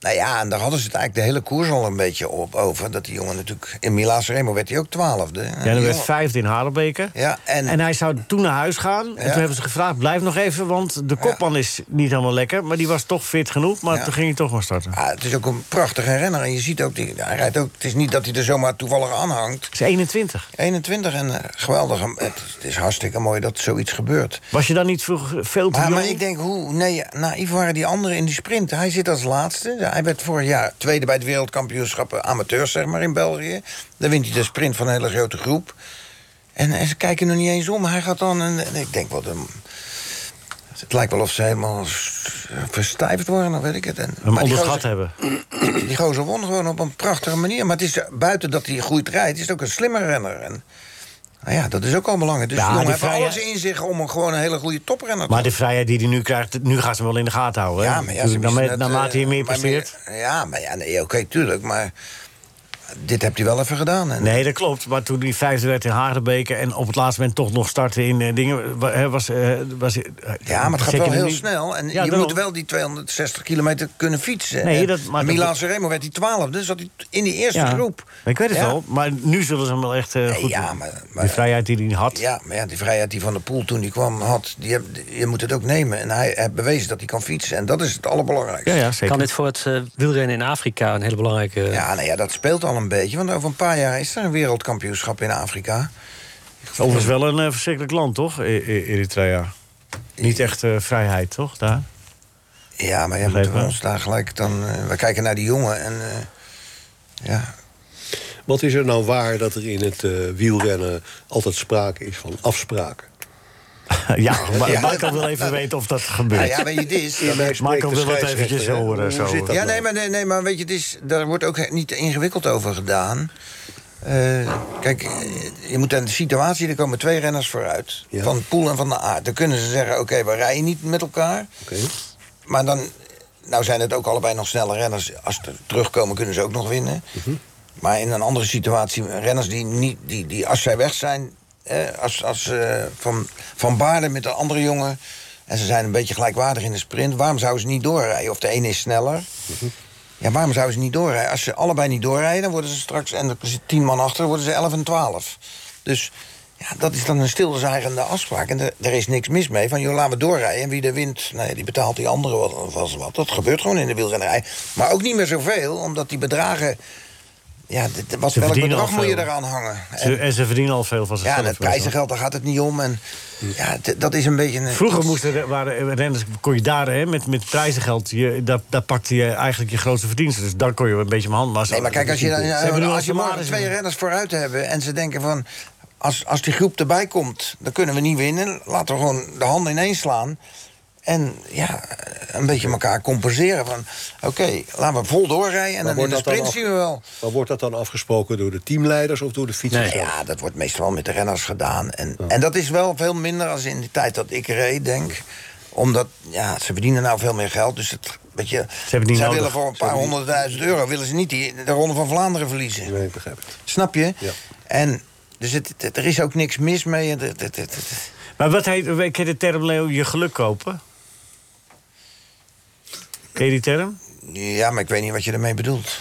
Speaker 5: Nou ja, en daar hadden ze het eigenlijk de hele koers al een beetje op over. Dat die jongen natuurlijk... In Milaan Remo werd hij ook twaalfde. Ja,
Speaker 3: Ja, dan werd vijfde in Harelbeke.
Speaker 5: Ja, en,
Speaker 3: En hij zou toen naar huis gaan. En
Speaker 5: Ja.
Speaker 3: toen hebben ze gevraagd, blijf nog even, want de kopman is niet helemaal lekker. Maar die was toch fit genoeg, maar
Speaker 5: Ja.
Speaker 3: toen ging hij toch maar starten.
Speaker 5: ah, het is ook een prachtige renner. En je ziet ook, die, hij rijdt ook... Het is niet dat hij er zomaar toevallig aan hangt.
Speaker 3: Ze is 21.
Speaker 5: 21 en eh, geweldig. Het, het is hartstikke mooi dat zoiets gebeurt.
Speaker 3: Was je dan niet vroeg veel te
Speaker 5: Maar, maar
Speaker 3: jong?
Speaker 5: ik denk, hoe? Nee, naïef waren die anderen in die sprint. Hij zit als laatste. Hij werd vorig jaar tweede bij het wereldkampioenschappen amateurs, zeg maar, in België. Dan wint hij de sprint van een hele grote groep. En, en ze kijken er niet eens om. Hij gaat dan. En, en ik denk, wat een. Het lijkt wel of ze helemaal s- verstijfd worden, dan weet ik het. En,
Speaker 3: Hem
Speaker 5: maar die
Speaker 3: onderschat
Speaker 5: gozer-
Speaker 3: hebben.
Speaker 5: die gozer won gewoon op een prachtige manier. Maar het is, eh, buiten dat hij goed rijdt, is het ook een slimme renner. En, nou ja, dat is ook al belangrijk. Dus
Speaker 3: Ja,
Speaker 5: die jongen
Speaker 3: die
Speaker 5: hebben
Speaker 3: vrije-
Speaker 5: alles in zich om een, gewoon een hele goede toprenner te
Speaker 3: Maar de vrijheid die hij nu krijgt, nu gaan ze hem wel in de gaten houden. hè? Dus
Speaker 5: ja, maar ja, ze
Speaker 3: Natuurlijk,
Speaker 5: missen
Speaker 3: naarmate- naarmate
Speaker 5: het, eh,
Speaker 3: hij meer
Speaker 5: maar
Speaker 3: presteert.
Speaker 5: ja, maar ja, nee, oké, tuurlijk. Maar dit hebt hij wel even gedaan. En,
Speaker 3: Nee, dat klopt. Maar toen die vijfde werd in Haardebeke... en op het laatste moment toch nog starten in eh, dingen... wa- hè, was, eh, was, eh,
Speaker 5: ja, maar het gaat
Speaker 3: zeker
Speaker 5: wel heel
Speaker 3: niet-
Speaker 5: snel. En
Speaker 3: Ja,
Speaker 5: je
Speaker 3: daarom.
Speaker 5: moet wel die 260 kilometer kunnen fietsen.
Speaker 3: Nee,
Speaker 5: En
Speaker 3: dat- maar dat-
Speaker 5: Milaan Sanremo werd hij 12, dus zat hij t- in die eerste
Speaker 3: Ja.
Speaker 5: groep.
Speaker 3: Ik weet het
Speaker 5: Ja.
Speaker 3: wel, maar nu zullen ze hem wel echt eh,
Speaker 5: Nee,
Speaker 3: goed
Speaker 5: ja,
Speaker 3: doen.
Speaker 5: maar-
Speaker 3: Die
Speaker 5: maar-
Speaker 3: vrijheid die hij had.
Speaker 5: Ja, maar ja, die vrijheid die Van der Poel toen die kwam had, die heb- die- je moet het ook nemen. En hij heeft bewezen dat hij kan fietsen. En dat is het allerbelangrijkste.
Speaker 3: Ja, ja, zeker.
Speaker 7: Kan dit voor het eh, wielrennen in Afrika een hele belangrijke...
Speaker 5: Ja, nou ja, dat speelt al een beetje. Want over een paar jaar is er een wereldkampioenschap in Afrika.
Speaker 3: Overigens wel een eh, verschrikkelijk land, toch? E- E- Eritrea. Niet echt eh, vrijheid, toch? Daar?
Speaker 5: Ja, maar ja,
Speaker 3: Begrepen.
Speaker 5: moeten we ons daar gelijk dan... eh, we kijken naar die jongen en... eh, ja.
Speaker 6: Wat is er nou waar dat er in het eh, wielrennen altijd sprake is van afspraken?
Speaker 3: ja, maar
Speaker 5: Ja.
Speaker 3: Michael wil even weten of dat gebeurt.
Speaker 5: Nou ja, weet je, dit is...
Speaker 6: Ja, maar ik spreek
Speaker 3: Michael
Speaker 6: de
Speaker 3: wil dat
Speaker 6: scheidsrechter,
Speaker 3: eventjes
Speaker 6: hè?
Speaker 3: horen,
Speaker 6: Hoe
Speaker 3: zo.
Speaker 6: zit dat
Speaker 5: Ja,
Speaker 6: nou?
Speaker 5: nee, maar, nee, nee, maar weet je, dit is, daar wordt ook niet ingewikkeld over gedaan. Eh, kijk, eh, je moet aan de situatie, er komen twee renners vooruit.
Speaker 6: Ja.
Speaker 5: Van Poel en van de Aard. Dan kunnen ze zeggen, oké, we rijden niet met elkaar.
Speaker 6: Oké.
Speaker 5: Maar dan, nou zijn het ook allebei nog snelle renners. Als ze terugkomen kunnen ze ook nog winnen. Maar in een andere situatie, renners die, niet, die, die als zij weg zijn... eh, als, als eh, van, van Baarden met de andere jongen... en ze zijn een beetje gelijkwaardig in de sprint... waarom zouden ze niet doorrijden? Of de ene is sneller... Ja, waarom zouden ze niet doorrijden? Als ze allebei niet doorrijden, dan worden ze straks... en er zit tien man achter, dan worden ze elf en twaalf. Dus ja, dat is dan een stilzwijgende afspraak. En er, er is niks mis mee. Van, joh, laten we doorrijden. En wie er wint, nou ja, die betaalt die andere wat, wat, wat. Dat gebeurt gewoon in de wielrennerij. Maar ook niet meer zoveel, omdat die bedragen... Ja, dit- wat,
Speaker 3: Ze
Speaker 5: welk
Speaker 3: verdienen
Speaker 5: bedrag
Speaker 3: al
Speaker 5: moet je
Speaker 3: veel.
Speaker 5: eraan hangen? En,
Speaker 3: Ze- en ze verdienen al veel van
Speaker 5: ja,
Speaker 3: zichzelf.
Speaker 5: en
Speaker 3: weet
Speaker 5: het
Speaker 3: je wel.
Speaker 5: prijzengeld, daar gaat het niet om. En, ja, d- dat is een beetje... Een,
Speaker 3: Vroeger moesten, de- waren renners, kon je daar hè, met, met prijzengeld, je, daar, daar pakte je eigenlijk je grootste verdiensten. Dus daar kon je een beetje mijn hand wassen.
Speaker 5: Nee, maar kijk, als je, dan, eh,
Speaker 3: Ze hebben nu al
Speaker 5: als je morgen
Speaker 3: salaris
Speaker 5: twee
Speaker 3: in.
Speaker 5: renners vooruit hebben... en ze denken van, als, als die groep erbij komt, dan kunnen we niet winnen. Laten we gewoon de handen ineens slaan. En ja, een beetje elkaar compenseren. Van, oké, laten we vol doorrijden en dan in
Speaker 6: wordt
Speaker 5: de
Speaker 6: dat dan
Speaker 5: sprint
Speaker 6: af-
Speaker 5: zien we wel.
Speaker 6: Maar wordt dat dan afgesproken door de teamleiders of door de fietsers?
Speaker 5: Nou ja, dat wordt meestal met de renners gedaan. En, en dat is wel veel minder als in de tijd dat ik reed, denk. Omdat, ja, ze verdienen nou veel meer geld. Dus het, weet je,
Speaker 3: het niet
Speaker 5: zij
Speaker 3: nodig.
Speaker 5: willen voor een paar honderdduizend euro... willen ze niet die, de Ronde van Vlaanderen verliezen.
Speaker 6: Nee, ik begrijp het.
Speaker 5: Snap je?
Speaker 6: Ja.
Speaker 5: En dus het, het- er is ook niks mis mee. Het- het- het- het- het-
Speaker 3: Maar wat heet, weet- ken je de term, Leo, je geluk kopen? Ken je die term?
Speaker 5: Ja, maar ik weet niet wat je ermee bedoelt.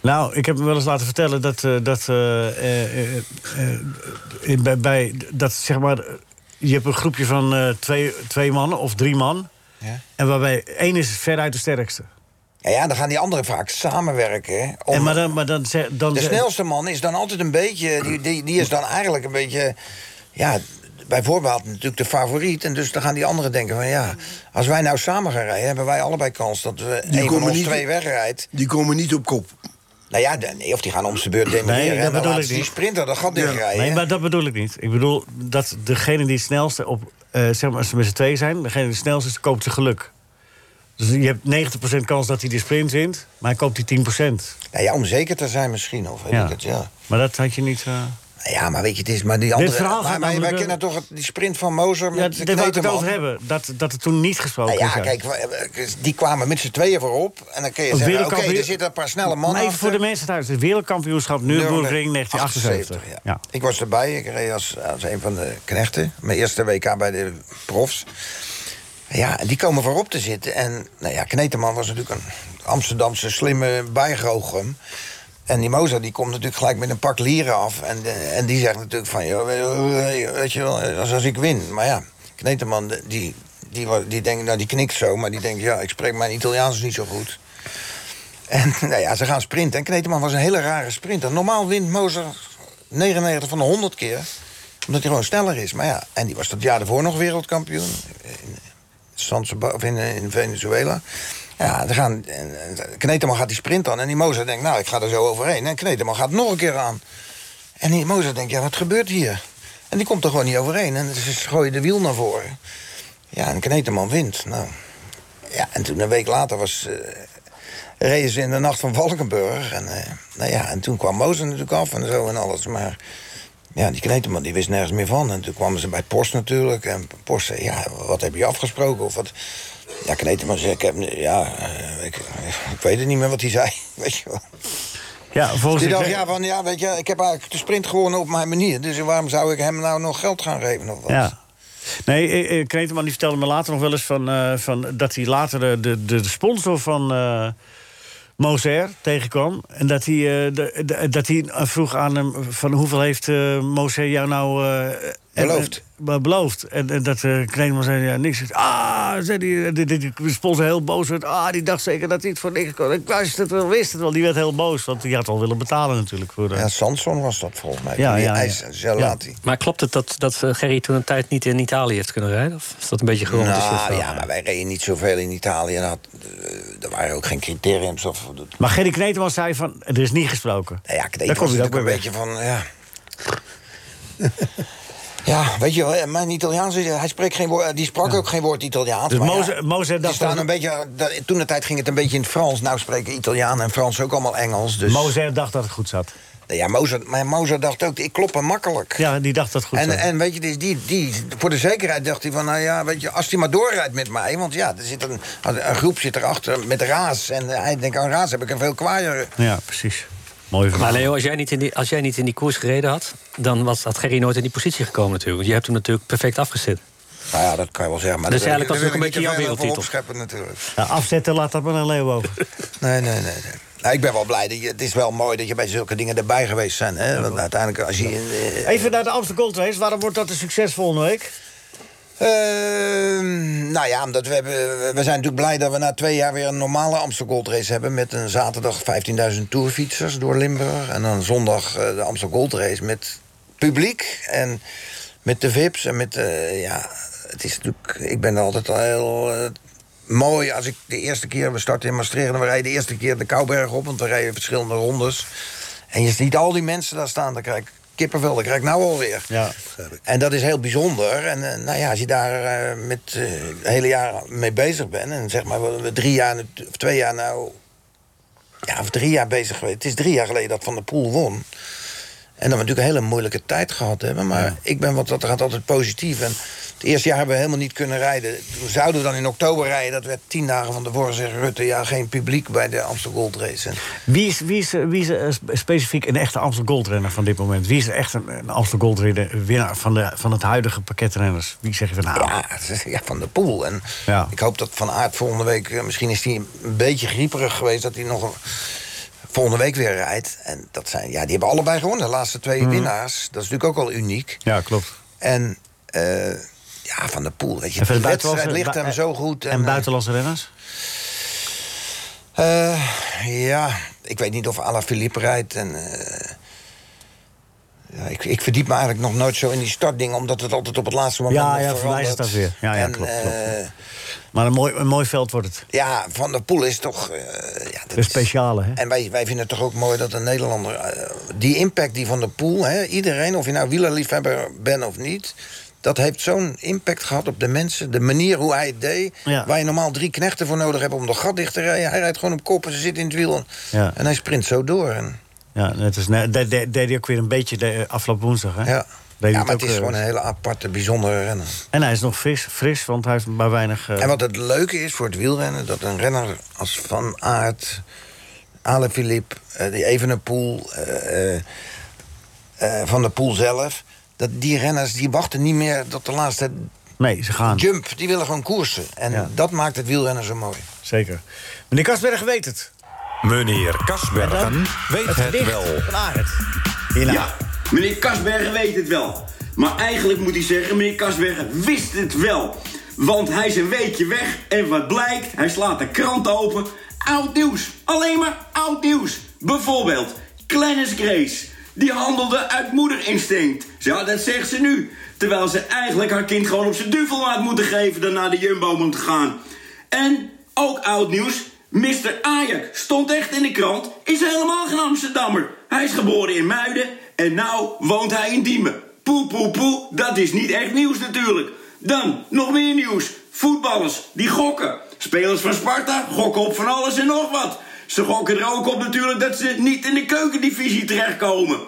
Speaker 3: Nou, ik heb me wel eens laten vertellen dat, eh, dat, eh, eh, eh, eh, bij, bij, dat zeg maar, je hebt een groepje van eh, twee, twee mannen of drie man.
Speaker 5: Ja.
Speaker 3: En waarbij één is veruit de sterkste.
Speaker 5: Ja, ja, dan gaan die anderen vaak samenwerken. hè, Om,
Speaker 3: En maar dan, maar dan, ze- dan,
Speaker 5: de snelste man is dan altijd een beetje... Die, die, die is dan eigenlijk een beetje... Ja, bij voorbaat natuurlijk de favoriet. En dus dan gaan die anderen denken van... ja, als wij nou samen gaan rijden... hebben wij allebei kans dat we een van
Speaker 4: komen
Speaker 5: ons
Speaker 4: niet-
Speaker 5: twee wegrijdt.
Speaker 4: Die komen niet op kop.
Speaker 5: Nou ja, de- nee, of die gaan om zijn beurt demereren.
Speaker 3: dat
Speaker 5: en dan
Speaker 3: bedoel
Speaker 5: laten
Speaker 3: ik
Speaker 5: ze die
Speaker 3: niet.
Speaker 5: sprinter dat gat dichtrijden.
Speaker 3: Nee, maar dat bedoel ik niet. Ik bedoel dat degene die het snelste op... eh, zeg maar, als ze met z'n twee zijn, degene die het snelste is, koopt zijn geluk. Dus je hebt 90% kans dat hij de sprint wint, maar hij koopt die 10%.
Speaker 5: Nou ja, om zeker te zijn misschien. Of weet
Speaker 3: Ja.
Speaker 5: ik het, ja. Nou
Speaker 3: Maar dat had je niet... eh,
Speaker 5: Ja, maar weet je, het is maar die andere...
Speaker 3: verhaal gaat
Speaker 5: maar, maar wij
Speaker 3: namelijk wel-
Speaker 5: kennen toch het- die sprint van Moser met
Speaker 3: Ja,
Speaker 5: de
Speaker 3: daar wou ik het
Speaker 5: Kneteman?
Speaker 3: over hebben. Dat, dat er toen niet gesproken
Speaker 5: Nou
Speaker 3: is.
Speaker 5: ja, kijk, we- die kwamen met z'n tweeën voorop. En dan kun je
Speaker 3: Het
Speaker 5: zeggen, oké,
Speaker 3: wereldkampioen-
Speaker 5: er zitten een paar snelle
Speaker 3: Maar
Speaker 5: mannen
Speaker 3: even
Speaker 5: achter.
Speaker 3: voor de mensen thuis. Het wereldkampioenschap Nürburgring 1978. Ja.
Speaker 5: ja. Ik was erbij, ik reed als, als een van de knechten. Mijn eerste WK bij de profs. Ja, die komen voorop te zitten. En nou ja, Kneteman was natuurlijk een Amsterdamse slimme bijgoochem. En die Moza die komt natuurlijk gelijk met een pak lieren af. En, eh, en die zegt natuurlijk van, joh, we- weet je wel, als, als ik win. Maar ja, Kneteman die, die, wa- die denkt, nou die knikt zo. Maar die denkt, ja, ik spreek mijn Italiaans niet zo goed. En nou ja, ze gaan sprinten. En Kneteman was een hele rare sprinter. Normaal wint Moza 99 van de 100 keer. Omdat hij gewoon sneller is. Maar ja, en die was dat jaar daarvoor nog wereldkampioen. San Seba- of in, eh, in Venezuela. Ja, dan gaan, en- en Kneteman gaat die sprint aan en die Mozart denkt, nou, ik ga er zo overheen. En Kneteman gaat nog een keer aan. En die Mozart denkt, ja, wat gebeurt hier? En die komt er gewoon niet overheen en ze gooien de wiel naar voren. Ja, en Kneteman wint. Nou, ja, en toen een week later was, eh reden ze in de nacht van Valkenburg. En, eh, nou ja, en toen kwam Mozart natuurlijk af en zo en alles. Maar ja, die Kneteman die wist nergens meer van. En toen kwamen ze bij Post natuurlijk. En Post zei, ja, wat heb je afgesproken? Of wat? Ja, Kneteman zei, ik, heb, ja, eh, ik, ik weet het niet meer wat hij zei. Weet je wel.
Speaker 3: Ja, volgens
Speaker 5: Die
Speaker 3: ik
Speaker 5: dacht,
Speaker 3: zeg-
Speaker 5: ja, van, ja, weet je, ik heb eigenlijk de sprint gewonnen op mijn manier. Dus waarom zou ik hem nou nog geld gaan geven of wat?
Speaker 3: Ja. Nee, eh, eh, Kneteman die vertelde me later nog wel eens van, eh, van dat hij later de, de, de sponsor van eh Moser tegenkwam. En dat hij, eh, de- de- dat hij vroeg aan hem van hoeveel heeft eh Moser jou nou... eh, en-
Speaker 5: Beloofd.
Speaker 3: en- be- beloofd. En, en dat eh Kneteman zei, ja, niks. Ah, zei die, die, die, die sponsor heel boos werd. Ah, die dacht zeker dat hij het voor niks kon. Ik wist het wel, wist het wel. Die werd heel boos, want die had al willen betalen natuurlijk. Voor de...
Speaker 5: Ja, Samson was dat volgens mij.
Speaker 3: Ja,
Speaker 5: Ja,
Speaker 3: ja, ja.
Speaker 5: Zelati.
Speaker 7: Maar klopt het dat, dat eh, Gerry toen een tijd niet in Italië heeft kunnen rijden? Of is dat een beetje gewoon?
Speaker 5: Nou, ja, maar wij reden niet zoveel in Italië. En had, eh, er waren ook geen criteriums. Of,
Speaker 3: Maar Gerry Kneteman zei van, er is niet gesproken.
Speaker 5: Nou ja, ik
Speaker 3: Daar
Speaker 5: deed
Speaker 3: komt
Speaker 5: was
Speaker 3: hij ook
Speaker 5: natuurlijk
Speaker 3: weer
Speaker 5: een
Speaker 3: weg.
Speaker 5: beetje van, ja... ja, weet je wel, eh, mijn Italiaans, is- hij spreekt geen woord, die sprak ook geen woord Italiaans.
Speaker 3: Dus
Speaker 5: maar
Speaker 3: Moze-
Speaker 5: ja,
Speaker 3: Moze
Speaker 5: die
Speaker 3: dacht
Speaker 5: staan
Speaker 3: dat-
Speaker 5: een beetje, toen de tijd ging het een beetje in het Frans. Nou spreken Italiaan en Frans ook allemaal Engels. Dus, Nou
Speaker 3: Moser dacht dat het goed zat.
Speaker 5: Ja, Mozart, maar Mozart dacht ook, ik klop hem makkelijk.
Speaker 3: Ja, die dacht dat het goed
Speaker 5: En,
Speaker 3: zat.
Speaker 5: en weet je, die, die, die, voor de zekerheid dacht hij van, nou ja, weet je, als hij maar doorrijdt met mij. Want ja, er zit een, een groep zit erachter met Raas. En hij denkt, aan Raas heb ik een veel kwaaier.
Speaker 3: Ja, precies. Mooi verhaal.
Speaker 7: Maar Leo, als jij, niet in die, als jij niet in die koers gereden had, dan was, had Gerry nooit in die positie gekomen natuurlijk. Want je hebt hem natuurlijk perfect afgezet.
Speaker 5: Nou ja, dat kan je wel zeggen. Maar
Speaker 7: Dus
Speaker 5: daar wil
Speaker 7: eigenlijk
Speaker 5: ik-
Speaker 7: was het
Speaker 5: daar
Speaker 7: ook een
Speaker 5: wil ik
Speaker 7: beetje
Speaker 5: niet
Speaker 7: jouw
Speaker 5: te veel voor opscheppen natuurlijk.
Speaker 3: Ja, afzetten laat dat maar aan Leo over.
Speaker 5: Nee, nee, nee. nee. Nou, ik ben wel blij. Dat je, het is wel mooi dat je bij zulke dingen erbij geweest bent. Hè? Want uiteindelijk, als je... eh,
Speaker 3: Even naar de Amsterdam Gold Race. Waarom wordt dat een succes volgende week?
Speaker 5: Eh. Ehm, nou ja, omdat we, hebben, we zijn natuurlijk blij dat we na twee jaar weer een normale Amsterdam Gold Race hebben. Met een zaterdag 15.000 toerfietsers door Limburg. En dan zondag eh, de Amsterdam Gold Race met publiek en met de VIP's. En met, eh, ja, het is natuurlijk, ik ben er altijd al heel eh, mooi als ik de eerste keer, we starten in Maastricht en we rijden de eerste keer de Kouberg op. Want we rijden verschillende rondes. En je ziet al die mensen daar staan, dan krijg ik kippenvel, dat krijg ik nou alweer.
Speaker 3: Ja.
Speaker 5: En dat is heel bijzonder. En eh, nou ja, als je daar eh, met, eh, het hele jaar mee bezig bent... en zeg maar we- we drie jaar, nu- of twee jaar nou... Ja, of drie jaar bezig geweest. Het is drie jaar geleden dat Van der Poel won. En dat we natuurlijk een hele moeilijke tijd gehad hebben. Maar ik ben wat dat gaat altijd positief. En het eerste jaar hebben we helemaal niet kunnen rijden. Toen zouden we dan in oktober rijden. Dat werd tien dagen van tevoren, zegt Rutte. Ja, geen publiek bij de Amsterdam Gold Race. En
Speaker 3: Wie is, wie is, eh, wie is eh, spe- specifiek een echte Amsterdam Gold renner van dit moment? Wie is echt een, een Amsterdam Gold renner- winnaar van, de, van het huidige pakket renners? Wie zeg je van nou?
Speaker 5: Ja, het is- ja, van de poel. En
Speaker 3: Ja.
Speaker 5: ik hoop dat Van Aert volgende week... eh, Misschien is hij een beetje grieperig geweest... dat hij nog een- volgende week weer rijdt. En dat zijn... Ja, die hebben allebei gewonnen. De laatste twee winnaars. Dat is natuurlijk ook al uniek.
Speaker 3: Mhm. Ja, klopt.
Speaker 5: En... eh, ja, Van de Poel, weet je.
Speaker 3: En voor
Speaker 5: De
Speaker 3: de
Speaker 5: wedstrijd
Speaker 3: buitenlandse-
Speaker 5: ligt hem
Speaker 3: bui-
Speaker 5: zo goed.
Speaker 3: En
Speaker 5: eh,
Speaker 3: buitenlandse renners?
Speaker 5: eh, ja, ik weet niet of Alain Philippe rijdt. En, eh, ja, ik, ik verdiep me eigenlijk nog nooit zo in die startdingen... omdat het altijd op het laatste moment
Speaker 3: Ja,
Speaker 5: nog
Speaker 3: ja, voor mij is
Speaker 5: verandert.
Speaker 3: het dat weer. Ja, ja,
Speaker 5: En,
Speaker 3: klopt,
Speaker 5: eh,
Speaker 3: klopt. Maar een mooi, een mooi veld wordt het.
Speaker 5: Ja, Van der Poel is toch... eh, ja, dat
Speaker 3: Een speciale, hè?
Speaker 5: Is, en wij, wij vinden het toch ook mooi dat een Nederlander... eh, die impact die Van der Poel, hè, iedereen, of je nou wielerliefhebber bent of niet... dat heeft zo'n impact gehad op de mensen. De manier hoe hij het deed.
Speaker 3: Ja.
Speaker 5: Waar je normaal drie knechten voor nodig hebt om de gat dicht te rijden. Hij rijdt gewoon op kop en ze zit in het wiel. En,
Speaker 3: Ja.
Speaker 5: en hij sprint zo door. En,
Speaker 3: Ja, net als, nee, dat dat- deed hij ook weer een beetje de, afgelopen woensdag, hè?
Speaker 5: ja.
Speaker 3: Deed hij het
Speaker 5: ja, maar
Speaker 3: ook,
Speaker 5: het is
Speaker 3: eh,
Speaker 5: gewoon een hele aparte, bijzondere renner.
Speaker 3: En hij is nog fris, fris want hij heeft maar weinig... eh,
Speaker 5: En wat het leuke is voor het wielrennen... dat een renner als Van Aert, Alaphilippe, eh, die Evenepoel... eh, eh, eh, Van der Poel zelf... Dat die renners die wachten niet meer dat de laatste
Speaker 3: Nee, ze gaan.
Speaker 5: Jump, die willen gewoon koersen. En dat maakt het wielrennen zo mooi.
Speaker 3: Zeker. Meneer Kasberg weet het.
Speaker 11: Meneer Kasbergen weet het,
Speaker 3: gedicht
Speaker 11: wel.
Speaker 3: Van Arend. Hierna.
Speaker 12: Ja, meneer Kasbergen weet het wel. Maar eigenlijk moet hij zeggen, meneer Kasbergen wist het wel. Want hij is een weekje weg en wat blijkt, hij slaat de krant open. Oud nieuws, alleen maar oud nieuws. Bijvoorbeeld, Glennis Grace, die handelde uit moederinstinct. Ja, dat zegt ze nu. Terwijl ze eigenlijk haar kind gewoon op zijn duvel had moeten geven... dan naar de Jumbo moet gaan. En ook oud nieuws. Mr. Ayer stond echt in de krant. Is helemaal geen Amsterdammer. Hij is geboren in Muiden en nou woont hij in Diemen. Poe, poe, poe. Dat is niet echt nieuws natuurlijk. Dan nog meer nieuws. Voetballers die gokken. Spelers van Sparta gokken op van alles en nog wat. Ze gokken er ook op natuurlijk dat ze niet in de keukendivisie terechtkomen.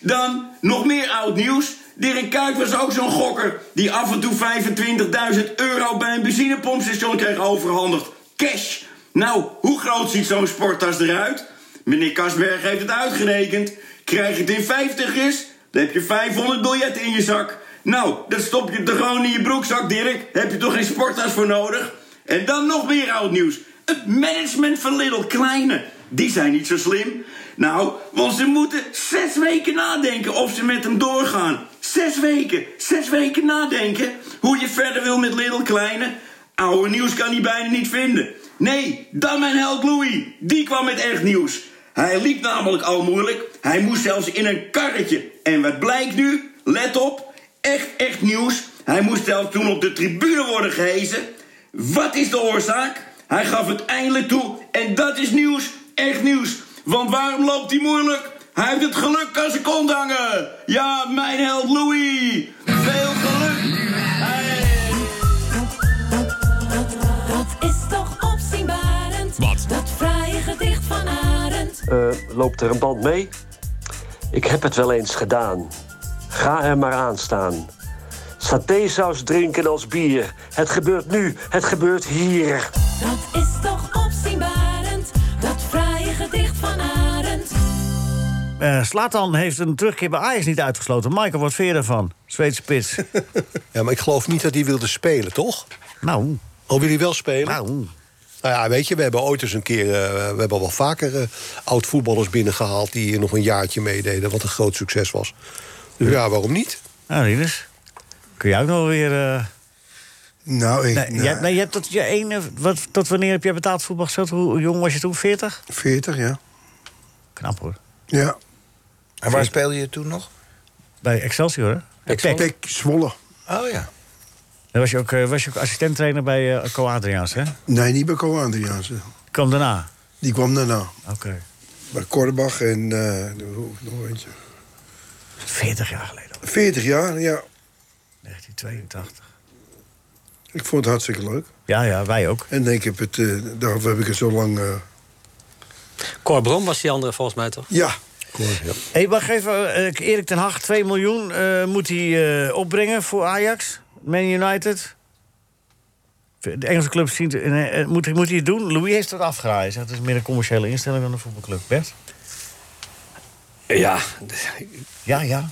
Speaker 12: Dan nog meer oud nieuws. Dirk Kuyt was ook zo'n gokker die af en toe 25.000 euro bij een benzinepompstation kreeg overhandigd. Cash. Nou, hoe groot ziet zo'n sporttas eruit? Meneer Kasberg heeft het uitgerekend. Krijg je het in 50 is, dan heb je 500 biljetten in je zak. Nou, dat stop je er gewoon in je broekzak, Dirk. Heb je toch geen sporttas voor nodig? En dan nog meer oud nieuws. Het management van Little Kleine. Die zijn niet zo slim. Nou, want ze moeten zes weken nadenken of ze met hem doorgaan. Zes weken. Zes weken nadenken hoe je verder wil met Little Kleine. Oude nieuws kan hij bijna niet vinden. Nee, dan mijn held Louis. Die kwam met echt nieuws. Hij liep namelijk al moeilijk. Hij moest zelfs in een karretje. En wat blijkt nu? Let op. Echt, echt nieuws. Hij moest zelfs toen op de tribune worden gehezen. Wat is de oorzaak? Hij gaf het eindelijk toe. En dat is nieuws, echt nieuws. Want waarom loopt hij moeilijk? Hij heeft het geluk aan zijn kont hangen. Ja, mijn held Louis. Veel geluk.
Speaker 1: Dat is toch opzienbarend. Wat? Dat fraaie gedicht van Arend.
Speaker 13: Eh, loopt er een band mee? Ik heb het wel eens gedaan. Ga er maar aan staan. Satésaus drinken als bier. Het gebeurt nu, het gebeurt hier.
Speaker 1: Dat is toch opzienbarend. Dat fraaie gedicht van Arend.
Speaker 3: Eh Slatan heeft een terugkeer bij Ajax niet uitgesloten. Michael, wat vind je daarvan? Zweedse spits.
Speaker 6: ja, maar ik geloof niet dat hij wilde spelen, toch?
Speaker 3: Nou.
Speaker 6: Oh, wil hij wel spelen? Nou. ja, weet je, we hebben ooit eens een keer... eh, we hebben wel vaker eh, oud-voetballers binnengehaald... die nog een jaartje meededen, wat een groot succes was. Dus ja, waarom niet?
Speaker 3: Nou, Rinus, kun jij ook nog weer... eh,
Speaker 4: Nou, ik...
Speaker 3: nee,
Speaker 4: nou,
Speaker 3: jij, nee, je hebt tot, je ene, wat, tot wanneer heb jij betaald voetbal gespeeld? Hoe hoe jong was je toen? 40?
Speaker 4: 40, ja.
Speaker 3: Knap hoor.
Speaker 4: Ja.
Speaker 5: En waar speelde je toen nog?
Speaker 3: Bij Excelsior, hè? Bij PEC.
Speaker 4: Pek Zwolle.
Speaker 5: Oh ja.
Speaker 3: Dan was je ook, eh, was je ook assistent-trainer bij eh Co Adriaans, hè?
Speaker 4: Nee, niet bij Ko Adriaanse.
Speaker 3: Kwam daarna.
Speaker 4: Die kwam daarna.
Speaker 3: Oké.
Speaker 4: Bij Korbach en... eh, hoe- nog eentje.
Speaker 3: 40 jaar geleden,
Speaker 4: 40 jaar, ja.
Speaker 3: 1982.
Speaker 4: Ik vond het hartstikke leuk.
Speaker 3: Ja, ja, wij ook.
Speaker 4: En ik heb het... eh daarvoor heb ik het zo lang... eh,
Speaker 7: Cor Brom was die andere volgens mij toch?
Speaker 4: ja.
Speaker 3: Hé, hey, wacht even. eh, Erik ten Hag, 2 miljoen eh, moet hij eh, opbrengen voor Ajax. Man United. De Engelse clubs zien... het- eh, eh, moet, moet hij het doen? Louis heeft dat afgeraaid. Hij zegt, Het is meer een commerciële instelling dan een voetbalclub. Bert?
Speaker 7: Ja,
Speaker 3: Ja, ja.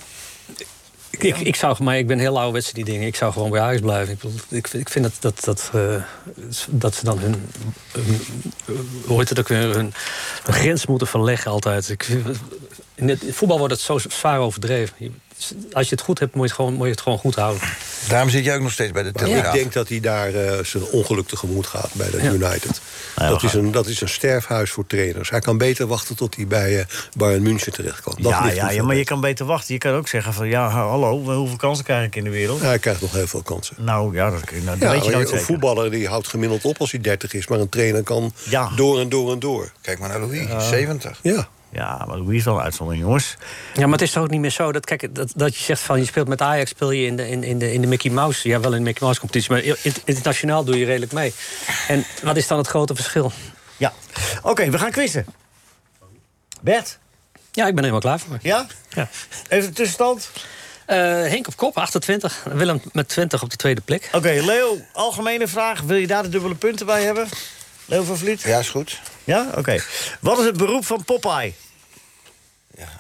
Speaker 7: Ik, ik, ik zou, maar ik ben heel ouderwets in die dingen. Ik zou gewoon bij Ajax blijven. Ik, bedoel, ik, vind- ik vind dat, dat, dat, eh, dat ze dan hun, hun- eh, hoe heet het ook weer, hun, hun grens moeten verleggen altijd. Ik, vind- in het voetbal wordt het zo zwaar overdreven. Je- Als je het goed hebt, moet je het gewoon, moet je het gewoon goed houden.
Speaker 5: Daarom zit jij ook nog steeds bij de
Speaker 6: Maar
Speaker 5: Telegraaf.
Speaker 6: ik denk dat hij daar eh, zijn ongeluk tegemoet gaat bij dat United. dat, is een, dat is een sterfhuis voor trainers. Hij kan beter wachten tot hij bij eh, Bayern München terechtkomt. Dat
Speaker 3: ja,
Speaker 6: ligt
Speaker 3: ja,
Speaker 6: hem
Speaker 3: ja,
Speaker 6: voor.
Speaker 3: maar je kan beter wachten. Je kan ook zeggen van... Ja, hallo, hoeveel kansen krijg ik in de wereld?
Speaker 6: Hij krijgt nog heel veel kansen.
Speaker 3: Nou, ja, dat, kun je- nou, dat
Speaker 6: Ja,
Speaker 3: weet je
Speaker 6: maar
Speaker 3: nooit
Speaker 6: een
Speaker 3: zeker.
Speaker 6: voetballer die houdt gemiddeld op als hij 30 is, maar een trainer kan
Speaker 3: Ja.
Speaker 6: door en door en door.
Speaker 5: Kijk maar naar Louis, 70.
Speaker 6: Ja.
Speaker 3: Ja, maar Louis is wel een uitzondering, jongens.
Speaker 7: Ja, maar het is toch ook niet meer zo dat, kijk, dat, dat je zegt van je speelt met Ajax, speel je in de, in, in de, in de Mickey Mouse. Ja, wel in de Mickey Mouse competitie, maar in- internationaal doe je redelijk mee. En wat is dan het grote verschil?
Speaker 3: Ja. Oké, we gaan quizzen. Bert?
Speaker 7: Ja, ik ben er helemaal klaar voor.
Speaker 3: Ja?
Speaker 7: Ja.
Speaker 3: Even tussenstand.
Speaker 7: Eh, Henk op kop, 28. Willem met 20 op de tweede plek.
Speaker 3: Oké, Leo, algemene vraag. Wil je daar de dubbele punten bij hebben? Leo van Vliet?
Speaker 5: Ja, is goed.
Speaker 3: Ja? Oké. Wat is het beroep van Popeye?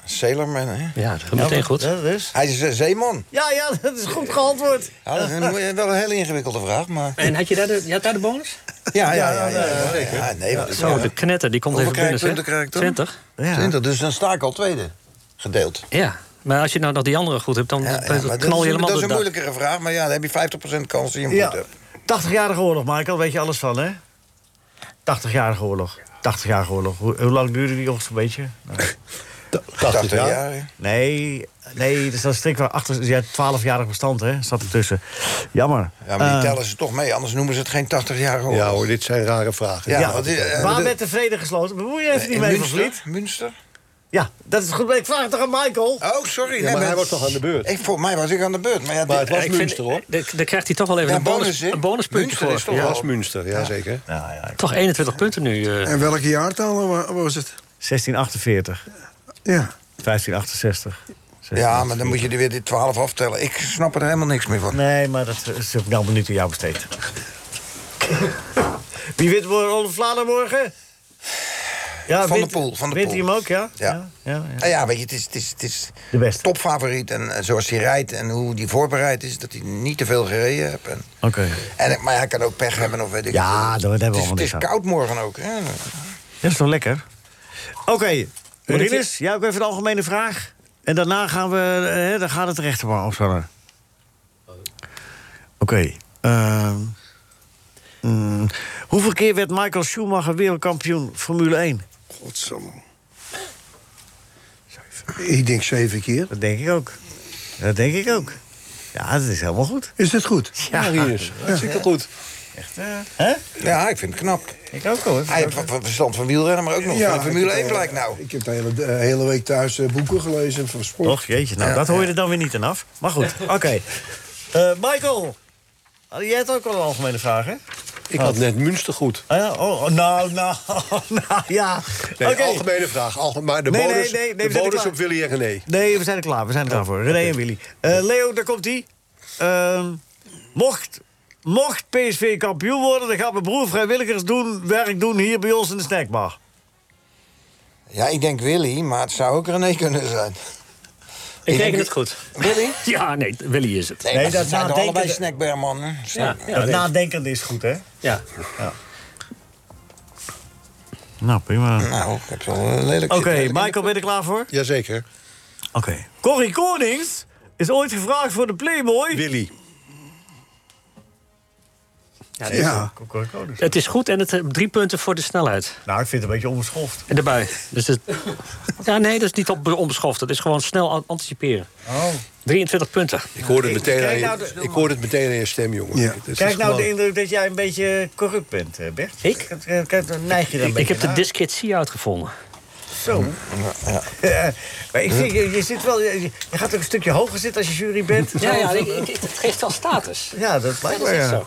Speaker 5: Sailorman, hè?
Speaker 7: Ja, dat gaat meteen goed.
Speaker 3: Ja, dat is.
Speaker 5: Hij is een zeeman.
Speaker 3: Ja, ja, dat is goed geantwoord.
Speaker 5: Ja, dat is een- wel een hele ingewikkelde vraag, maar...
Speaker 7: En had je daar de, je had daar de bonus?
Speaker 5: Ja, ja, ja. ja, ja, ja, nee, want-
Speaker 7: Zo, de knetter, die komt
Speaker 5: Hoeveel
Speaker 7: even binnen. zeg.
Speaker 5: krijgpunten krijg ik dan?
Speaker 7: 20.
Speaker 5: Ja. 20, dus dan sta ik al tweede. Gedeeld.
Speaker 7: Ja, maar als je nou nog die andere goed hebt, dan dan
Speaker 5: Maar dat,
Speaker 7: knal
Speaker 5: is,
Speaker 7: je
Speaker 5: een-
Speaker 7: helemaal
Speaker 5: dat is een
Speaker 7: door het dak.
Speaker 5: moeilijkere vraag, maar ja, dan heb je 50% kans dat je hem
Speaker 3: Ja.
Speaker 5: goed hebt.
Speaker 3: 80-jarige oorlog, Michael, weet je alles van, hè? 80-jarige oorlog. 80-jarige oorlog. Hoe, hoe lang duurde die ochtend, weet je? Nou,
Speaker 5: 80 jaar, hè?
Speaker 3: Nee, nee, er staat strikt wel achter. Ja, 12-jarig bestand, hè? Zat ertussen. Jammer.
Speaker 5: Ja, maar die
Speaker 3: Eh,
Speaker 5: tellen ze toch mee, anders noemen ze het geen 80 jaar oorlog.
Speaker 6: Ja hoor, dit zijn rare vragen.
Speaker 5: Oh. Ja,
Speaker 6: Ja,
Speaker 5: want die- eh,
Speaker 3: Waar
Speaker 5: de-
Speaker 3: werd de Eh, vrede gesloten? Bemoei je even
Speaker 5: in
Speaker 3: niet mee, van
Speaker 5: Münster?
Speaker 3: Vliet.
Speaker 5: Münster?
Speaker 3: Ja, dat is goed. Ik vraag het toch aan Michael?
Speaker 5: Oh, sorry. nee,
Speaker 6: maar hij wordt toch aan de beurt.
Speaker 5: Ik, voor mij was ik aan de beurt. Maar, ja,
Speaker 6: Maar
Speaker 5: dit-
Speaker 6: het was
Speaker 5: ik vind-
Speaker 6: Münster hoor.
Speaker 7: eh, Daar- Daar krijgt hij toch wel even
Speaker 5: Ja,
Speaker 7: een, bonus,
Speaker 5: bonus, hè?
Speaker 7: een bonuspuntje
Speaker 5: Münster
Speaker 7: voor.
Speaker 5: is toch
Speaker 6: Het
Speaker 5: wel-
Speaker 6: was Münster, ja zeker.
Speaker 3: Nou,
Speaker 7: Toch 21 punten nu. eh.
Speaker 4: En welke jaartallen wa- was het?
Speaker 3: 1648,
Speaker 4: Ja.
Speaker 3: 1568.
Speaker 5: Ja, maar dan moet je er weer die 12 aftellen. Ik snap er helemaal niks meer van.
Speaker 3: Nee, maar dat is ook nou een minuut aan jou besteed. Wie wint morgen Olaf Vlaanderen morgen? Ja,
Speaker 5: Van der
Speaker 3: wint-
Speaker 5: Poel, Van der
Speaker 3: Wint
Speaker 5: Poel.
Speaker 3: hij hem ook, ja?
Speaker 5: Ja.
Speaker 3: ja, ja.
Speaker 5: Nou ja, weet je, het is, het is, het is
Speaker 3: De beste.
Speaker 5: topfavoriet. En eh, zoals hij rijdt en hoe hij voorbereid is, dat hij niet te veel gereden heeft. En,
Speaker 3: Oké.
Speaker 5: en, ik- maar hij kan ook pech hebben of weet ik
Speaker 3: Ja,
Speaker 5: wat.
Speaker 3: dat hebben we
Speaker 5: Het is-
Speaker 3: allemaal
Speaker 5: Het is
Speaker 3: niet aan.
Speaker 5: koud morgen ook. Hè?
Speaker 3: Dat is wel lekker. Oké, Rinus, jij ook even een algemene vraag. En daarna gaan we, eh, dan gaat het rechterbaar opstellen. Oké. ehm, mm, hoeveel keer werd Michael Schumacher wereldkampioen Formule 1?
Speaker 4: Godsamme. Ik denk zeven keer.
Speaker 3: Dat denk ik ook. Dat denk ik ook. Ja, dat is helemaal goed.
Speaker 4: Is dit goed?
Speaker 6: Ja, Rinus, hartstikke goed.
Speaker 3: Hè?
Speaker 5: Ja, ik vind het knap.
Speaker 3: Ik ook hoor. eh,
Speaker 5: Hij heeft wat- wat verstand van wielrennen, maar ook nog van de Formule 1 blijkt nou.
Speaker 4: Ik heb de hele, de hele week thuis eh, boeken gelezen van sport.
Speaker 3: Och jeetje, nou, dat hoor je er dan weer niet aan af. Maar goed, oké. Eh, Michael, Ah, jij hebt ook wel een algemene vraag, hè?
Speaker 6: Ik had net Münster goed.
Speaker 3: Ah ja, oh, oh, nou, nou, nou, ja.
Speaker 6: Nee,
Speaker 3: Oké.
Speaker 6: algemene vraag. alge- maar de
Speaker 3: Nee, nee,
Speaker 6: bonus,
Speaker 3: nee, nee, we
Speaker 6: de
Speaker 3: zijn er
Speaker 6: bonus
Speaker 3: klaar.
Speaker 6: op Willy en René.
Speaker 3: Nee, we zijn er klaar. We zijn er
Speaker 7: Oh,
Speaker 3: klaar voor. René en Willy. Eh, Leo, daar komt ie. Ehm, mocht, mocht PSV kampioen worden, dan gaat mijn broer vrijwilligers doen, werk doen hier bij ons in de snackbar.
Speaker 5: Ja, ik denk Willy, maar het zou ook René kunnen zijn.
Speaker 7: Ik reken het goed.
Speaker 5: Willy?
Speaker 7: Ja, nee, Willy is het.
Speaker 5: Nee,
Speaker 3: Nee,
Speaker 5: maar
Speaker 3: dat
Speaker 5: ze zijn
Speaker 3: nadenken-
Speaker 5: toch allebei dus- snackbarman. hè?
Speaker 7: Ja, ja,
Speaker 3: dat
Speaker 7: nee.
Speaker 3: nadenken is goed, hè?
Speaker 7: ja.
Speaker 3: Nou, prima. Oké,
Speaker 5: Nou, ik heb wel een lelijk
Speaker 3: Michael, ben je er klaar voor?
Speaker 6: Jazeker.
Speaker 3: Oké. Corrie Konings is ooit gevraagd voor de Playboy.
Speaker 6: Willy.
Speaker 7: Ja, dit-
Speaker 4: Ja.
Speaker 3: Corrie Konings.
Speaker 7: Het is goed en het, eh, drie punten voor de snelheid.
Speaker 3: Nou, ik vind het een beetje onbeschoft.
Speaker 7: En de bui. Dus het, ja, nee, dat is niet op, onbeschoft. Dat is gewoon snel an- anticiperen.
Speaker 3: Oh.
Speaker 7: 23 punten.
Speaker 6: Ik hoorde het
Speaker 3: Kijk-
Speaker 6: meteen, aan
Speaker 3: kijk
Speaker 6: je,
Speaker 3: nou de-
Speaker 6: ik hoorde het meteen aan je stem, jongen.
Speaker 4: Ja.
Speaker 6: Het is
Speaker 3: Krijg ik nou de
Speaker 6: gewoon-
Speaker 3: indruk dat jij een beetje corrupt bent, eh, Bert?
Speaker 7: Ik?
Speaker 3: Kijk, kijk, dan neig je dan een
Speaker 7: Ik
Speaker 3: beetje
Speaker 7: heb de
Speaker 3: naar.
Speaker 7: discretie uitgevonden.
Speaker 3: Zo.
Speaker 5: Mhm.
Speaker 3: Eh, maar ik vind, je, je zit wel, je, je gaat ook een stukje hoger zitten als je jury bent.
Speaker 7: het geeft wel status.
Speaker 3: Ja, dat lijkt me. ja.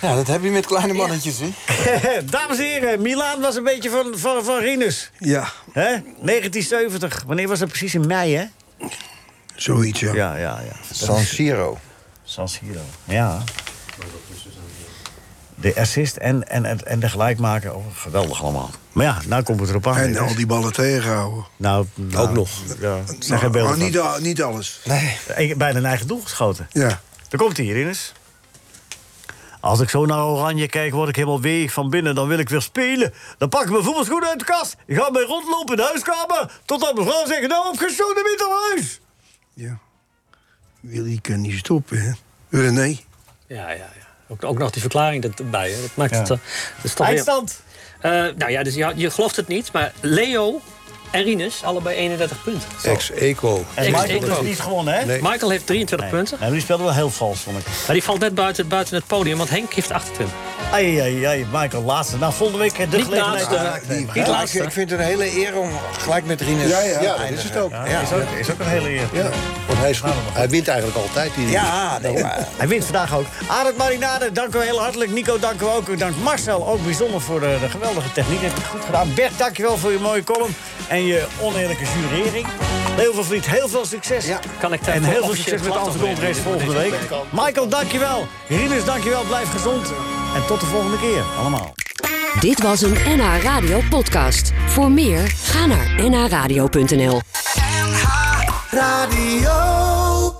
Speaker 5: Ja, dat heb je met kleine mannetjes, hè?
Speaker 3: Dames en heren, Milaan was een beetje van, van, van Rinus.
Speaker 4: Ja,
Speaker 3: hè? 1970. Wanneer was dat precies? In mei, hè?
Speaker 4: zoiets ja.
Speaker 3: Ja, ja, ja.
Speaker 5: San Siro.
Speaker 3: San Siro. Ja. De assist en, en, en, en de gelijkmaker. Oh, geweldig allemaal. Maar ja, nou komt het erop aan.
Speaker 4: En
Speaker 3: hè?
Speaker 4: al die ballen tegenhouden.
Speaker 3: nou, nou,
Speaker 6: Ook nog.
Speaker 3: Ja, zijn
Speaker 4: Nou,
Speaker 3: geen beelden
Speaker 4: maar niet,
Speaker 3: van.
Speaker 4: al- niet alles.
Speaker 5: Nee.
Speaker 3: Ik- Bijna een eigen doel geschoten.
Speaker 4: Ja.
Speaker 3: Daar komt hij, Rinus. Als ik zo naar Oranje kijk, word ik helemaal weeg van binnen. Dan wil ik weer spelen. Dan pak ik mijn voetbalschoenen uit de kast. Ik ga mee rondlopen in de huiskamer. Totdat mijn vrouw zegt, nou, opgeschoten niet naar huis.
Speaker 4: ja. Willy kan niet stoppen, hè? René.
Speaker 7: Ja, ja, ja. Ook, ook nog die verklaring dat- erbij. Hè. Dat maakt
Speaker 3: Ja.
Speaker 7: het... eh, dat is toch weer-
Speaker 3: Eindstand.
Speaker 7: Eh, nou ja, dus, ja, je gelooft het niet, maar Leo en Rinus allebei 31 punten.
Speaker 6: Ex-Eco.
Speaker 3: En
Speaker 7: Ik-
Speaker 3: Michael
Speaker 7: ik
Speaker 3: heeft
Speaker 7: ook.
Speaker 3: niet gewonnen, hè?
Speaker 6: Nee.
Speaker 7: Michael heeft 23 punten,
Speaker 3: Nou, die speelde wel heel vals, vond ik.
Speaker 7: maar die valt net buiten, buiten het podium, want Henk heeft 28.
Speaker 3: Ai, ai, ai, Michael, laatste. Nou, volgende week de
Speaker 7: Niet
Speaker 3: gelegenheid.
Speaker 7: laatste.
Speaker 3: om-
Speaker 5: Die,
Speaker 7: Niet
Speaker 5: ja, ik,
Speaker 7: laatste.
Speaker 5: ik vind het een hele eer om gelijk met
Speaker 6: Ja,
Speaker 5: Rinus
Speaker 6: ja,
Speaker 5: te
Speaker 6: dat is
Speaker 5: eindigen.
Speaker 6: het ook.
Speaker 3: Ja, Is, ook, is ook een hele eer.
Speaker 6: Ja, want hij, is goed. hij wint eigenlijk altijd. Die
Speaker 5: Ja, nee, maar...
Speaker 3: Hij wint vandaag ook. Arend Marinade, dank u heel hartelijk. Nico, dank u ook. Dank Marcel ook bijzonder voor eh, de, de geweldige techniek. Heb je het goed gedaan. Bert, dank je wel voor je mooie column en je oneerlijke jurering. Leo van Vliet, heel veel succes.
Speaker 5: Ja,
Speaker 7: kan ik daar
Speaker 3: En heel
Speaker 7: voor
Speaker 3: veel
Speaker 7: officieel
Speaker 3: succes met de
Speaker 7: plaat
Speaker 3: Amsterdam
Speaker 7: overheen?
Speaker 3: Race volgende week. Michael, dank je wel. Rinus, dank je wel. Blijf gezond. En tot de volgende keer, allemaal.
Speaker 14: Dit was een NH Radio podcast. Voor meer, ga naar nhradio.nl.
Speaker 1: NH Radio.